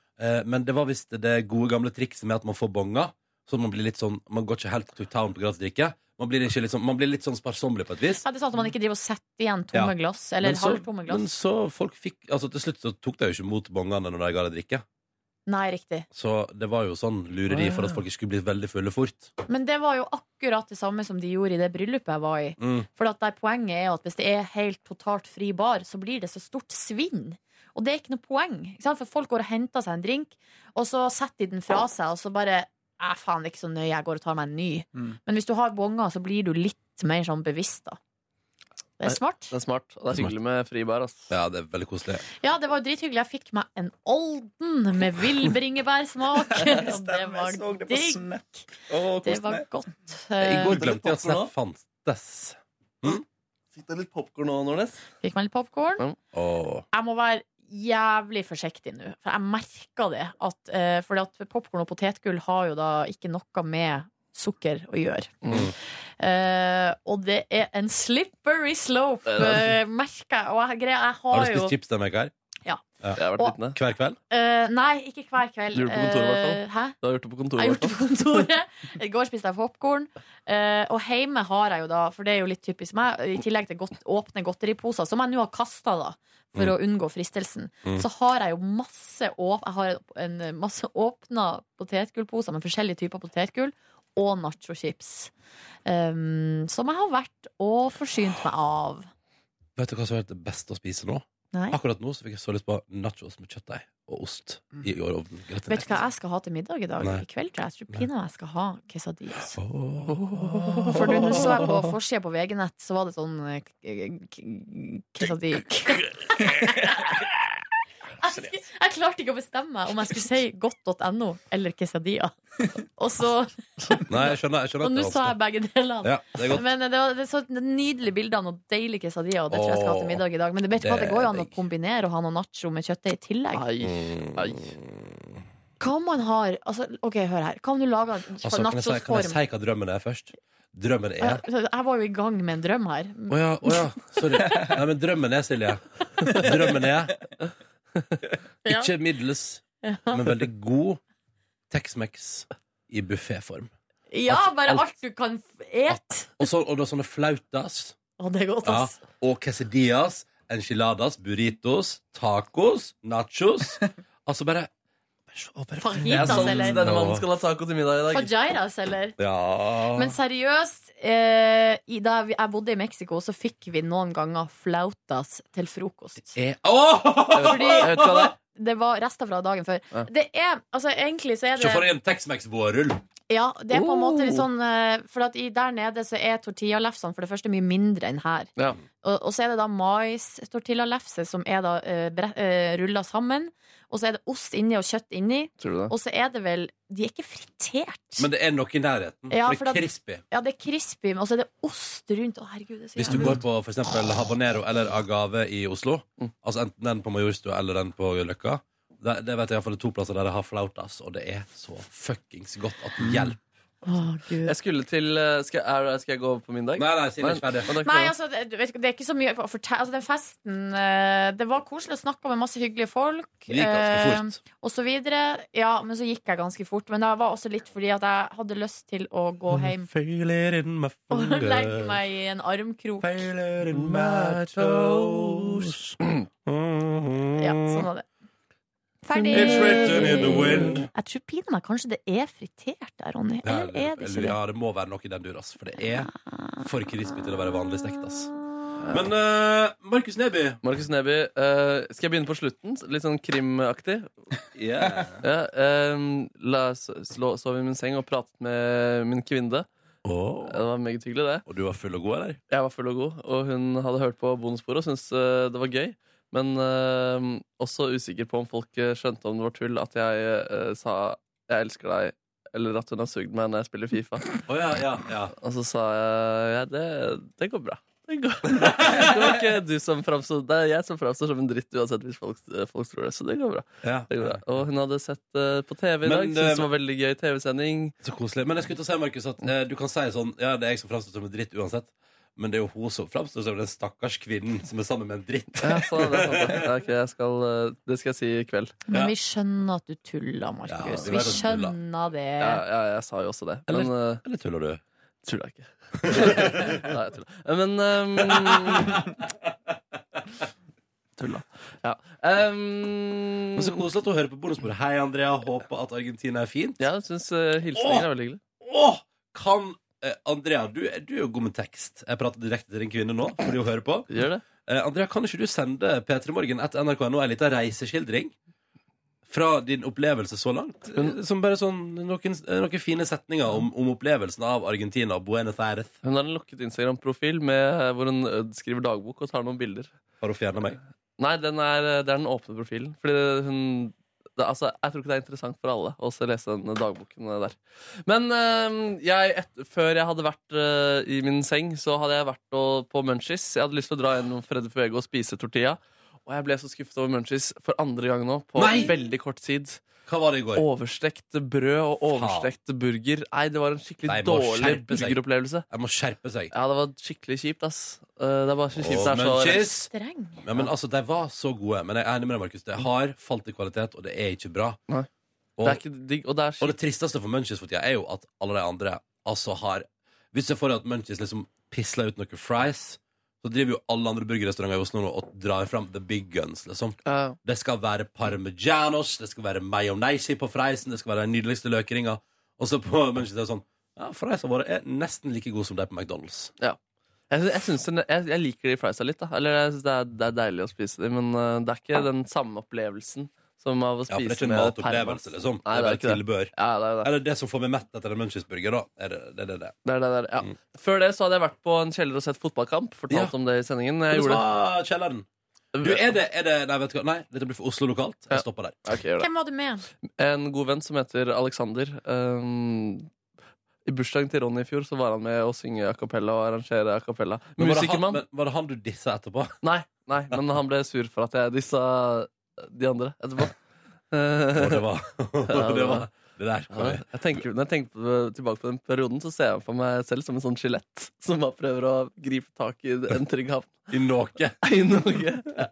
men det var visst det gode gamle trikset med at man får bonger, så man blir litt sånn Man går ikke helt to town på gratis drikke. Man blir, ikke litt sånn, man blir litt sånn sparsommelig på et vis. Ja, det er sånn at man ikke driver og setter igjen tomme Ja. glass, eller Men så- halvtomme glass. Men så folk fikk Altså til slutt så tok de jo ikke imot bongene når de ga deg drikke. Nei, riktig. Så det var jo sånn lureri for at folk ikke skulle bli veldig fulle fort. Men det var jo akkurat det samme som de gjorde i det bryllupet jeg var i. Mm. For at der poenget er at hvis det er helt totalt fri bar, så blir det så stort svinn. Og det er ikke noe poeng. Ikke sant? For folk går og henter seg en drink, og så setter de den fra seg, og så bare Æh, faen, det er ikke så nøye, jeg går og tar meg en ny. Mm. Men hvis du har bonger, så blir du litt mer sånn bevisst, da. Det er smart. Det er smart, og det er hyggelig med fri bar. ass. Ja, det er veldig koselig. Ja, det var jo drithyggelig. Jeg fikk meg en Olden med vill bringebærsmak. Og det var digg. Det var godt. I går glemte jeg at popcorn Snap også? fantes. Fikk deg litt popkorn nå, Nordnes? Eh, Fikk meg litt popkorn. Åh. Jeg må være jævlig forsiktig nå, for jeg merker det. At, eh, fordi at popkorn og potetgull har jo da ikke noe med sukker å gjøre. Mm. Eh, og det er en slippery slope, Det er eh, merker jeg. Og jeg, greier, jeg har, Har du spist jo chips denne uka her? Ja. Ja. Og- Hver kveld? Eh, nei, ikke hver kveld. Du gjorde det på kontoret, i hvert Eh, Hæ? Du har gjort det på Jeg kontoret. har gjort det på kontoret. I går spiste jeg popkorn. Eh, og hjemme har jeg jo da, for det er jo litt typisk meg, i tillegg til godt, åpne godteriposer, som jeg nå har kasta, da. For å unngå fristelsen. Mm. Så har jeg jo masse, åp jeg har en, en masse åpna potetgullposer med forskjellige typer potetgull. Og nachochips. Um, som jeg har vært og forsynt meg av. Vet du hva som er det beste å spise nå? Nei. Akkurat nå så fikk jeg så lyst på nachos med kjøttdeig og ost i ovnen. Mm. Vet du hva jeg skal ha til middag i dag? Nei. I kveld tror jeg. Jeg tror pinadø jeg skal ha quesadillas. For For du, nå så jeg på forsida på VG-nett, så var det sånn eh, k- k- quesadi- Jeg sk- Jeg klarte ikke å bestemme meg om jeg skulle si godt.no eller quesadilla. Og så Nei, jeg skjønner, jeg skjønner Og nå sa jeg begge delene. Ja, det er godt. Men eh, det var det er så nydelige bilder av noen deilige quesadilla, og det tror jeg jeg skal ha til middag i dag. Men det, vet du hva, det går jo an å kombinere og ha noe nacho med kjøttdeig i tillegg. Mm. Ai, ai. Hva om man har altså, Ok, hør her. Hva om du lager en altså, kan, jeg si, kan jeg nachosform? si hva drømmen er først? Drømmen er Jeg jeg var jo i gang med en drøm her. Å ja, å ja. Sorry. Nei, men drømmen er, Silje Drømmen er Ja. ikke middels, Ja. men veldig god Tex-Mex i bufféform. Ja, bare alt du kan f- et. Og, så, og da sånne flautas. Å, det er godt, Ja, ass. og quesadillas, enchiladas, burritos, tacos, nachos. Altså bare Jeg er Fajitas, sånn eller? denne mannen skal ha taco til middag i dag. Fajitas, eller? Ja. Men seriøst, eh, i, da vi- jeg bodde i Mexico, så fikk vi noen ganger flautas til frokost. er Åh! Fordi Jeg vet hva det er. det var rester fra dagen før. Ja. Det er, altså Egentlig så er Se for det deg en Tex-Mex-vårrull. Ja, det er på en Oh. måte litt sånn eh, For at i, der nede så er tortillalefsene for det første mye mindre enn her. Ja. Og, og så er det da mais-tortillalefse som er da uh, rulla sammen. Og så er det ost inni og kjøtt inni. Tror du det? Og så er det vel De er ikke fritert. Men det er nok i nærheten. Ja, for det for er da- crispy. Ja, det er crispy, men også er det ost rundt. Å, herregud, det er så Hvis du jævlig går godt. på for eksempel habanero eller agave i Oslo, altså enten den på Majorstua eller den på Løkka Mm. det, det vet jeg i hvert fall er to plasser der jeg har flautas, og det er så fuckings godt at hjelp. Jeg skulle til eh, skal, er, skal jeg gå over på min dag? Nei, nei, Silje er ikke ferdig. Men da kan- Nei, altså, det, du vet, ikke, det er ikke så mye å fortelle. Altså, den festen eh, Det var koselig å snakke med masse hyggelige folk. Det gikk ganske fort. eh, Og så videre. Ja, men så gikk jeg ganske fort. Men det var også litt fordi at jeg hadde lyst til å Mm. gå hjem og legge meg i en armkrok. altså- Mm, Ja, sånn var det. Ferdig. It's written in the wind. Jeg tror pinadø kanskje det er fritert der, Ronny. Eller er det ikke det? Ja, det må være noe i den duras, for det er for crispy til å være vanlig stekt. ass Men eh, Markus Neby Markus Neby, eh, skal jeg begynne på slutten? Litt sånn krimaktig? Yeah. ja, ehm, la, s- slå, sov i min seng og pratet med min kvinne. Det var meget hyggelig, det. Og du var full og god, eller? Jeg var full og god, og hun hadde hørt på bonussporet og syntes eh, det var gøy. Men ehm, også usikker på om folk eh, skjønte om det var tull at jeg eh, sa 'jeg elsker deg', eller at hun har sugd meg når jeg spiller Fifa. Og så sa jeg ja, det, det går bra. Det går bra. Det var ikke du som framstod Det er jeg som framstår som en dritt uansett hvis folk, eh, folk tror det. Så det går bra. Det går bra. Og hun hadde sett eh, på TV i dag. Men, Syntes eh, det var veldig gøy TV-sending. Så koselig. Men jeg skulle til å si, Markus, at eh, du kan si sånn Ja, det er jeg som framstår som en dritt uansett. Men det er jo hun som framstår som den stakkars kvinnen som er sammen med en dritt. Ja, så det, er sant, det. Ja, ok, jeg skal, eh, det skal jeg si i kveld. Men vi skjønner at du tuller, Markus. det vi var det som tulla. skjønner det. Ja, ja, jeg sa jo også det. eh, Eller- eller tuller du? Tuller jeg ikke. Nei, jeg tuller. Men ehm, Tulla. Ja. Um, Men så koselig at du hører på bonusbordet. Hei, Andrea. Håper at Argentina er fint. Ja, jeg syns uh, hilsninger er veldig hyggelig. Åh, kan eh, Andrea, du, er- du er jo god med tekst. Jeg prater direkte til din kvinne nå, fordi hun hører på. Gjør det. Eh, Andrea, kan ikke du sende P3 Morgen etter NRK.no en liten reiseskildring? Fra din opplevelse så langt? Eh, Som bare sånn noen, eh, noen fine setninger om, om opplevelsen av Argentina og Buenos Aires. Hun har en lukket Instagram-profil med- hvor hun eh, skriver dagbok og tar noen bilder. Har hun fjerna meg? Nei, den er, eh, det er den åpne profilen. Fordi hun det, altså, Jeg tror ikke det er interessant for alle å se- lese den dagboken der. Men eh, jeg, et, før jeg hadde vært eh, i min seng, så hadde jeg vært og, på Munchies. Jeg hadde lyst til å dra gjennom Freddy Fuego og spise tortilla. Og jeg ble så skuffet over Munchies for andre gang nå på veldig kort tid. Hva var det i går? Overstekt brød og overstekt burger. Nei, det var en skikkelig Nei, må dårlig skjerpe seg. burgeropplevelse. Jeg må skjerpe seg. Ja, det var skikkelig kjipt, ass. Eh, Det er bare så Åh, kjipt. Det er så munchies. Streng. Ja, men altså, De var så gode, men jeg er enig med deg, Markus. Det har falt i kvalitet, og det er ikke bra. Mm. Nei. Og, Det er ikke digg, og det er tristeste for Munchies for tida er jo at alle de andre altså har Hvis jeg får at Munchies liksom pisler ut noen fries, så driver jo alle andre burgerrestauranter i Oslo nå og drar fram the big guns, liksom. Ja. Det skal være parmegianos, det skal være mayonnaise på friesen, det skal være den nydeligste løkringa. Og så på Munchies er det sånn Ja, friesene våre er nesten like gode som de på McDonald's. Ja. Jeg, sy- jeg, synes den, jeg, jeg liker de friesa litt. Da. Eller jeg synes det, er, det er deilig å spise de, men eh, det er ikke den samme opplevelsen som av å Ja, for det er spise ikke en med matopplevelse, permas. liksom. det Nei, er ikke bare tilbør. Ja, det er jo det. Eller det som får meg mett etter en Munchies-burger, da. Er det, det, det, det. Det er det der, ja. Mm. Før det så hadde jeg vært på en kjeller og sett fotballkamp. Fortalt om det Mm. i sendingen. Jeg Hvordan gjorde var kjelleren? Du, er det, er det Nei, vet du hva. Nei, dette blir for Oslo lokalt. Jeg stopper der. Ok, gjør det. Hvem var du med? En god venn som heter Alexander. ehm, I bursdagen til Ronny i fjor så var han med å synge a cappella og arrangere a cappella. Men var det han- Musikermann. men var det han du dissa etterpå? Nei, nei, men han ble sur for at jeg dissa de andre etterpå. Og det var, og det var Det der. Ja, jeg tenker, når jeg tenker på- tilbake på den perioden, så ser jeg for meg selv som en sånn skjelett som bare prøver å gripe tak i en trygg havn. I Norge. I Norge. Ja.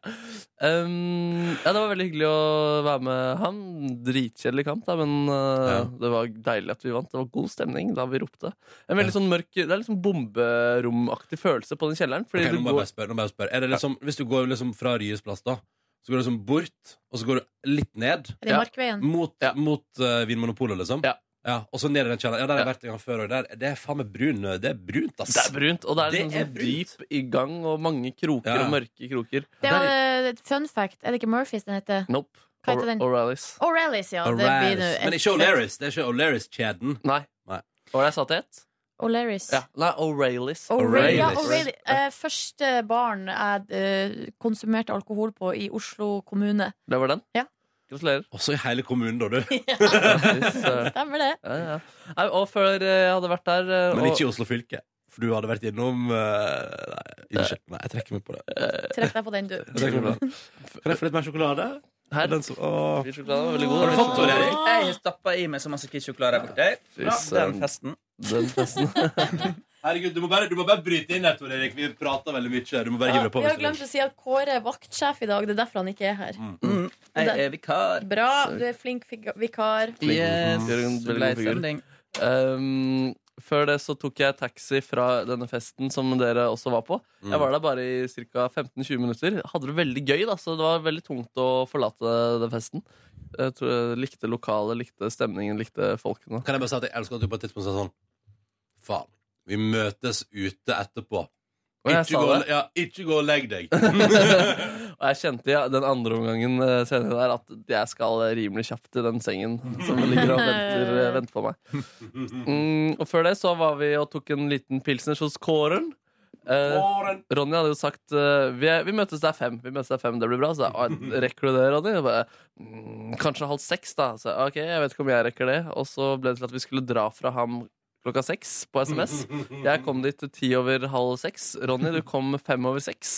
Um, ja, det var veldig hyggelig å være med han. Dritkjedelig kamp, da, men uh, det var deilig at vi vant. Det var god stemning da vi ropte. En veldig sånn mørk, Det er litt sånn bomberomaktig følelse på den kjelleren. Fordi Ok, du nå må jeg går, bare spørre. nå må jeg bare spørre. Er det liksom, hvis du går liksom fra Ryes plass, da, så går du liksom bort, og så går du litt ned. Er det Markveien? Mot, mot eh, Vinmonopolet, liksom. Ja. og så ned i den kjelleren. Ja, der har jeg vært en gang før. Og der, det er faen meg brun. eh, Det er brunt, ass. det er brunt, og det er, Det liksom er sånn dyp i gang og mange kroker Ja. og mørke kroker. Det var eh, et fun fact. Er det ikke Murphys den heter? Nope. Hva heter den? O'Reillys. O'Reillys, ja. Det blir nå Men et- ikke O'Leris. Det er ikke O'Leris-kjeden. Nei. Var det jeg sa til ett? O'Learys. Ja. Nei, O'Reillys. O'Reilly. Ja, O'Reilly. Eh, første barn jeg eh, konsumerte alkohol på i Oslo kommune. Det var den? Ja. Gratulerer. eh, Også i hele kommunen, da, du. Stemmer det? Ja, ja. Nei, Og før eh, jeg hadde vært der eh, Men og- ikke i Oslo fylke. For du hadde vært innom eh, Eh. Nei, unnskyld. Nei, jeg trekker meg på det. Trekk deg på den, du. Jeg trekker meg på det. Kan jeg få litt mer sjokolade? Her. Den som, åh. Hvitsjokolade var veldig god. Har du fått det, Erik? Jeg stappa i meg så masse hvitsjokolade her borte. Fy Ja, søren. den festen. Den festen. Herregud, du må, bare, du må bare bryte inn her, Tor Erik. Vi prater veldig mye. Du må bare hive deg på. Vi har hvis du glemt å si at Kåre er vaktsjef i dag. Det er derfor han ikke er her. Jeg er vikar. Bra, du er flink fig- vikar. Yes. Jørgen, veldig Blei god figur. sending. Um, før det så tok jeg taxi fra denne festen som dere også var på. Jeg var der bare i ca. 15-20 minutter. Hadde det veldig gøy, da, så det var veldig tungt å forlate den festen. Jeg tror jeg likte lokalet, likte stemningen, likte folkene. Kan jeg bare si at jeg elsker at du på et tidspunkt sa sånn Faen, vi møtes ute etterpå. Og jeg Ikke sa gå, det. ja, ikke gå og legg deg. og jeg kjente ja, den andre omgangen eh, senere der at jeg skal eh, rimelig kjapt i den sengen som ligger og venter, eh, venter på meg. Mm, og før det så var vi og tok en liten pilsners hos Kåren. Eh, Kåren. Ronny hadde jo sagt eh, vi, er, vi møtes der fem, vi møtes der fem, det blir bra. Så jeg, «Ah, rekker du det, Ronny? Jeg bare, mm, kanskje halv seks, da. Så jeg, ok, jeg vet ikke om jeg rekker det. Og så ble det til at vi skulle dra fra ham klokka seks på SMS. Jeg kom dit ti over halv seks. Ronny, du kom fem over seks.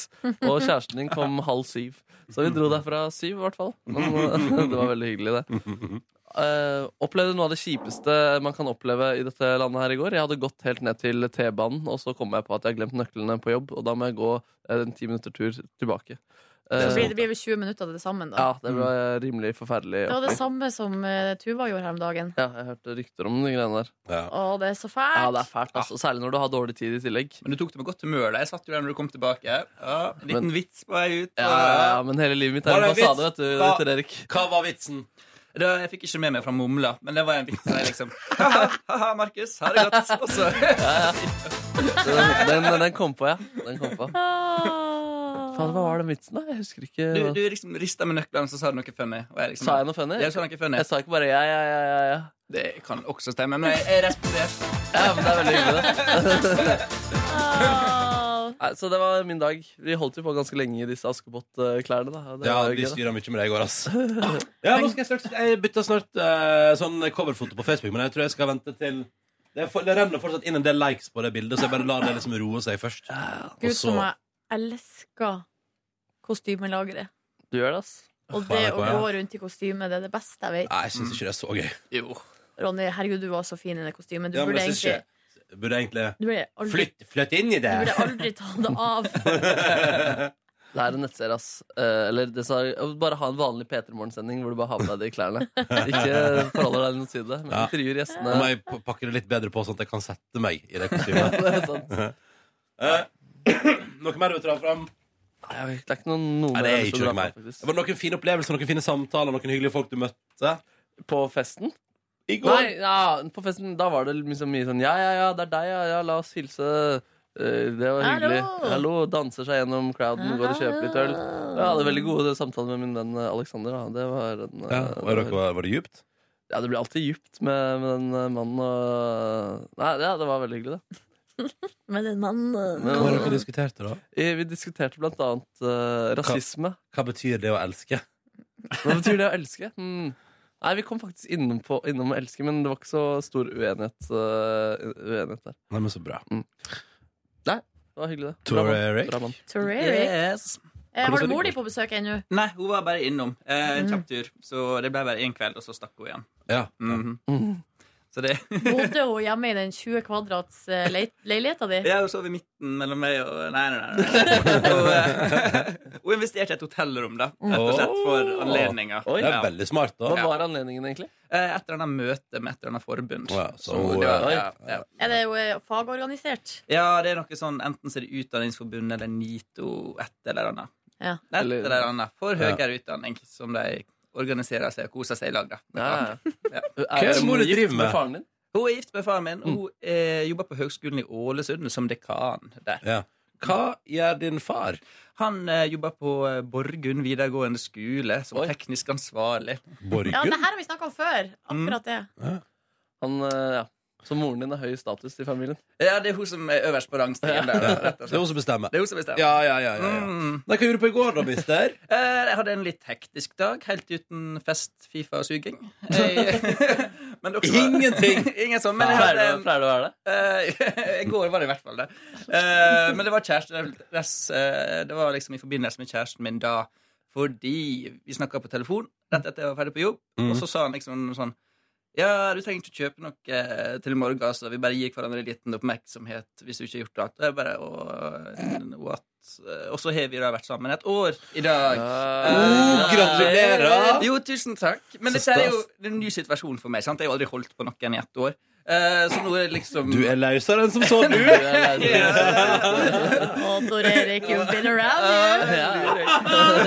Og kjæresten din kom halv syv. Så vi dro derfra syv, i hvert fall. Men eh, det var veldig hyggelig, det. Eh, opplevde noe av det kjipeste man kan oppleve i dette landet her i går. Jeg hadde gått helt ned til T-banen, og så kom jeg på at jeg har glemt nøklene på jobb. Og da må jeg gå eh, en ti minutter tur tilbake. Eh, Så blir det blir vel 20 minutter til det sammen, da. ja, det ble rimelig forferdelig. Det var det opplegg. samme som eh, Tuva gjorde her om dagen. Ja, jeg hørte rykter om de greiene der. Å, det er så Ja, fælt. det er fælt, altså. Særlig når du har dårlig tid i tillegg. Men du tok det med godt humør. da. Jeg satt jo der når du kom tilbake. Ja, en liten Men- vits på vei ut. Ja, ja, men hele livet mitt er Var det en en vits? fasade, vet du. Hva- Tor Erik. Hva var vitsen? Da, jeg fikk ikke med meg fra Mumla, men det var en vits der jeg liksom Ha-ha, Markus. Ha det godt. Og så Den, den, den kom på, ja. Den kom på. Faen, hva var den vitsen, da? Jeg husker ikke. Du, du liksom rista med nøklene, så sa du noe funny. Og jeg liksom, Sa jeg noe funny? Jeg sa noe funny. Jeg sa ikke bare ja, ja, ja, ja, ja. Det kan også stemme, men jeg, jeg respekterer. Ja, men det er veldig hyggelig, det. Nei, så det var min dag. Vi holdt jo på ganske lenge i disse Askepott-klærne. da. og det Ja, var jo de gøy, da. styra mye med det i går, ass. Ja, nå skal jeg straks Jeg bytter snart eh, sånn coverfoto på Facebook, men jeg tror jeg skal vente til det, er for, det renner fortsatt inn en del likes på det bildet, så jeg bare lar det liksom roe seg først. Og Gud, så som jeg elsker kostymelageret. Du gjør det, ass. Og det å gå rundt i kostyme, det er det beste jeg Nei, vet. jeg syns ikke det er så gøy. Jo. Ronny, herregud, du var så fin i det kostymet. Du Ja, men burde jeg synes egentlig ikke jeg Burde egentlig du burde aldri, Flytt, flytt inn i du det! burde aldri ta det av. Det er en nettserie, ass. Eh, eller det sa, bare ha en vanlig P3 Morgen-sending hvor du bare har med deg de klærne. Ikke forholder deg til noen side, men Ja. Nå intervjuer må gjestene. jeg p- pakke det litt bedre på, sånn at jeg kan sette meg i det kostymet. Det er sånn. sant. Eh, noe mer du vil dra fram? Nei, jeg vet- det er ikke noen, noen Nei, det er jeg har lyst ikke til å noe dra mer. på, faktisk. Det var noen fine opplevelser, noen fine samtaler, noen hyggelige folk du møtte. På festen? I går. Nei, ja, på festen da var det liksom mye sånn Ja, ja, ja, det er deg, ja, ja la oss hilse Eh, Det var Hallo. hyggelig Hallo, danser seg gjennom crowden, går og kjøper litt øl Jeg hadde veldig gode samtaler med min venn eh, Alexander da. Det var en Ja, eh, var, dere, var det djupt? Ja, det ble alltid djupt med, med den eh, mannen og... Nei, ja, det var veldig hyggelig det Med den mannen. Men- Hva var det dere diskuterte, da? Eh, Vi diskuterte blant annet eh, rasisme Hva betyr det å elske? Hva betyr det å elske? Hmm. Nei, vi kom faktisk innom, på, innom å elske Men det var ikke så stor uenighet, eh, uenighet der Nei, men så bra. Nei, det var hyggelig det Bra Tor mann. Erik? Bra mann. Toreric. Yes. Eh, har du mor di på besøk ennå? Nei, hun var bare innom. Eh, en Mm. kjapp tur. Så det ble bare én kveld, og så stakk hun igjen. Ja. Så det Bodde hun hjemme i den 20 kvadrats eh, leit- leiligheta di? Jeg sov i midten mellom meg og Nei, nei, nei. nei. Hun, eh, hun investerte i et hotellrom, da. Mm. Rett og slett for anledninga. Oi. Det er veldig smart, da. Hva var anledningen egentlig? Eh, Et eller annet møte med et eller annet forbund. Å, ja, så eh, Så det var- ja, ja. Er det jo eh, fagorganisert? Ja, det er noe sånn Enten så er det Utdanningsforbundet eller NITO, et eller annet. Ja. Et eller annet for Ja. høyere utdanning, som de organiserer seg og koser seg i lag, da. Ja, Ja. Er det mor gift med faren din? Hun er gift med faren min, og hun eh, jobber på Høgskolen i Ålesund som dekan der. Hva gjør din far? Han eh, jobber på eh, Borgund videregående skole som teknisk ansvarlig. Ja, det her har vi snakka om før. Mm. Akkurat det. Han, eh, ja. Så moren din har høy status i familien? Ja, det er hun som er øverst på rangstigen der. da, rett og slett. Det er hun som bestemmer. Det er hun som bestemmer. Ja, ja, ja, ja, ja. Nei, Hva gjorde du på i går, da, mister? Eh, Jeg hadde en litt hektisk dag, helt uten fest, Fifa og suging. Jeg- Men det også var- Ingenting. Ingen sånn, men jeg Pleier hadde det- en... pleier det å være Eh, I går var det i hvert fall det. Eh, men det var kjæreste eh, Det var liksom i forbindelse med kjæresten min da Fordi vi snakka på telefon rett etter jeg var ferdig på jobb, Mhm. og så sa han liksom sånn Ja, du trenger ikke kjøpe noe eh, til i morgen, altså. Vi bare gir hverandre litt oppmerksomhet hvis du ikke har gjort det. Og jeg bare, «Åh, what? Eh, Og så har vi da vært sammen et år i dag. Eh, Oh, gratulerer! Jo, tusen takk. Men Så dette er jo stas. det er en ny situasjon for meg. sant? Jeg har jo aldri holdt på noen i ett år. Eh, Så nå er det liksom Du er løsere enn som så, du! Å, Tor Erik, you've been around, you.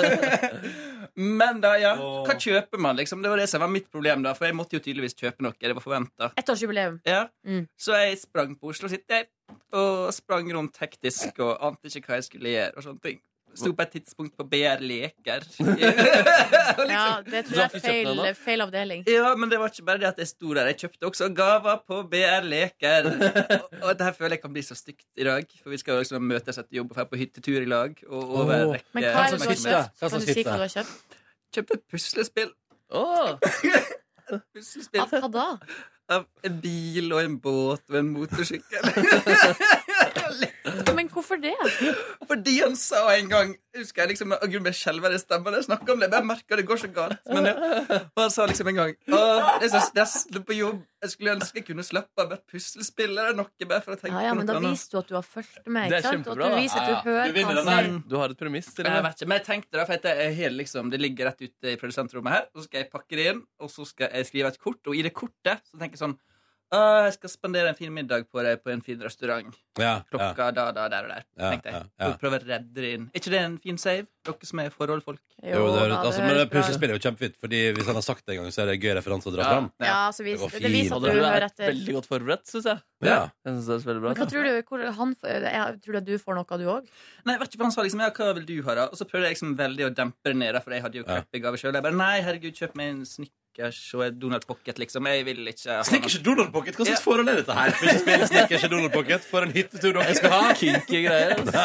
Men da, ja. Hva kjøper man, liksom? Det var det som var mitt problem, da. For jeg måtte jo tydeligvis kjøpe noe. Det var forventa. Ettårsjubileum. Ja. Mm. Så jeg sprang på Oslo City jeg, og sprang rundt hektisk og ante ikke hva jeg skulle gjøre. og sånne ting. Sto på et tidspunkt på BR Leker. Ja, det tror jeg er feil, feil avdeling. liksom. Ja, men det var ikke bare det at jeg sto der. Jeg kjøpte også gaver på BR Leker. Og, og det her føler jeg kan bli så stygt i dag, for vi skal jo liksom møtes etter jobb og dra på hyttetur i lag. Og Åh. over rekke Men hva er det du har oppmerksomhet. kjøpt? Kan du si hva du har kjøpt? Kjøpte et puslespill. Av hva da? Av en bil og en båt og en motorsykkel. Ja, Men hvorfor det? Fordi han sa en gang Husker jeg liksom Å gud, jeg skjelver i stemmen når jeg snakker om det. Jeg bare merker det går så galt. Men ja. Og han sa liksom en gang Å, det er så stressende på jobb. Jeg skulle ønske jeg kunne slappe av med et puslespill eller noe. Bare for å tenke Ja, ja, på men noe da annet.» viser du at du har fulgt med. Det er ikke sant? At kjempebra, da. du viser at Ja, du ja. hører Du vinner hva den han der. sier. Du har et premiss til Men det jeg her. vet ikke, men jeg tenkte da, for det, er hele, liksom, det ligger rett ute i produsentrommet her. Så skal jeg pakke det inn, og så skal jeg skrive et kort. Og i det kortet så tenker jeg sånn «Å, Jeg skal spandere en fin middag på deg på en fin restaurant. Ja, Klokka da, da, der og der. Ja, tenkte jeg. ja, ja. Og prøve å redde det inn. Er ikke det en fin save? Dere som er forholdfolk. Jo, det er, altså, men det puslespillet er jo kjempefint, Fordi hvis han har sagt det en gang, så er det en gøy referanse å dra Ja. fram. Ja, så vis- går det fint. viser at Og du det- hører etter. Veldig godt forberedt, syns jeg. Ja. Jeg synes det er veldig bra. Men hva tror du, hvor, han, jeg, tror du at du får noe, du òg? Nei, jeg vet ikke, for han sa liksom, ja, hva vil du ha da? Og så prøvde jeg liksom veldig å dempe det ned, da, for jeg hadde jo crappy gave selv. Jeg bare, nei, herregud, kjøp meg en Snickers og en Donald Pocket, liksom. Jeg vil ikke ha Snickers og Donald Pocket? Hva slags forhold er dette her? Puslespillet Snickers og Donald Pocket for en hyttetur dere skal ha! Kinky greier. altså.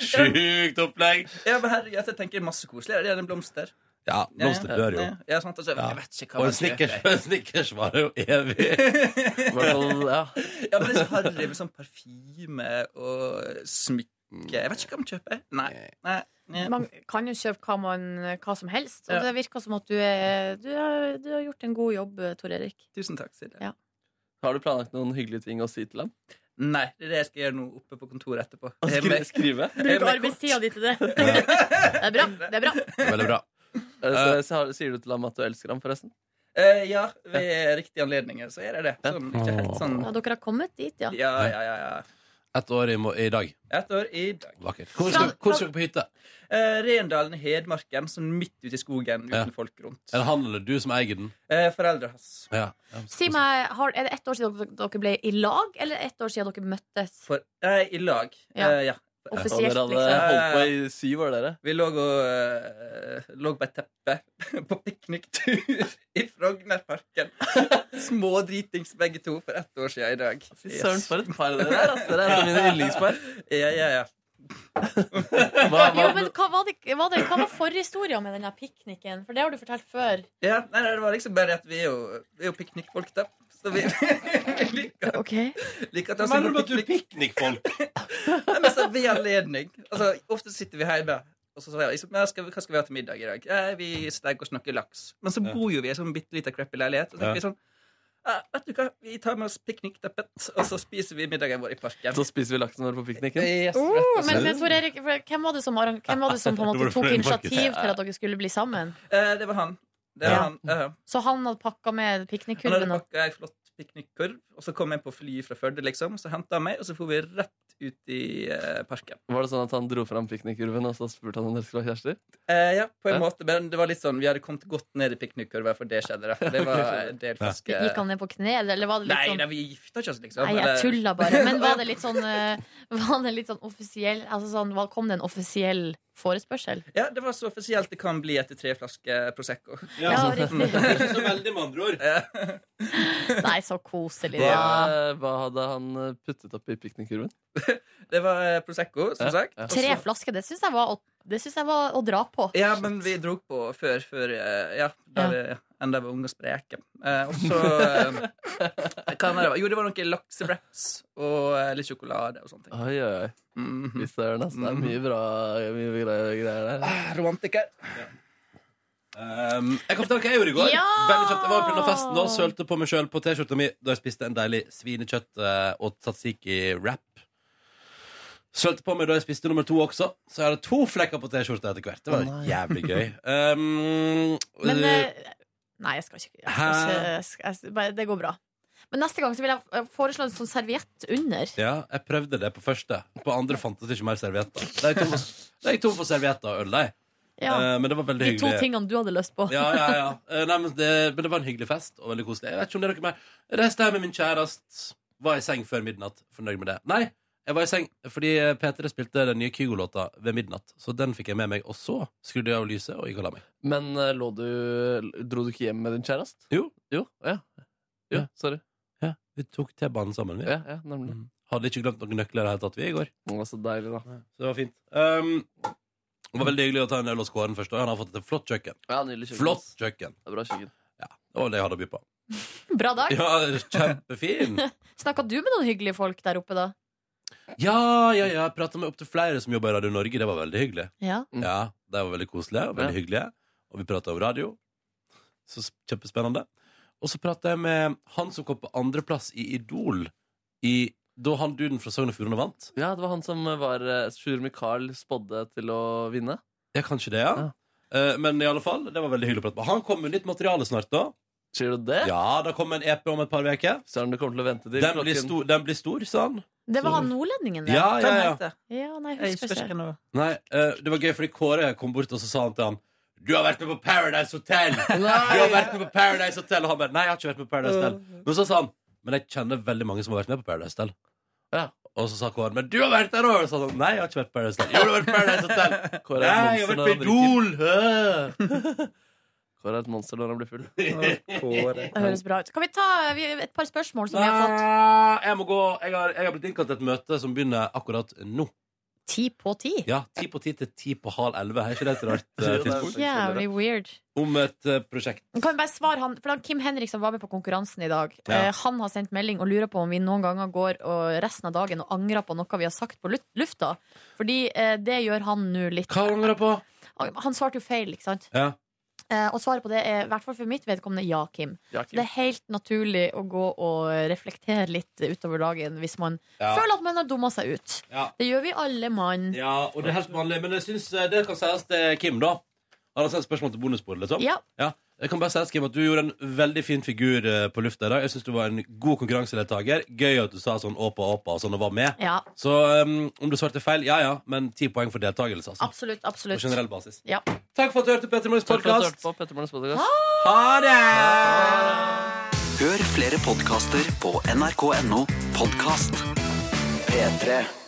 Sjukt opplegg. sånn. Ja, men herregud, jeg tenker masse koseligere. Det er en blomster. Ja, blomster Ja, ja, dør jo. ja. Ja, sant, altså, Ja. jeg vet ikke hva Og man en Snickers, kjøper. en Snickers varer jo evig. ja. men det er så harry med sånn parfyme og smykke. Jeg vet ikke hva man kjøper. Nei, nei. nei. Man kan jo kjøpe hva, man, hva som helst. Og Ja. det virker som at du, er, du, har, du har gjort en god jobb, Tor Erik. Tusen takk, Silje. Ja. Har du planlagt noen hyggelige ting å si til ham? Nei, det er det jeg skal gjøre nå oppe på kontoret etterpå. Jeg er Skrive? med- skrive? Jeg er Bruk med- arbeidstida di til det. Det er bra. Det er bra. Veldig bra. Eh, Så, så, har- sier du til ham at du elsker ham, forresten? Eh, ja, ved riktige anledninger så er det det. Sånn, ikke helt sånn Ja, dere har kommet dit, ja. Ja, ja, ja. ja. Ett år i, mo- i dag. Ett år i dag. Vakkert. Hvor skal, hvor skal dere på hytte? Eh, Rendalen i Hedmarken, sånn midt ute i skogen uten Ja. folk rundt. Er det han eller du som eier den? Eh, foreldre hans. Ja. Si meg, har, Er det ett år siden dere- dere ble i lag, eller ett år siden dere møttes? For, eh, I lag. Ja. Eh, ja. Offisielt, Og dere hadde liksom. holdt på i syv år, dere. Vi lå, og, eh, lå på et teppe på pikniktur i Frognerparken. Smådritings begge to for ett år siden i dag. Fy søren, for et par dere er, altså. Dere er et av mine yndlingspar. Ja, ja, ja. Jo, men hva var, det, var det, hva var forhistoria med denne pikniken? For det har du fortalt før. Ja, nei, nei, det var liksom bare at vi er jo, vi er jo piknikfolk, da. Så vi, vi liker, liker at det er Hva mener du med at du er piknikfolk? nei, men så ved anledning. Altså, ofte sitter vi hjemme, og så sier jeg liksom, ja, skal vi, hva skal vi ha til middag i dag? Eh, vi steker og snakker laks. Men så Ja. bor jo vi i en sånn bitte liten crappy leilighet, og så tenker Ja. vi sånn, ja, vet du hva, vi tar med oss piknikteppet, og så spiser vi middagen vår i parken. Så spiser vi laksen vår på pikniken. Yes, Oh, men, men Tor Erik, for hvem var det som, arrang- hvem var det som på en Du måte var tok fornøyd, Markus. initiativ til at dere skulle bli sammen? Eh, det var han. Det var Ja. han. ja, ja. Så han hadde pakka med Han hadde piknikkurven? og- pakka ei flott piknikkurv, og så kom jeg på fly fra Førde, liksom. Så henta han meg, og så for vi rett ut i eh, parken. Var det sånn at han dro fram piknikkurven og så spurte han om dere skulle ha kjærester? Eh, ja, på Ja. en måte, men det var litt sånn vi hadde kommet godt ned i piknikkurva, for det skjedde. Da. Det var Ok, en del flaske Gikk han ned på kne, eller var det litt Nei, sånn nei, vi gifta ikke oss, liksom. Nei, jeg eller- tulla bare. Men var det litt sånn, eh, var det litt sånn offisiell altså sånn, var- Kom det en offisiell forespørsel? Ja, det var så offisielt det kan bli etter tre flasker eh, Prosecco. Ja, Ja, altså. riktig. Ikke så veldig, med andre ord. Nei, så koselig. Hva, da. hva hadde han eh, puttet oppi piknikkurven? Det var eh, Prosecco, som Ja, sagt. ja. og så- Tre flasker, det syns jeg, var å- det synes jeg var å dra på. Ja, men vi dro på før, før eh, ja, da Ja. vi enda var unge og spreke. Eh, og så eh, hva var det? Jo, det var noen laksewraps og eh, litt sjokolade og sånne ting. Mhm. Oi, oi, oi. Fy søren, ass. Det er mye bra mye bra greier der. Romantiker. Um, jeg kan fortelle hva jeg gjorde i går. Ja! Veldig kjapt, Jeg var på grunn av festen og sølte på meg sjøl på T-skjorta mi da jeg spiste en deilig svinekjøtt eh, og tzatziki-wrap. Sølte på meg da jeg spiste nummer to også, så jeg hadde to flekker på T-skjorta etter hvert. Det var jævlig gøy. Um, Men eh, eh, Nei, jeg skal ikke, jeg skal ikke jeg skal, jeg, bare- Det går bra. Men neste gang så vil jeg eh, foreslå en sånn serviett under. ja, jeg prøvde det på første. På andre fantes det ikke mer servietter. Da gikk jeg tom for- da gikk jeg tom for servietter og øl, nei. Ja. Eh, men det var veldig De to hyggelig. tingene du hadde lyst på. Ja, ja, ja. Eh, Nei, men, det, men det var en hyggelig fest og veldig koselig. Jeg vet ikke om det er noe mer. Reiste hjem med min kjæreste. Var i seng før midnatt. Fornøyd med det. Nei, jeg var i seng fordi eh, P3 spilte den nye Kygo-låta ved midnatt. Så den fikk jeg med meg. Og så skrudde jeg av lyset og gikk og la meg. Men eh, lå du Dro du ikke hjem med din kjæreste? Jo. Å, ja. Jo, Ja. sorry. Ja, vi tok T-banen sammen, vi. Ja, ja, nemlig. Hadde ikke glemt noen nøkler i det hele tatt, vi, i går. Det var så deilig, da. Så det var fint. Um, det var veldig hyggelig å ta en øl hos Kåren først. Og han har fått et flott kjøkken. Ja, nydelig kjøkken. Flott kjøkken. Det er bra kjøkken. Ja, det var det jeg hadde å by på. Bra dag. Ja, kjempefin. Snakka du med noen hyggelige folk der oppe, da? Ja, ja, ja. Jeg prata med opptil flere som jobber i Radio Norge. Det var veldig hyggelig. Ja. Ja, De var veldig koselige og veldig hyggelige. Og vi prata om radio. Så s- Kjempespennende. Og så prata jeg med han som kom på andreplass i Idol i, da han duden fra Sogn og Fjordane vant. Ja, det var han som var eh, Sjur Mikael spådde til å vinne. Ja, kanskje det, ja. Eh, Men i alle fall, det var veldig hyggelig å prate med. Han kommer med nytt materiale snart, da. Sier du det? Ja, det kommer en EP om et par uker. Den blir, klokken- stor, den blir stor, sa han. Det var Så- han nordlendingen, det. Ja, ja, ja. Ja, nei, jeg husker ikke. Nei, eh, det var gøy fordi Kåre kom bort og så sa han til han Du har vært med på Paradise Hotel! Du har vært med på Paradise Hotel Og han bare Nei, jeg har ikke vært med på Paradise Hotel. Men så sa han Men jeg kjenner veldig mange som har vært med på Paradise Hotel. Og så sa Kåre Men du har vært der òg! Og så sa han Nei, jeg har ikke vært på Paradise Hotel. Jo, du har vært på Paradise Hotel! Kåre Nei, er jeg har monster vært på når han Idol! Hø! Kåre er et monster når han blir full. Kåre. Det høres bra ut. Kan vi ta eh, vi- et par spørsmål som vi har fått? Nei, Jeg må gå jeg har, jeg har blitt innkalt til et møte som begynner akkurat nå. Ti på ti? Ja, ti på ti til ti på halv elleve. Er ikke det et rart eh, tidspunkt? Jævlig weird. Om et eh, prosjekt. Kan vi bare svare han, for han Kim Henrik som var med på konkurransen i dag, Ja. eh, han har sendt melding og lurer på om vi noen ganger går og resten av dagen og angrer på noe vi har sagt på lut- lufta. Fordi eh, det gjør han nå litt. Hva angrer han på? Han svarte jo feil, ikke sant? Ja. Eh, og svaret på det er, i hvert fall for mitt vedkommende, ja, Kim. Ja, Så det er helt naturlig å gå og reflektere litt utover dagen hvis man Ja. føler at man har dumma seg ut. Ja. Det gjør vi alle mann. Ja, og det er helt vanlig. Men jeg synes eh, det kan sies til Kim, da. Han har sendt spørsmål til bonusbordet, liksom. Ja. Jeg kan bare si, Kim, at Du gjorde en veldig fin figur eh, på lufta i dag. Jeg syns du var en god konkurransedeltaker. Gøy at du sa sånn åpa, åpa og sånn og var med. Ja, Så um, om du svarte feil, ja ja, men ti poeng for deltakelse, altså. absolutt. absolutt. På generell basis. Ja. Takk for at du hørte Petter Morgens Takk for at du podkast. hørte på Petter Morgens podcast. Ha det! Hør flere podkaster på nrk.no podkast. P3.